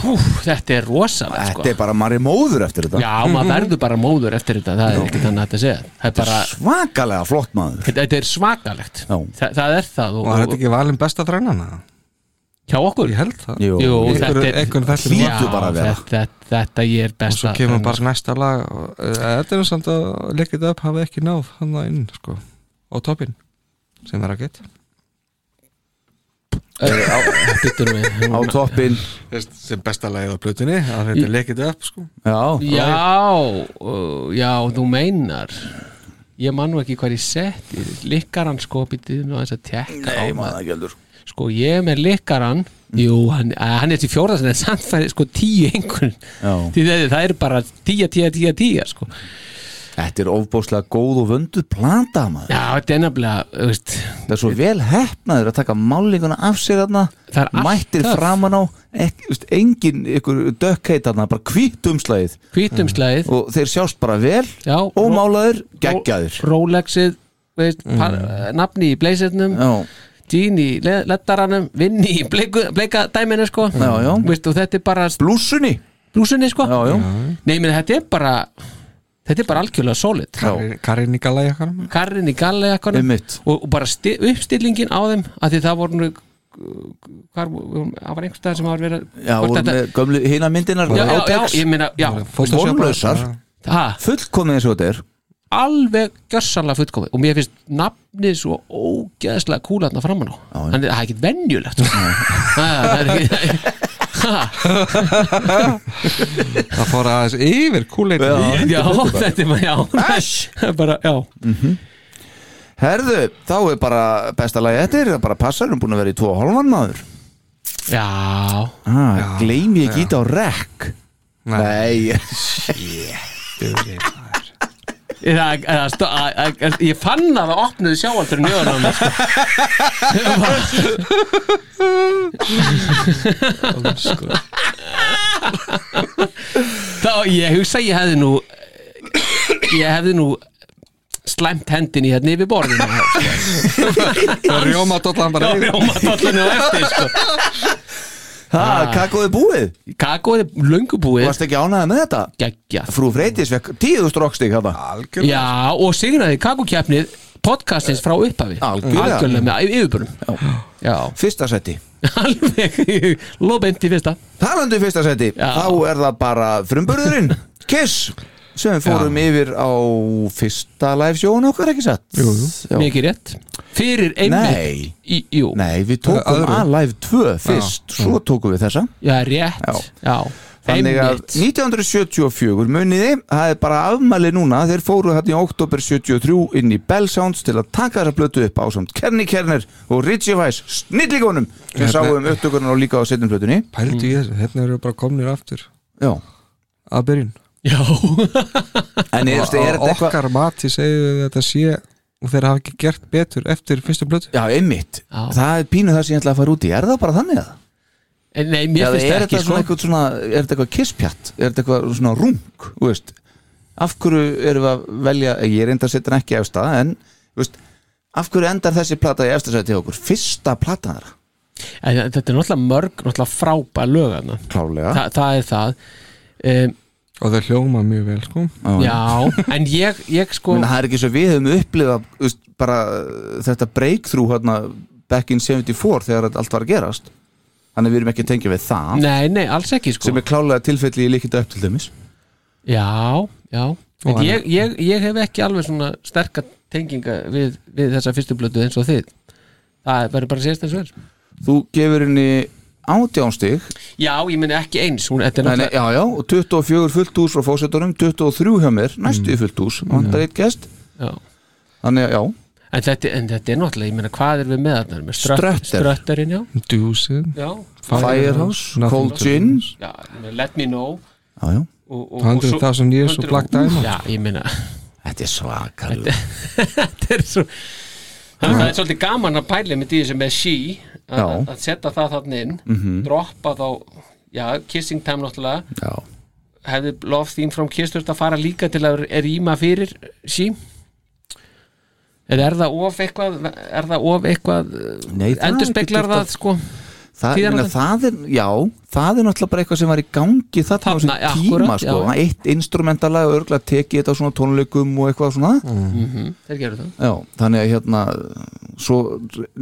Speaker 3: Hú, þetta er rosalegt
Speaker 1: Þetta
Speaker 3: sko.
Speaker 1: er bara marri móður eftir þetta
Speaker 3: Já, maður verður bara móður eftir þetta Það er ekki þannig að þetta segja Það er bara,
Speaker 1: Svakalega flott maður
Speaker 3: þetta er svakalegt
Speaker 1: Já.
Speaker 3: Þa, Það er það og,
Speaker 4: Var þetta ekki valin besta þrænana?
Speaker 3: hjá okkur
Speaker 4: Ég held það
Speaker 1: Jú.
Speaker 3: Jú,
Speaker 4: Einhver-
Speaker 3: þetta er
Speaker 4: einhver þessum
Speaker 1: Hlýtur
Speaker 3: Já,
Speaker 1: bara að vera.
Speaker 3: þetta, þetta, þetta ég er
Speaker 4: Og
Speaker 3: best
Speaker 4: svo kemur
Speaker 3: sko.
Speaker 4: bara næsta lag og- eh, Þetta er nú samt að leikið upp hafa ekki náð hann það inn sko á toppin sem er að geta
Speaker 3: Byttur við
Speaker 1: Á
Speaker 3: núna.
Speaker 1: toppin
Speaker 4: Þess- sem besta lagið á plötunni að þetta er leikið upp sko
Speaker 1: Já,
Speaker 3: Já, uh, já, þú meinar Ég man nú ekki hvað ég setti Likkaran sko, býttu nú aðeins að tekka á
Speaker 1: Nei, maður Mm.
Speaker 3: maður
Speaker 1: það gældur
Speaker 3: Sko, ég er með likkaran Jú, hann, að, hann er til fjórðast en samt fæði sko tíu einhvern
Speaker 1: Já.
Speaker 3: Því það, það er bara tíja, tíja, tíja, tíja sko.
Speaker 1: Þetta er ofbóðslega góð og vönduð planta maður
Speaker 3: Já, þetta er nefnilega þú veist,
Speaker 1: Það er svo vel hefnaður að taka málinguna af sér þarna
Speaker 3: Það er allt
Speaker 1: Mættir
Speaker 3: töff.
Speaker 1: framan á ekki, veist, Engin ykkur dökkheit þarna Bara hvítt umslagið
Speaker 3: hvítumslæðið
Speaker 1: Og þeir sjást bara vel
Speaker 3: Já,
Speaker 1: Og málaður, geggjaður Mm.
Speaker 3: Rolexið veist, par, nafni í blazernum
Speaker 1: Já,
Speaker 3: Jean í le- lettaranum vinn í bleiku- bleika dæminu sko
Speaker 1: Já, já.
Speaker 3: Veist, og þetta er bara
Speaker 1: blússunni
Speaker 3: blúsunni sko
Speaker 1: Já, já,
Speaker 3: nei, meni, þetta er bara þetta er bara algjörlega solid
Speaker 1: já.
Speaker 4: Karin í gala jakkar
Speaker 3: karrin í galli og,
Speaker 1: Einmitt.
Speaker 3: og bara sti- uppstillingin á þeim að því það voru nú- hvar, það var einhvers stað sem var verið
Speaker 1: Já,
Speaker 3: hvort
Speaker 1: voru
Speaker 3: þetta-
Speaker 1: með gömlu hina myndinar
Speaker 3: já, já, já,
Speaker 1: Átex,
Speaker 3: ég meina já,
Speaker 1: Vonlausar,
Speaker 3: það,
Speaker 1: fullkomið eins og þetta er
Speaker 3: alveg gjörsanlega fullkomið og mér finnst nafnið svo ógeðslega kúla þarna framan á
Speaker 1: já.
Speaker 3: Þannig að það er ekkert venjulegt sko. Ha, það er ekki Ha,
Speaker 4: það fór aðeins yfir kúleit
Speaker 1: Já.
Speaker 3: já, þetta er bara já, það er bara, já
Speaker 1: Herðu, þá er bara besta lagi eftir, það bara passar, við erum búin að vera í tvo og hálfan maður
Speaker 3: Já,
Speaker 1: ah, Gleimi ekki ít á rekk Nei,
Speaker 3: það, það, stó, að, að, að, ég fann að það opnuði sjáaldurinn í öðrum sko. sko. Þá, ég hugsa ég hefði nú ég hefði nú slæmt hendin í hérna yfir borðinu sko.
Speaker 4: það rjóma dollan bara yfir
Speaker 3: Rjómadollinni á eftir sko.
Speaker 1: ha, kakóði búið
Speaker 3: Kakóið er löngu
Speaker 1: Þú
Speaker 3: búið
Speaker 1: varst ekki ánæðið með þetta
Speaker 3: geggjað
Speaker 1: Frú Freytis fekk tíðu strókstig hana
Speaker 4: algjörlega
Speaker 3: Já, og sigraði kakókjafnið podcastins frá upphafi
Speaker 1: Algjörlega.
Speaker 3: Algjörlega með yfirbörum Já,
Speaker 1: Fyrsta seti
Speaker 3: alveg Lóbeint í fyrsta
Speaker 1: Talandi um fyrsta seti,
Speaker 3: Já.
Speaker 1: þá er það bara frumburðurinn Kiss sem við fórum yfir á fyrsta live sjónu okkar, ekki satt? Jú, jú.
Speaker 3: Mikið rétt Fyrir einmitt
Speaker 1: Nei.
Speaker 3: í, Jú,
Speaker 1: Nei, við tókum
Speaker 4: Öðru.
Speaker 1: að live 2 fyrst, svo tókum við þessa
Speaker 3: já, rétt Já,
Speaker 1: Þannig að
Speaker 3: einmitt
Speaker 1: 1974 muniði, það er bara afmæli núna þeir fóru hann í oktober 73 inn í Bell Sounds til að taka þessa blötu upp á samt Kenny Kerner og Richie Weiss snillikonum sem
Speaker 4: Hérna-
Speaker 1: sáum upptökurnar og líka á setjum blötunni
Speaker 4: pældu í þessu hérna eru bara komnir aftur
Speaker 1: Já,
Speaker 4: að byrjun
Speaker 3: Já,
Speaker 1: en er, er,
Speaker 4: og
Speaker 1: þetta eitthvað
Speaker 4: okkar mati segir við þetta sé og þeir hafa ekki gert betur eftir fyrstu blötu
Speaker 1: Já, einmitt,
Speaker 3: Já.
Speaker 1: það er pínu það sem ég ætla að fara út í Er það bara þannig að?
Speaker 3: En nei,
Speaker 1: Já,
Speaker 3: mér
Speaker 1: er
Speaker 3: finnst það
Speaker 1: þetta
Speaker 3: ekki
Speaker 1: svona
Speaker 3: sko
Speaker 1: eitthvað svona, er þetta eitthvað kisspjatt? Er þetta eitthvað svona rung, þú veist? Af hverju erum við að velja, eh, ég er enda að setja hann ekki efsta, en, þú veist, af hverju endar þessi plata í efsta sæti hjá okkur? Fyrsta plata þeirra?
Speaker 3: En Þetta er náttúrulega mörg, náttúrulega frábæ lög þarna.
Speaker 1: Klálega.
Speaker 3: Þa, Það er það um,
Speaker 4: og þeir hljóma mjög vel sko
Speaker 3: Já, en ég, ég sko
Speaker 1: Menna, það er ekki svo við höfum upplifað, þú veist, bara uh, þetta breakthrough hérna back in 74 þegar þetta allt var að gerast. Þannig að við erum ekki að tengja við það,
Speaker 3: Nei, nei, alls ekki sko
Speaker 1: sem er klálega tilfelli í líkinda upp til dæmis.
Speaker 3: Já, já En
Speaker 4: hann-
Speaker 3: ég, ég, ég hef ekki alveg svona sterka tenginga við, við þessa fyrstu blötu eins og þið Það verður bara að sést eins og þess
Speaker 1: Þú gefur henni átjánstig
Speaker 3: Já, ég meni ekki eins hún, þetta er
Speaker 1: Nei, nei,
Speaker 3: náttúrulega-
Speaker 1: já, já, og 24 fullt hús frá fósettunum, 23 hjá mér, næstu í fullt hús vantar eitt gest,
Speaker 3: já.
Speaker 1: þannig að já
Speaker 3: en, þetta, en þetta er náttúrulega, ég meni hvað er við með þarna? Erum við
Speaker 1: Strötter.
Speaker 3: Strötterinn, já
Speaker 1: Mm.
Speaker 4: Dúsin
Speaker 3: Já,
Speaker 1: Firehouse,
Speaker 4: Nothing
Speaker 1: Cold
Speaker 4: to
Speaker 1: Gin
Speaker 4: Lose.
Speaker 3: já ég meina, let me know
Speaker 1: já, já.
Speaker 3: og, og,
Speaker 4: 100,000 years og
Speaker 3: og
Speaker 4: Black Diamond.
Speaker 3: Já, ég meina,
Speaker 1: Þetta er svakalega
Speaker 3: þetta er svo Það það er svolítið gaman að pæla með því sem með she að-
Speaker 1: Já. Mhm.
Speaker 3: að að setja það þarna inn droppa þá, já, kissing time náttúrulega
Speaker 1: já.
Speaker 3: hefði Love Theme from Kiss þurft að fara líka til að rýma fyrir sí eða er það of eitthvað er það of eitthvað
Speaker 1: Nei, það er
Speaker 3: endur speklar
Speaker 1: ekki þurft
Speaker 3: það sko
Speaker 1: Það,
Speaker 3: Þýðir
Speaker 1: ég meina,
Speaker 3: það?
Speaker 1: það er, já, það er náttúrulega bara eitthvað sem var í gangi þarna á
Speaker 3: Þarna,
Speaker 1: þessum tíma
Speaker 3: akkúrat,
Speaker 1: sko,
Speaker 3: já.
Speaker 1: eitt instrumentalag og örgulega tekið þetta á svona tónleikum og eitthvað svona
Speaker 3: þeir gerðu það
Speaker 1: já, þannig að hérna svo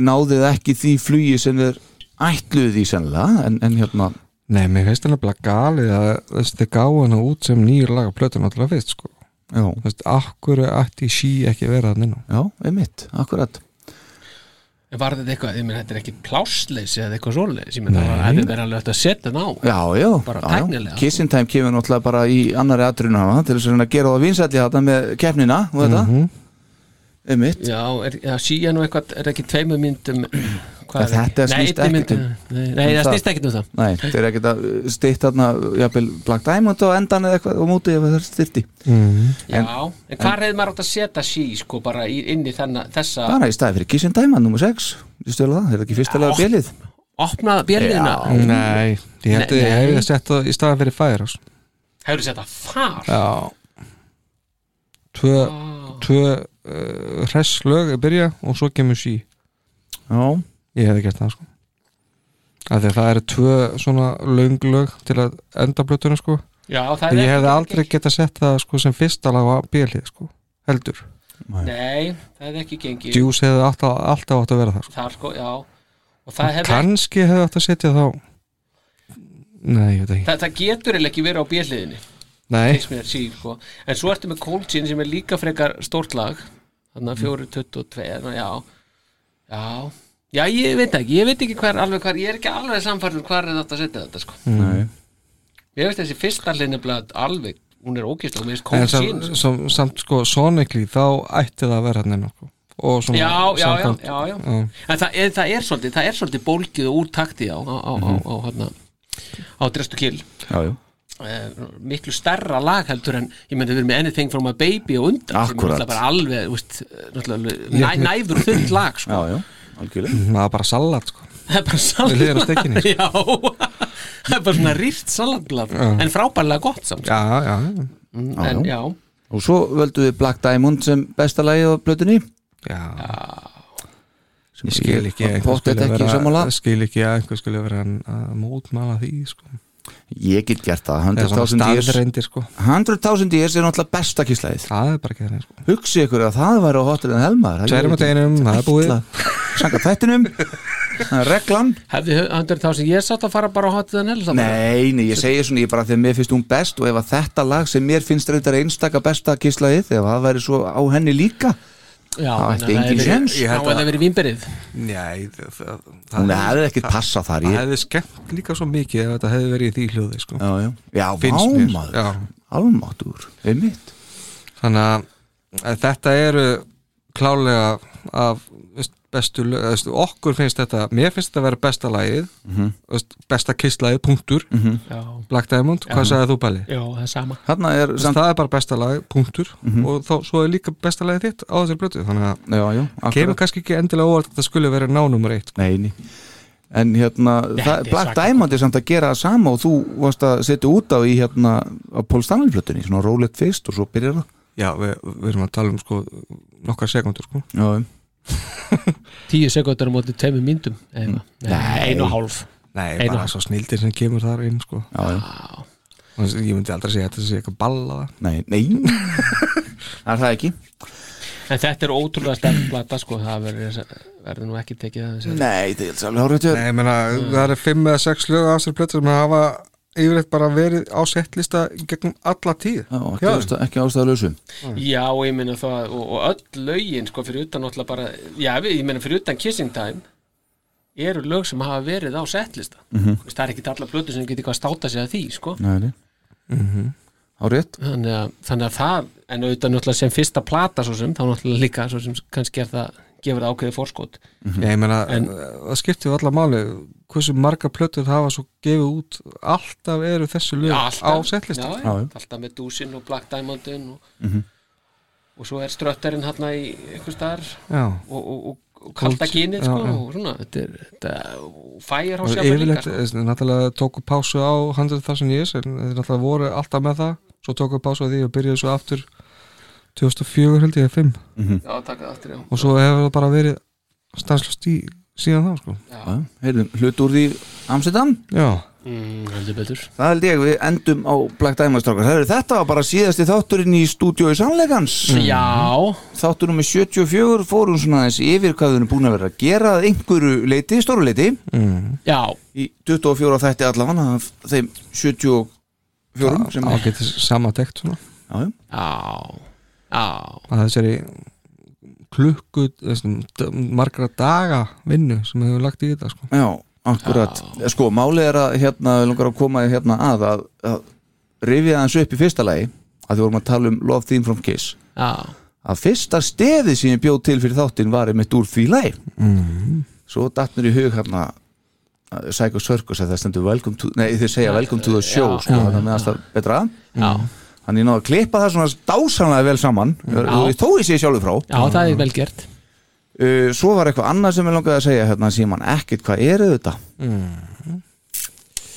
Speaker 1: náðið ekki því flugi sem þeir ætluðu því sennilega en, en hérna,
Speaker 4: Nei, mér finnst það nefnilega galið að þess þið gáðu hana út sem nýjur laga plötun alltaf fyrst sko
Speaker 1: já,
Speaker 4: Þú veist, akkur ætti sí ekki að vera þannig nú
Speaker 1: já, einmitt, akkurat
Speaker 3: En var þetta eitthvað, ég meina þetta er ekki plássleysi eða eitthvað svoleiðis, ég meina
Speaker 4: Nei.
Speaker 3: það hefði verið alveg hægt að setja ná
Speaker 1: já, já,
Speaker 3: Bara
Speaker 1: já, já.
Speaker 3: tæknilega.
Speaker 1: Kissing Time kemur náttúrulega bara í annari atrinu hana til þess að reyna að gera það vinsætli þarna með keppnina og þetta einmitt,
Speaker 3: Já, er, já, síja nú eitthvað, er ekki tveimur myndum hvað
Speaker 1: En þetta
Speaker 3: ekki? Nei,
Speaker 1: snýst
Speaker 3: einni
Speaker 1: ekkert
Speaker 3: mynd- Nei, nei,
Speaker 1: um
Speaker 3: það
Speaker 1: það.
Speaker 3: snýst ekkert um það
Speaker 1: nei, þeir eru ekkert að stýtt þarna, jafnvel, Black Diamond og endan eða eitthvað og mútið ef þeir styrti
Speaker 3: Já, en hvað reyði maður átt að setja sí sko bara í, inn í þenna, þessa
Speaker 1: bara í staði fyrir Kissing Time, nummer 6 ég stölu það, þeir eru ekki fyrstulega bjelið
Speaker 3: opnaða björliðina
Speaker 4: Nei, ég held að
Speaker 3: Nei,
Speaker 4: ég
Speaker 3: nei.
Speaker 4: hefði að setja það í staðan fyrir færa
Speaker 3: Hefur þetta far
Speaker 4: Já Tvö, tvö uh, hress lög að byrja og svo kemur sí
Speaker 1: já,
Speaker 4: Ég hefði gert það sko Af því að það eru tvö svona löng lög til að enda plötuna sko
Speaker 3: Já, það
Speaker 4: En
Speaker 3: er
Speaker 4: ég hefði
Speaker 3: ekki-
Speaker 4: aldrei geta sett það sko sem fyrsta lag á bílið sko Heldur
Speaker 3: Nei, það er ekki gengið
Speaker 4: Juice hefði alltaf, alltaf átt að vera það sko.
Speaker 3: Þar sko, já Og það hefði
Speaker 4: Kanski hefði átt að setja þá Nei, ég veit ekki
Speaker 3: Það, það getur eiginlega ekki verið á björliðinni
Speaker 4: Nei,
Speaker 3: finnst mér síl sko. en svo ertu með Cold Gin sem er líka frekar stórt lag þannig að 4.22 já. já já, ég veit það ekki, ég veit ekki hver alveg hvar, ég er ekki alveg samfærður hvar er þetta að setja þetta sko.
Speaker 1: nei
Speaker 3: ég veist þessi fyrsta hlinniblega alveg hún er ógist og mér finnst
Speaker 4: en
Speaker 3: Cold
Speaker 4: sam,
Speaker 3: Gin sko.
Speaker 4: sam, samt sko sonically þá ætti það að vera hann sko. og svona
Speaker 3: já, já, já,
Speaker 4: samkvæmt-
Speaker 3: já, já en það er, það er svolítið, það er svolítið bólgið og úr takti á á, á, á, á, hérna, á Drestu Kill
Speaker 1: já, já
Speaker 3: eh, miklu stærra lag heldur en ég myndi að vera með anything from a baby og undan sem er
Speaker 1: Akkúrat.
Speaker 3: náttúrulega bara alveg úst, náttúrulega, næ, næfur þund lag sko.
Speaker 1: Já, já, algjörlega
Speaker 4: það er bara salat sko.
Speaker 3: það er bara
Speaker 4: Við hliðina á
Speaker 3: salat
Speaker 4: steikinni,
Speaker 3: já, það er bara svona rýrt salatblad en frábærlega gott samt sko.
Speaker 4: já, já,
Speaker 3: en, já.
Speaker 1: Og svo völdu við Black Diamond sem besta lagið á blötunni
Speaker 4: já.
Speaker 1: sem
Speaker 4: ég skil ekki að einhver
Speaker 1: Pottet
Speaker 4: skuli
Speaker 1: ekki
Speaker 4: vera-
Speaker 1: sammála
Speaker 4: skil ekki að einhver skulle vera hann að mótmæla því sko.
Speaker 1: Ég get gert það,
Speaker 4: eða svona
Speaker 1: 100.000 years
Speaker 4: staðreindir sko.
Speaker 1: 100.000 years er náttúrulega besta kíslaðið
Speaker 4: það er bara ekki þannig sko.
Speaker 1: Hugsið ykkur að það væri á hotelin Helmar
Speaker 4: tveir með einum, það er búið
Speaker 1: Sanga þættinum Það er Reglan
Speaker 3: hefði hundur þá sem ég satt að fara bara á hotið en helst
Speaker 1: Nei, nei, ég segi svona, ég bara þegar mér finnst hún best og ef að þetta lag sem mér finnst reyndar einstaka besta kíslaðið, ef það væri svo á henni líka
Speaker 3: já,
Speaker 1: Það ætti engin séns.
Speaker 3: þá
Speaker 4: Ég held
Speaker 3: hefði
Speaker 4: að-
Speaker 3: það verið vínberið
Speaker 4: Nei, það, það,
Speaker 1: Hún hefði ekkert passað þar
Speaker 4: það
Speaker 1: ég,
Speaker 4: hefði skemmt líka svo mikið ef þetta hefði verið í því hljóði sko.
Speaker 1: Já, já, já,
Speaker 4: Finnst mér.
Speaker 1: vámaður
Speaker 4: Já.
Speaker 1: Almáttur, einmitt
Speaker 4: þannig að þetta eru klálega af veist, bestu, lög- eða, veist, okkur finnst þetta mér finnst þetta að vera besta lagið veist, besta kistlagið, punktur
Speaker 3: já,
Speaker 4: Black Diamond, hvað sagði þú Bæli?
Speaker 3: já, það er sama
Speaker 1: Þarna er
Speaker 4: Veist,
Speaker 1: samt
Speaker 4: það er bara besta lagið, punktur og þá, svo er líka besta lagið þitt á þessari blötu þannig að
Speaker 1: Já, já,
Speaker 4: kemur
Speaker 1: akkurat
Speaker 4: kannski ekki endilega óvart að þetta skulle vera nánumur eitt
Speaker 1: Nei, nei En hérna, það,
Speaker 3: er
Speaker 1: Black
Speaker 3: svaka.
Speaker 1: Diamond er samt að gera það sama og þú varst að setja út á í hérna á Paul Stanley plötunni, svona rólegt fyrst og svo byrjar það
Speaker 4: já, við, við erum að tala um sko nokkar sekundur sko
Speaker 1: Já,
Speaker 3: tíu sekundar á móti tveimur myndum eða,
Speaker 1: Nei.
Speaker 3: einu og hálf
Speaker 4: Nei,
Speaker 3: Einu.
Speaker 4: bara svo snildir sem kemur þar inn sko.
Speaker 1: já, já,
Speaker 4: Og ég myndi aldrei segja að þetta sé eitthvað balla
Speaker 1: nei, nei Það er það ekki
Speaker 3: en þetta er ótrúlega stærn plata sko, það verður, verður nú ekki tekið að þessi
Speaker 1: Nei, það er alveg hárættur
Speaker 4: Nei, ég meina,
Speaker 3: Mm.
Speaker 4: það eru fimm eða sex lög á þessari plötu sem hafa yfirleitt bara verið á settlista í gegnum alla tíð
Speaker 1: Já, ekki,
Speaker 4: Já.
Speaker 1: ástæð, ekki ástæðalösu
Speaker 3: Já, ég meina það og, og öll lögin sko fyrir utan náttúrulega bara já, við, ég meina fyrir utan Kissing Time eru lög sem hafa verið á setlista mm
Speaker 4: Mhm.
Speaker 3: -hmm. það er ekki allar blötu sem getur eitthvað að státa sig að því sko
Speaker 1: Nei, nei Hárétt
Speaker 3: þannig að, þannig að það en auðvitað náttúrulega sem fyrsta plata svo sem þá náttúrulega líka svo sem kannski er það gefur það ákveðið fórskot
Speaker 4: Já, ég meina,
Speaker 3: En-
Speaker 4: það skiptir alla máli hversu marga plötur það hafa svo gefið út alltaf eru þessu lög á settlista
Speaker 3: já,
Speaker 1: Já, já.
Speaker 3: alltaf með Dúsin og Black Diamondin og,
Speaker 4: Mhm.
Speaker 3: og svo er strötterinn hérna í einhvers staðar
Speaker 4: Já,
Speaker 3: og, og, og, og
Speaker 4: Cold-
Speaker 3: kalda kynið
Speaker 4: já,
Speaker 3: sko,
Speaker 4: já.
Speaker 3: og svona þetta er, þetta, og fæjar á
Speaker 4: og
Speaker 3: sjálf líka
Speaker 4: yfirleitt
Speaker 3: sko.
Speaker 4: sko. náttúrulega tóku pásu á 100.000 years en þeir náttúrulega voru alltaf með það svo tóku pásu á því og byrjuðu svo aftur 2004 held ég, 5 Mhm.
Speaker 3: já, taka það aftur já.
Speaker 4: og svo hefur það bara verið stanslast í síðan þá sko
Speaker 1: heyrðum, hlut úr því Amsterdam
Speaker 4: já,
Speaker 3: mm, heldur betur
Speaker 1: það held ég að við endum á Black Diamond strákar það eru þetta var bara síðasti þátturinn í stúdíói sannleikans
Speaker 3: Mm. já,
Speaker 1: þáttur nummer 74 fórum svona aðeins yfir hvað við erum búin að vera að gera að einhverju leiti, stóru leiti
Speaker 3: já,
Speaker 1: í 24 þætti allan af þeim 74 sem
Speaker 4: það getur samatekt svona
Speaker 1: Já, já.
Speaker 3: já já,
Speaker 4: að þessari klukku þessum, d- margra daga vinnu sem hefur lagt í þetta sko.
Speaker 1: Já, akkurat Sko, málið er að hérna, við langar að koma hérna að að, að rifja aðeins upp í fyrsta lagi að því vorum að tala um Love Theme from Kiss
Speaker 3: já
Speaker 1: að fyrsta stefið sem ég bjóð til fyrir þáttinn var einmitt úr því lagi
Speaker 3: Mhm.
Speaker 1: Svo datt mér í hug hérna að Psycho Circus að það stendur welcome to, nei þið segja welcome to the show
Speaker 3: já,
Speaker 1: sko, þannig að meðast það betra
Speaker 3: Já,
Speaker 1: Mm. Þannig ég náðu að klippa það svona dásamlega vel saman
Speaker 3: Mm. Já.
Speaker 1: þó ég sé sjálfur frá
Speaker 3: já, það er vel gert
Speaker 1: uh, Svo var eitthvað annað sem ég langaði að segja hérna sem mann ekkert hvað er þetta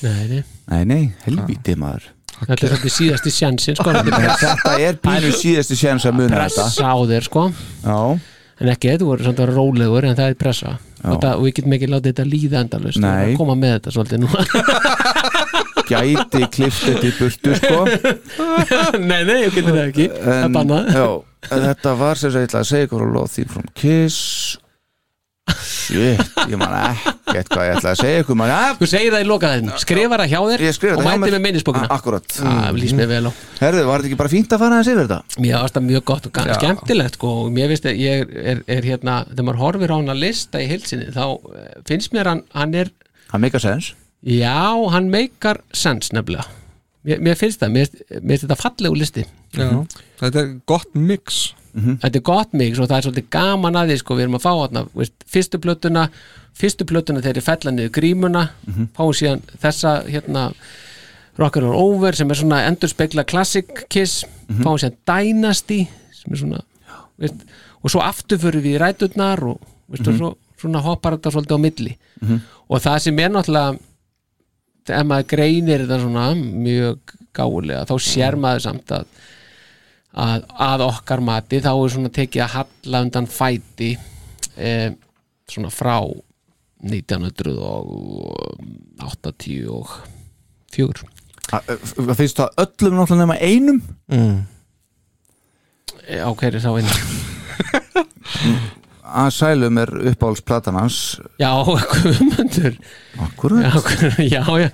Speaker 3: Nei, nei.
Speaker 1: Nei, nei, helvítið maður
Speaker 3: Þetta er svolítið síðasti sjansin sko. Þetta er
Speaker 1: En Þetta er pínu síðasti séns að muna þetta
Speaker 3: pressa á þér sko.
Speaker 1: Já,
Speaker 3: En ekki, þú voru samt að vera rólegur En það er pressa og, það, og við getum ekki látið þetta líða endalust Við
Speaker 1: Nei.
Speaker 3: erum að koma með þetta svolítið nú
Speaker 1: gæti klift þetta í burtu sko
Speaker 3: Nei, nei, ég getur það ekki Það er
Speaker 1: en,
Speaker 3: bannað
Speaker 1: já, en þetta var sem sagt, ég ætla að segja ykkur á Love Theme from Kiss Shit, ég man ekkert hvað ég ætla að segja ykkur man, að,
Speaker 3: Þú segir það í lokaðin, skrifar það hjá þér
Speaker 1: Ég skrifa
Speaker 3: Og
Speaker 1: þetta hjá
Speaker 3: mætir
Speaker 1: mér.
Speaker 3: með minnisbókina
Speaker 1: Ah, Akkurat Mm.
Speaker 3: Það lýst mér vel á
Speaker 1: Herðu, var þetta ekki bara fínt að fara aðeins yfir þetta?
Speaker 3: Mér varst það mjög gott og gann skemmtilegt sko, og mér finnst að ég er, er, er hérna þegar maður horfir á hann að lista í heilsinni þá eh, finnst mér hann, hann er
Speaker 1: Það meika sens
Speaker 3: Já, hann meikar sens nefnilega Mér, mér finnst það, mér, finnst- mér finnst þetta fallegu listi
Speaker 4: Já. þetta er gott mix
Speaker 3: Þetta er gott mix og það er svolítið gaman að því sko, við erum að fá þarna, veist, fyrstu plötuna fyrstu plötuna þegar ég fella niður grímuna mm fáum síðan þessa hérna Rocker and Over sem er svona endur spekla classic kiss fáum síðan Dynasty sem er svona veist, og svo aftur fyrir við í ræturnar og veist, mm svo, svona hoppar þetta svolítið á milli og það sem er náttúrulega ef maður greinir þetta svona mjög gáulega þá sér maður samt að að, að okkar mati þá er svona tekið að halla undan fæti eh, svona frá 1984 og fjögur
Speaker 1: Ah, Það eh, finnst það öllum náttúrulega nema einum
Speaker 3: E, á hverju sá einu
Speaker 1: Asylum er uppáhaldsplatan hans
Speaker 3: já, guðmundur já,
Speaker 1: Akkurat
Speaker 3: Guð- já, já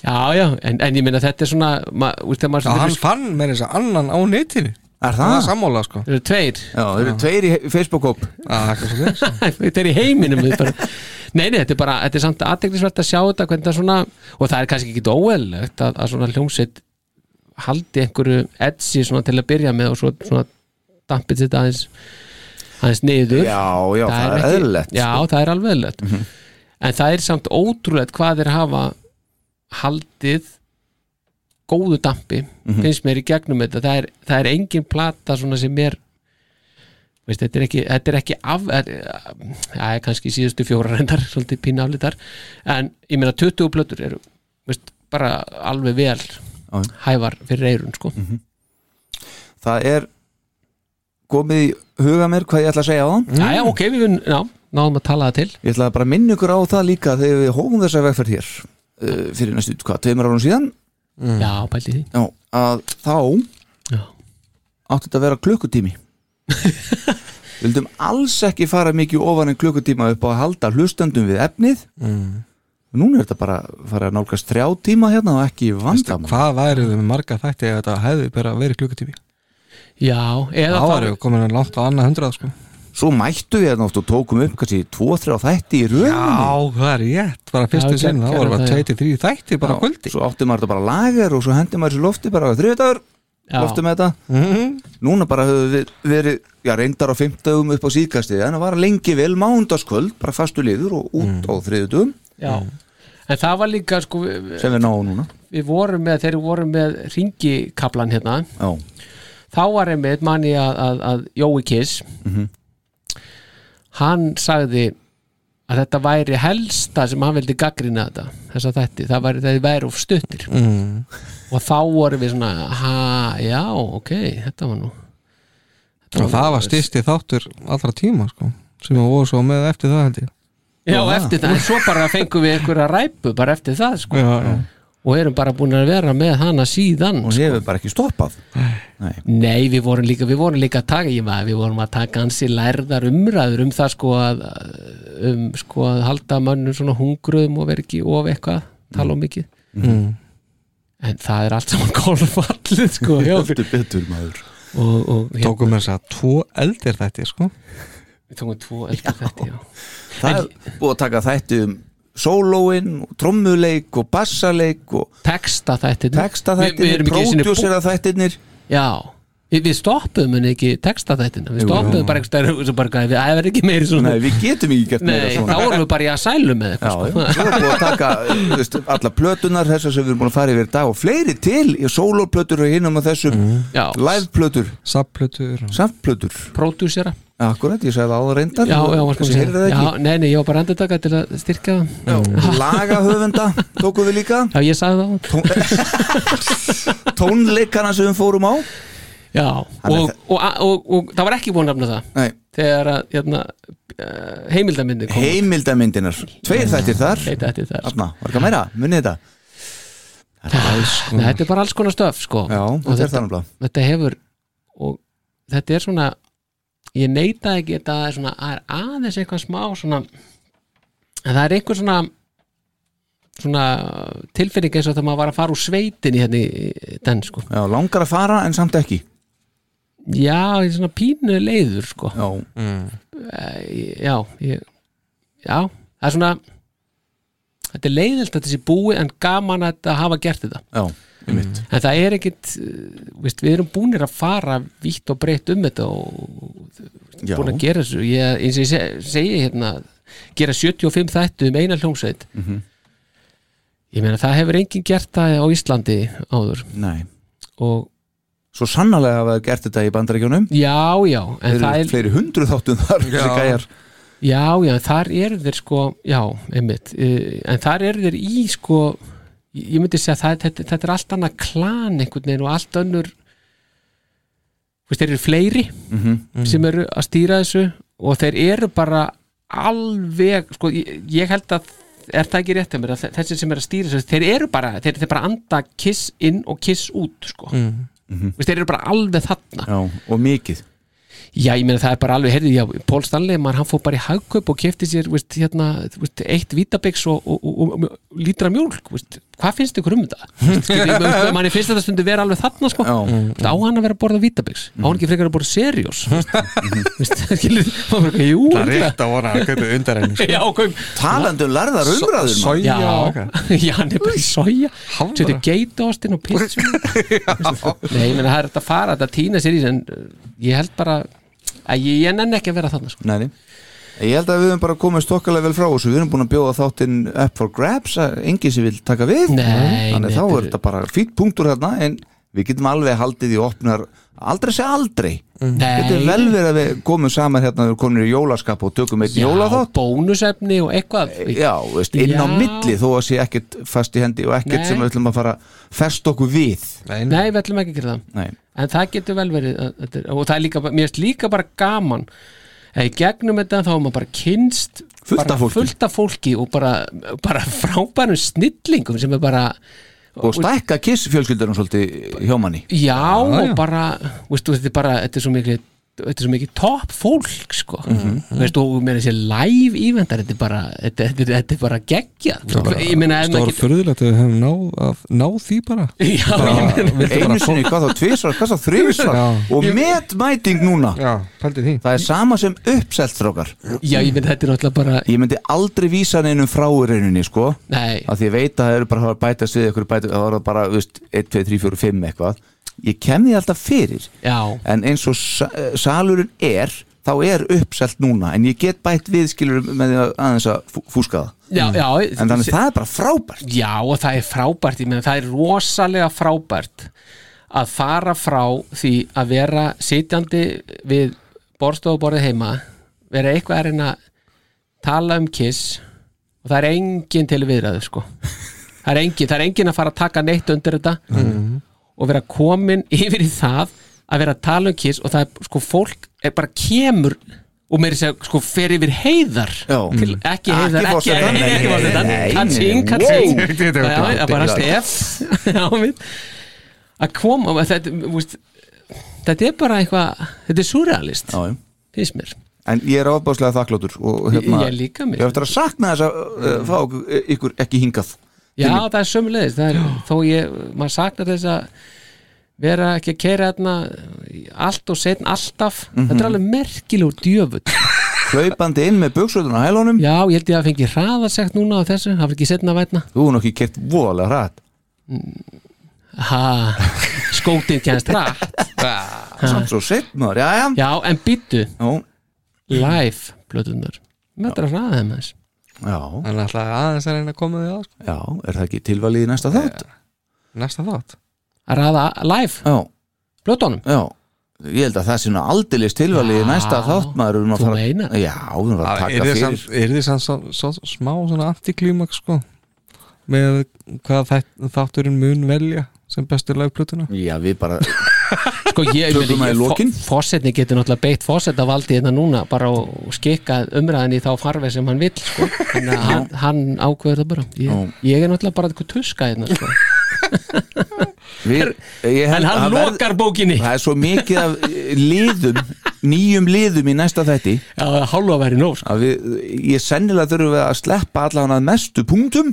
Speaker 3: já, já, en, en ég minna þetta er svona ma, úst, maður,
Speaker 4: Já,
Speaker 3: það
Speaker 4: hann
Speaker 3: eru,
Speaker 4: fann með þess að annan á netinu
Speaker 1: Er
Speaker 4: það
Speaker 1: það?
Speaker 4: er sammála sko
Speaker 3: það eru tveir
Speaker 1: Já, þeir eru tveir í Facebook-kóp
Speaker 4: ah, já,
Speaker 3: þetta er í heiminum þetta er bara- nei, nei, þetta er bara, þetta er samt aðteglisvert að sjá þetta hvernig það svona, og það er kannski ekki óeðlegt að, að svona hljómsveit haldi einhverju edsi svona til að byrja með og svo svona dampið þetta aðeins aðeins niður
Speaker 1: Já, já, það er
Speaker 3: ekki-
Speaker 1: eðlilegt sko. Mhm.
Speaker 3: já, það er alveg eðlilegt en það er samt ótrúlegt hvað þeir hafa haldið góðu dampi
Speaker 1: Mhm.
Speaker 3: finnst mér í gegnum þetta það er, það er engin plata svona sem er veist, þetta er ekki, þetta er ekki af, er, ja, kannski síðustu fjórar reyndar svolítið pínu aflítar en ég meina 20 plötur eru veist, bara alveg vel
Speaker 1: Já.
Speaker 3: hæfar fyrir eyrun sko
Speaker 1: Mhm. það er komið í huga mér hvað ég ætla að segja á það
Speaker 3: já, já, ok, við vinn- já, náðum að tala það til
Speaker 1: ég ætla að bara minna ykkur á það líka þegar við hófum þessa vegferð hér uh, fyrir næstu, hvað, tveimur árum síðan Mm.
Speaker 3: já, pældi því
Speaker 1: já, að þá
Speaker 3: já.
Speaker 1: átti þetta að vera klukkutími Við vildum alls ekki fara mikið ofan en klukkutíma upp á að halda hlustendum við efnið mm. núna er þetta bara að fara að nálgast þrjá tíma hérna og ekki vandam
Speaker 4: hvað værið við með marga þætti ef þetta hefði bara verið klukkutími
Speaker 3: Já, eða
Speaker 4: þá
Speaker 3: þá
Speaker 4: værið við komin að langt á annað hundrað sko
Speaker 1: svo mættu við hérna oft og tókum upp kannski tvo, þrjá þætti í
Speaker 4: já,
Speaker 1: rauninni
Speaker 4: það er rétt bara fyrstu
Speaker 3: Já,
Speaker 4: sinn,
Speaker 3: gerðu
Speaker 4: þá voru bara
Speaker 3: það, já.
Speaker 4: 23 þætti bara á kvöldi
Speaker 1: svo átti maður þetta bara lager og svo hendi maður þessu lofti bara þriðdagur
Speaker 3: Já.
Speaker 1: lofti með þetta núna bara höfum við verið já, reyndar á fimmtagum upp á síðkastið en það var lengi vel mándaskvöld bara fastu liður og
Speaker 3: Mm.
Speaker 1: út á þriðutum
Speaker 3: já. En það var líka, sko, við,
Speaker 1: sem við náum núna
Speaker 3: við vorum með, þegar við vorum með ringikablan hérna,
Speaker 1: já,
Speaker 3: þá var einmitt manni að, að, að Jói Kiss, hann sagði að þetta væri helsta sem hann vildi gaggrina þetta, þess að þetta, það væri, það væri of stuttir.
Speaker 4: Mm.
Speaker 3: Og þá vorum við svona, ha, já, ok, þetta var nú.
Speaker 4: og það var styrsti þáttur allra tíma sko sem að voru svo með eftir það held ég
Speaker 3: Já, og eftir það, en svo bara fengum við einhverja ræpu bara eftir það, sko
Speaker 4: já, já.
Speaker 3: og erum bara búin að vera með hana síðan
Speaker 1: hún hefur bara ekki stoppað Nei.
Speaker 3: Nei, við vorum líka, við vorum líka að taka ég maður, við vorum að taka ansi lærðar umræður um það sko að um sko að halda mönnum svona hungruðum og vera ekki of eitthvað tala
Speaker 1: Mm.
Speaker 3: um mikið en það er allt saman golfallið sko hjá okkur.
Speaker 1: betur maður
Speaker 3: og, og hérna,
Speaker 4: tókum við þess að tvo eldir þetta sko.
Speaker 3: við tókum tvo eldur þetta já.
Speaker 1: það er búið að taka þætti um sólóin, trommuleik og bassaleik og
Speaker 3: texta þetta
Speaker 1: texta
Speaker 3: við, við
Speaker 1: þættinir,
Speaker 3: erum ekki einu sinni bú-
Speaker 1: pródjúsera þættinir
Speaker 3: Já, við, við stoppum en ekki texta þættina Við
Speaker 1: Jú,
Speaker 3: stoppum
Speaker 1: jú.
Speaker 3: bara einhvers staðar og svo bara eitthvað Það er ekki meiri svona
Speaker 1: Nei, við getum ekki gert meira
Speaker 3: Nei, þá
Speaker 1: svona
Speaker 3: vorum við bara í að sælu með
Speaker 1: Já,
Speaker 3: eitthvað
Speaker 1: já,
Speaker 3: sko.
Speaker 1: svo er búið að taka þú veist, alla plötunar þessar sem við erum búin að fara yfir í dag og fleiri til, í sólóplötur og hinum og þessum,
Speaker 3: Já,
Speaker 1: liveplötur
Speaker 4: saplutur og...
Speaker 1: samplötur,
Speaker 3: pródúsera
Speaker 1: akkurat, ég sagði áður reyndar
Speaker 3: Já, já, varst
Speaker 1: kannski
Speaker 3: búin að
Speaker 1: heyrið það
Speaker 3: segja
Speaker 1: ekki
Speaker 3: Já, nei, nei, ég var bara endur taka til að styrka það
Speaker 1: lagahöfunda tókum við líka
Speaker 3: Já, ég sagði það á hann.
Speaker 1: tónleikana sem við fórum á
Speaker 3: Já,
Speaker 1: Hann er
Speaker 3: og, og, og, og, það var ekki búin að nefna það
Speaker 1: Nei,
Speaker 3: Þegar að, hérna, eh, heimildamyndi kom út.
Speaker 1: heimildamyndinar tveir
Speaker 3: Mm.
Speaker 1: þættir þar
Speaker 3: Leita eftir það sko.
Speaker 1: Arna, var ekki að meira, munið þetta
Speaker 3: Nei, Þetta er bara alls konar stöf, sko
Speaker 1: já,
Speaker 3: Og
Speaker 1: þetta er þannig
Speaker 3: þetta hefur og þetta er svona ég neita ekki þetta er svona það er aðeins eitthvað smá svona en það er einhver svona svona tilfinning eins og það maður var að fara úr sveitin í hérna í den sko
Speaker 1: já, langar að fara en samt ekki
Speaker 3: já, ég er svona pínu leiður sko
Speaker 1: já,
Speaker 3: Eh, já, ég, já það er svona þetta er leiðilt að þessi búi en gaman að þetta hafa gert þetta
Speaker 1: já, einmitt
Speaker 3: en það er ekkit eh, veist, við erum búinir að fara vítt og breytt um þetta og
Speaker 1: já,
Speaker 3: búin að gera þessu ég, eins og ég se- segi hérna gera 75 þættu um eina hljómsveit
Speaker 1: Mhm.
Speaker 3: ég meina það hefur enginn gert það á Íslandi áður
Speaker 1: nei
Speaker 3: og
Speaker 1: svo sannarlega hafa þeir gert þetta í bandaríkjónum
Speaker 3: já, já en
Speaker 1: þeir eru
Speaker 3: það er,
Speaker 1: fleiri hundru þáttum þar þessi gæjar
Speaker 3: já, já, þar eru þeir sko já, einmitt, eh, en þar eru þeir í sko, ég ég myndi segja það, þetta, þetta er allt annað klan einhvern veginn og allt önnur þú veist, þeir eru fleiri sem eru að stýra þessu og þeir eru bara alveg sko, ég, ég held að er það ekki rétt að mér að þe- þessir sem eru að stýra þessu þeir eru bara, þeir, þeir bara anda kiss inn og kiss út sko. mm -hmm. þeir eru bara alveg þarna
Speaker 1: já, og mikið
Speaker 3: Já, ég meina það er bara alveg, heyrðu, já, Pól Stanley maður hann fór bara í hagkaup og kefti sér veist, hérna, veist, eitt vítabix og, og, og, og, og lítra mjólk, veist, hvað finnst ykkur um þetta? Veist, skilur, ég- veist, manni finnst þetta stundu vera alveg þarna sko,
Speaker 1: Já.
Speaker 3: veist, á hann að vera að borða vítabix á hann ekki frekar að borða seriós veist, skilur, maður bara, jú
Speaker 4: það er rétt að vona að kaupa sko. undar henni
Speaker 3: já, kaup
Speaker 1: talandi um lærðar umræður maður.
Speaker 4: sæja
Speaker 3: Já, já, hann er bara í soja
Speaker 4: Hamra.
Speaker 3: Setur geitaostin og pizza Nei, ég meina það er þetta að fara Þetta týna sér í þessu, en uh, ég held bara að ég, ég nenni ekki að vera þarna sko.
Speaker 1: Nei, nei. ég held að við höfum bara komið stokkalega vel frá þessu, við erum búin að bjóða þáttinn up for grabs, að enginn sem vil taka við
Speaker 3: Nei,
Speaker 1: þannig
Speaker 3: nei,
Speaker 1: þá
Speaker 3: þetta
Speaker 1: er
Speaker 3: er-
Speaker 1: þetta bara fýtt punktur þarna en við getum alveg haldið í opnar aldrei segja aldrei
Speaker 3: Mm. Nei.
Speaker 1: þetta er vel verið að við komum saman hérna við erum komin í jólaskap og tökum eitt
Speaker 3: Já,
Speaker 1: jólaþátt
Speaker 3: bónusefni og eitthvað
Speaker 1: já, veist, inn á
Speaker 3: Já.
Speaker 1: milli þó að sé ekkert fast í hendi og ekkert
Speaker 3: Nei.
Speaker 1: sem við ætlum að fara að festa okkur við
Speaker 3: Nei, við ætlum ekki að gera það
Speaker 1: Nei.
Speaker 3: En það getur vel verið að, þetta er- Og það er líka, bara- mér finnst líka bara gaman Eða í gegnum þetta þá er maður bara kynst
Speaker 1: Fullt af
Speaker 3: bara
Speaker 1: fólki.
Speaker 3: fullt af fólki Og bara, bara frábærum snillingum Sem er bara
Speaker 1: og stækka kiss fjölskyldunum svolítið hjá manni
Speaker 3: Já, og bara, veistu, þetta er bara Þetta er svo mikið þetta er svo mikið topp fólk sko, veistu, og meira þessi live íventar, þetta er bara þetta, þetta, er- þetta er bara geggja ég meina, ef maður
Speaker 4: stór
Speaker 3: getur-
Speaker 4: fyrðulegt að við höfum náð að- náð því bara
Speaker 3: Já, ég meina
Speaker 1: einu sinni, hvað þá, tvisvar, hvað þá, þrisvar
Speaker 4: Já.
Speaker 1: og metmæting núna
Speaker 4: já, pældi því
Speaker 1: Það er sama sem uppselt strókar
Speaker 3: Já, ég myndi þetta er náttúrulega bara
Speaker 1: Ég myndi aldrei vísa neinum frá í rauninni sko
Speaker 3: Nei,
Speaker 1: að því ég veit að það eru bara að bæta svið ykkur bæta, það eru bara, þú veist, 1, 2, 3, 4, 5 eitthvað Ég kem því alltaf fyrir
Speaker 3: já,
Speaker 1: en eins og sa- eh, salurinn er þá er uppselt núna en ég get bætt viðskilur með því að aðeins að fú- fúska það
Speaker 3: já, já
Speaker 1: Mm. en þannig það er bara frábært
Speaker 3: Já, og það er frábært, ég meina það er rosalega frábært að fara frá því að vera sitjandi við borstofuborðið heima vera eitthvað að reyna að tala um kiss og það er engin til viðræðu sko það er engin, það er engin að fara að taka neitt undir þetta
Speaker 1: Mm.
Speaker 3: og vera komin yfir í það að vera að tala um kiss og það er sko fólk er bara kemur og meiri segja sko fer yfir heiðar
Speaker 1: Já.
Speaker 3: til, ekki
Speaker 1: Ekki
Speaker 3: heiðar, ekki
Speaker 1: forsetann, nei,
Speaker 3: ekki
Speaker 1: nei,
Speaker 3: forsetann
Speaker 1: nei, nei,
Speaker 3: katsing,
Speaker 1: nei.
Speaker 3: katsing
Speaker 1: Wow.
Speaker 3: Já, já, já, bara stef Já, við- að koma að þetta, úst, þetta er bara eitthvað þetta er surrealist,
Speaker 1: já, já.
Speaker 3: finnst mér
Speaker 1: En ég er ofbáslega þakkláttur og hérna,
Speaker 3: Ég- ég líka, mér Mm.
Speaker 1: Ég er eftir að sakna þess að uh, fá ykkur- ykkur ekki hingað
Speaker 3: Já, það er sömulegis það er, þó ég, maður saknar þess að vera ekki að keira þarna í allt og setn alltaf þetta er
Speaker 1: Mhm.
Speaker 3: alveg merkilegur djöfull
Speaker 1: Hlaupandi inn með buksutun á hælunum
Speaker 3: Já, ég held ég að fengi hraðasegt núna á þessu það var ekki setna að vætna
Speaker 1: Þú er nokki kert voðalega hrætt
Speaker 3: ha, skótið kennst hratt
Speaker 1: Samt svo sett maður, já, já
Speaker 3: Já, en býttu,
Speaker 1: Nú,
Speaker 3: live blöðunar, þetta er að hraða þeim þess
Speaker 1: já,
Speaker 4: Hann er alltaf aðeins að reyna að koma því að sko.
Speaker 1: já, er það ekki tilvalið í næsta þátt?
Speaker 4: Næsta þátt
Speaker 3: að hraða live
Speaker 1: Já,
Speaker 3: blöðunum
Speaker 1: já Ég held að það sé nú aldeilis tilvalið í næsta
Speaker 3: Já,
Speaker 1: þátt maður við erum að
Speaker 3: þú
Speaker 1: fara-
Speaker 3: meinar.
Speaker 1: Já, við erum að
Speaker 4: Er
Speaker 1: taka
Speaker 4: þið
Speaker 1: fyrir
Speaker 4: samt- er þið samt svo- svo- smá svona antiklímak sko með hvað þætt- þátturinn mun velja sem bestu lagplötuna
Speaker 1: Já, við bara,
Speaker 3: Sko ég,
Speaker 1: Tökum það í lokin.
Speaker 3: fósetni getur náttúrulega beitt fósetavaldi hérna núna bara og skikka umræðin í þá farfi sem hann vill sko. Þannig að hann, hann ákveður það bara ég, ég er náttúrulega bara eitthvað tuska hérna sko.
Speaker 1: við, ég held
Speaker 3: En
Speaker 1: að
Speaker 3: hann
Speaker 1: verð-
Speaker 3: lokar bókinni
Speaker 1: Það er svo mikið af eh, liðum Nýjum liðum í næsta þætti
Speaker 3: Já, hálfa væri nóg sko.
Speaker 1: að við, ég sennilega þurfum við að sleppa allan að mestu punktum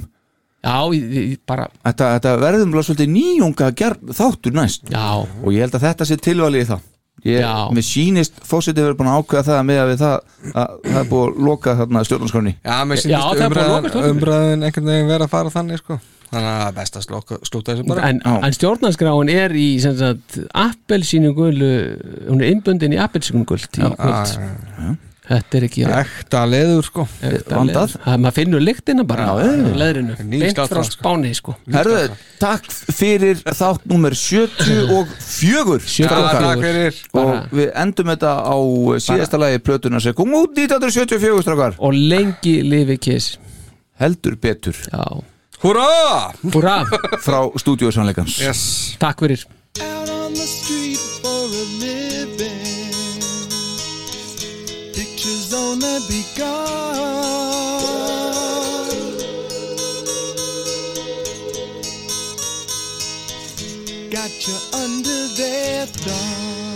Speaker 3: Já, ég, ég, bara,
Speaker 1: þetta, þetta verðum bara svolítið nýjunga gerð þáttur næst
Speaker 3: já
Speaker 1: og ég held að þetta sé tilvalið í það ég,
Speaker 3: Já.
Speaker 1: mér sýnist fósitið verið búin að ákveða það með að við það að það er búið að loka þarna stjórnarskroni
Speaker 4: Já, mér
Speaker 3: Já, það
Speaker 4: sýndist
Speaker 3: er bara
Speaker 4: umræðan,
Speaker 3: lokastjórnin.
Speaker 4: umræðan einhvern veginn vera að fara þannig sko. þannig að það er best að sloka, slúta þessu bara
Speaker 3: En,
Speaker 1: Já.
Speaker 3: en stjórnarskráin er í sem sagt, appelsínugulu hún er innbundin í appelsínugult í
Speaker 1: Ah,
Speaker 3: kvöld Þetta er ekki
Speaker 4: Ekta leður sko
Speaker 1: Eh, vandað.
Speaker 3: Það- Maður finnur lyktina bara
Speaker 1: Já, já.
Speaker 3: á leðrinu Beint
Speaker 4: Ný
Speaker 3: frá
Speaker 4: skjálftaran, sko.
Speaker 3: spáni sko
Speaker 1: Herðu, takk fyrir þátt númer 74
Speaker 4: Já,
Speaker 1: strákar.
Speaker 4: Takk fyrir
Speaker 3: Bara-
Speaker 1: og við endum þetta á síðasta lagi plötuna sem kom út 1974 strákar
Speaker 3: og lengi lifi kiss
Speaker 1: heldur betur
Speaker 3: Já,
Speaker 4: Húrra
Speaker 3: húra,
Speaker 1: frá stúdíósannleikans
Speaker 4: yes.
Speaker 3: takk fyrir
Speaker 2: out on the street for a living. Pictures only begun. Got you under their thumb.
Speaker 7: oh.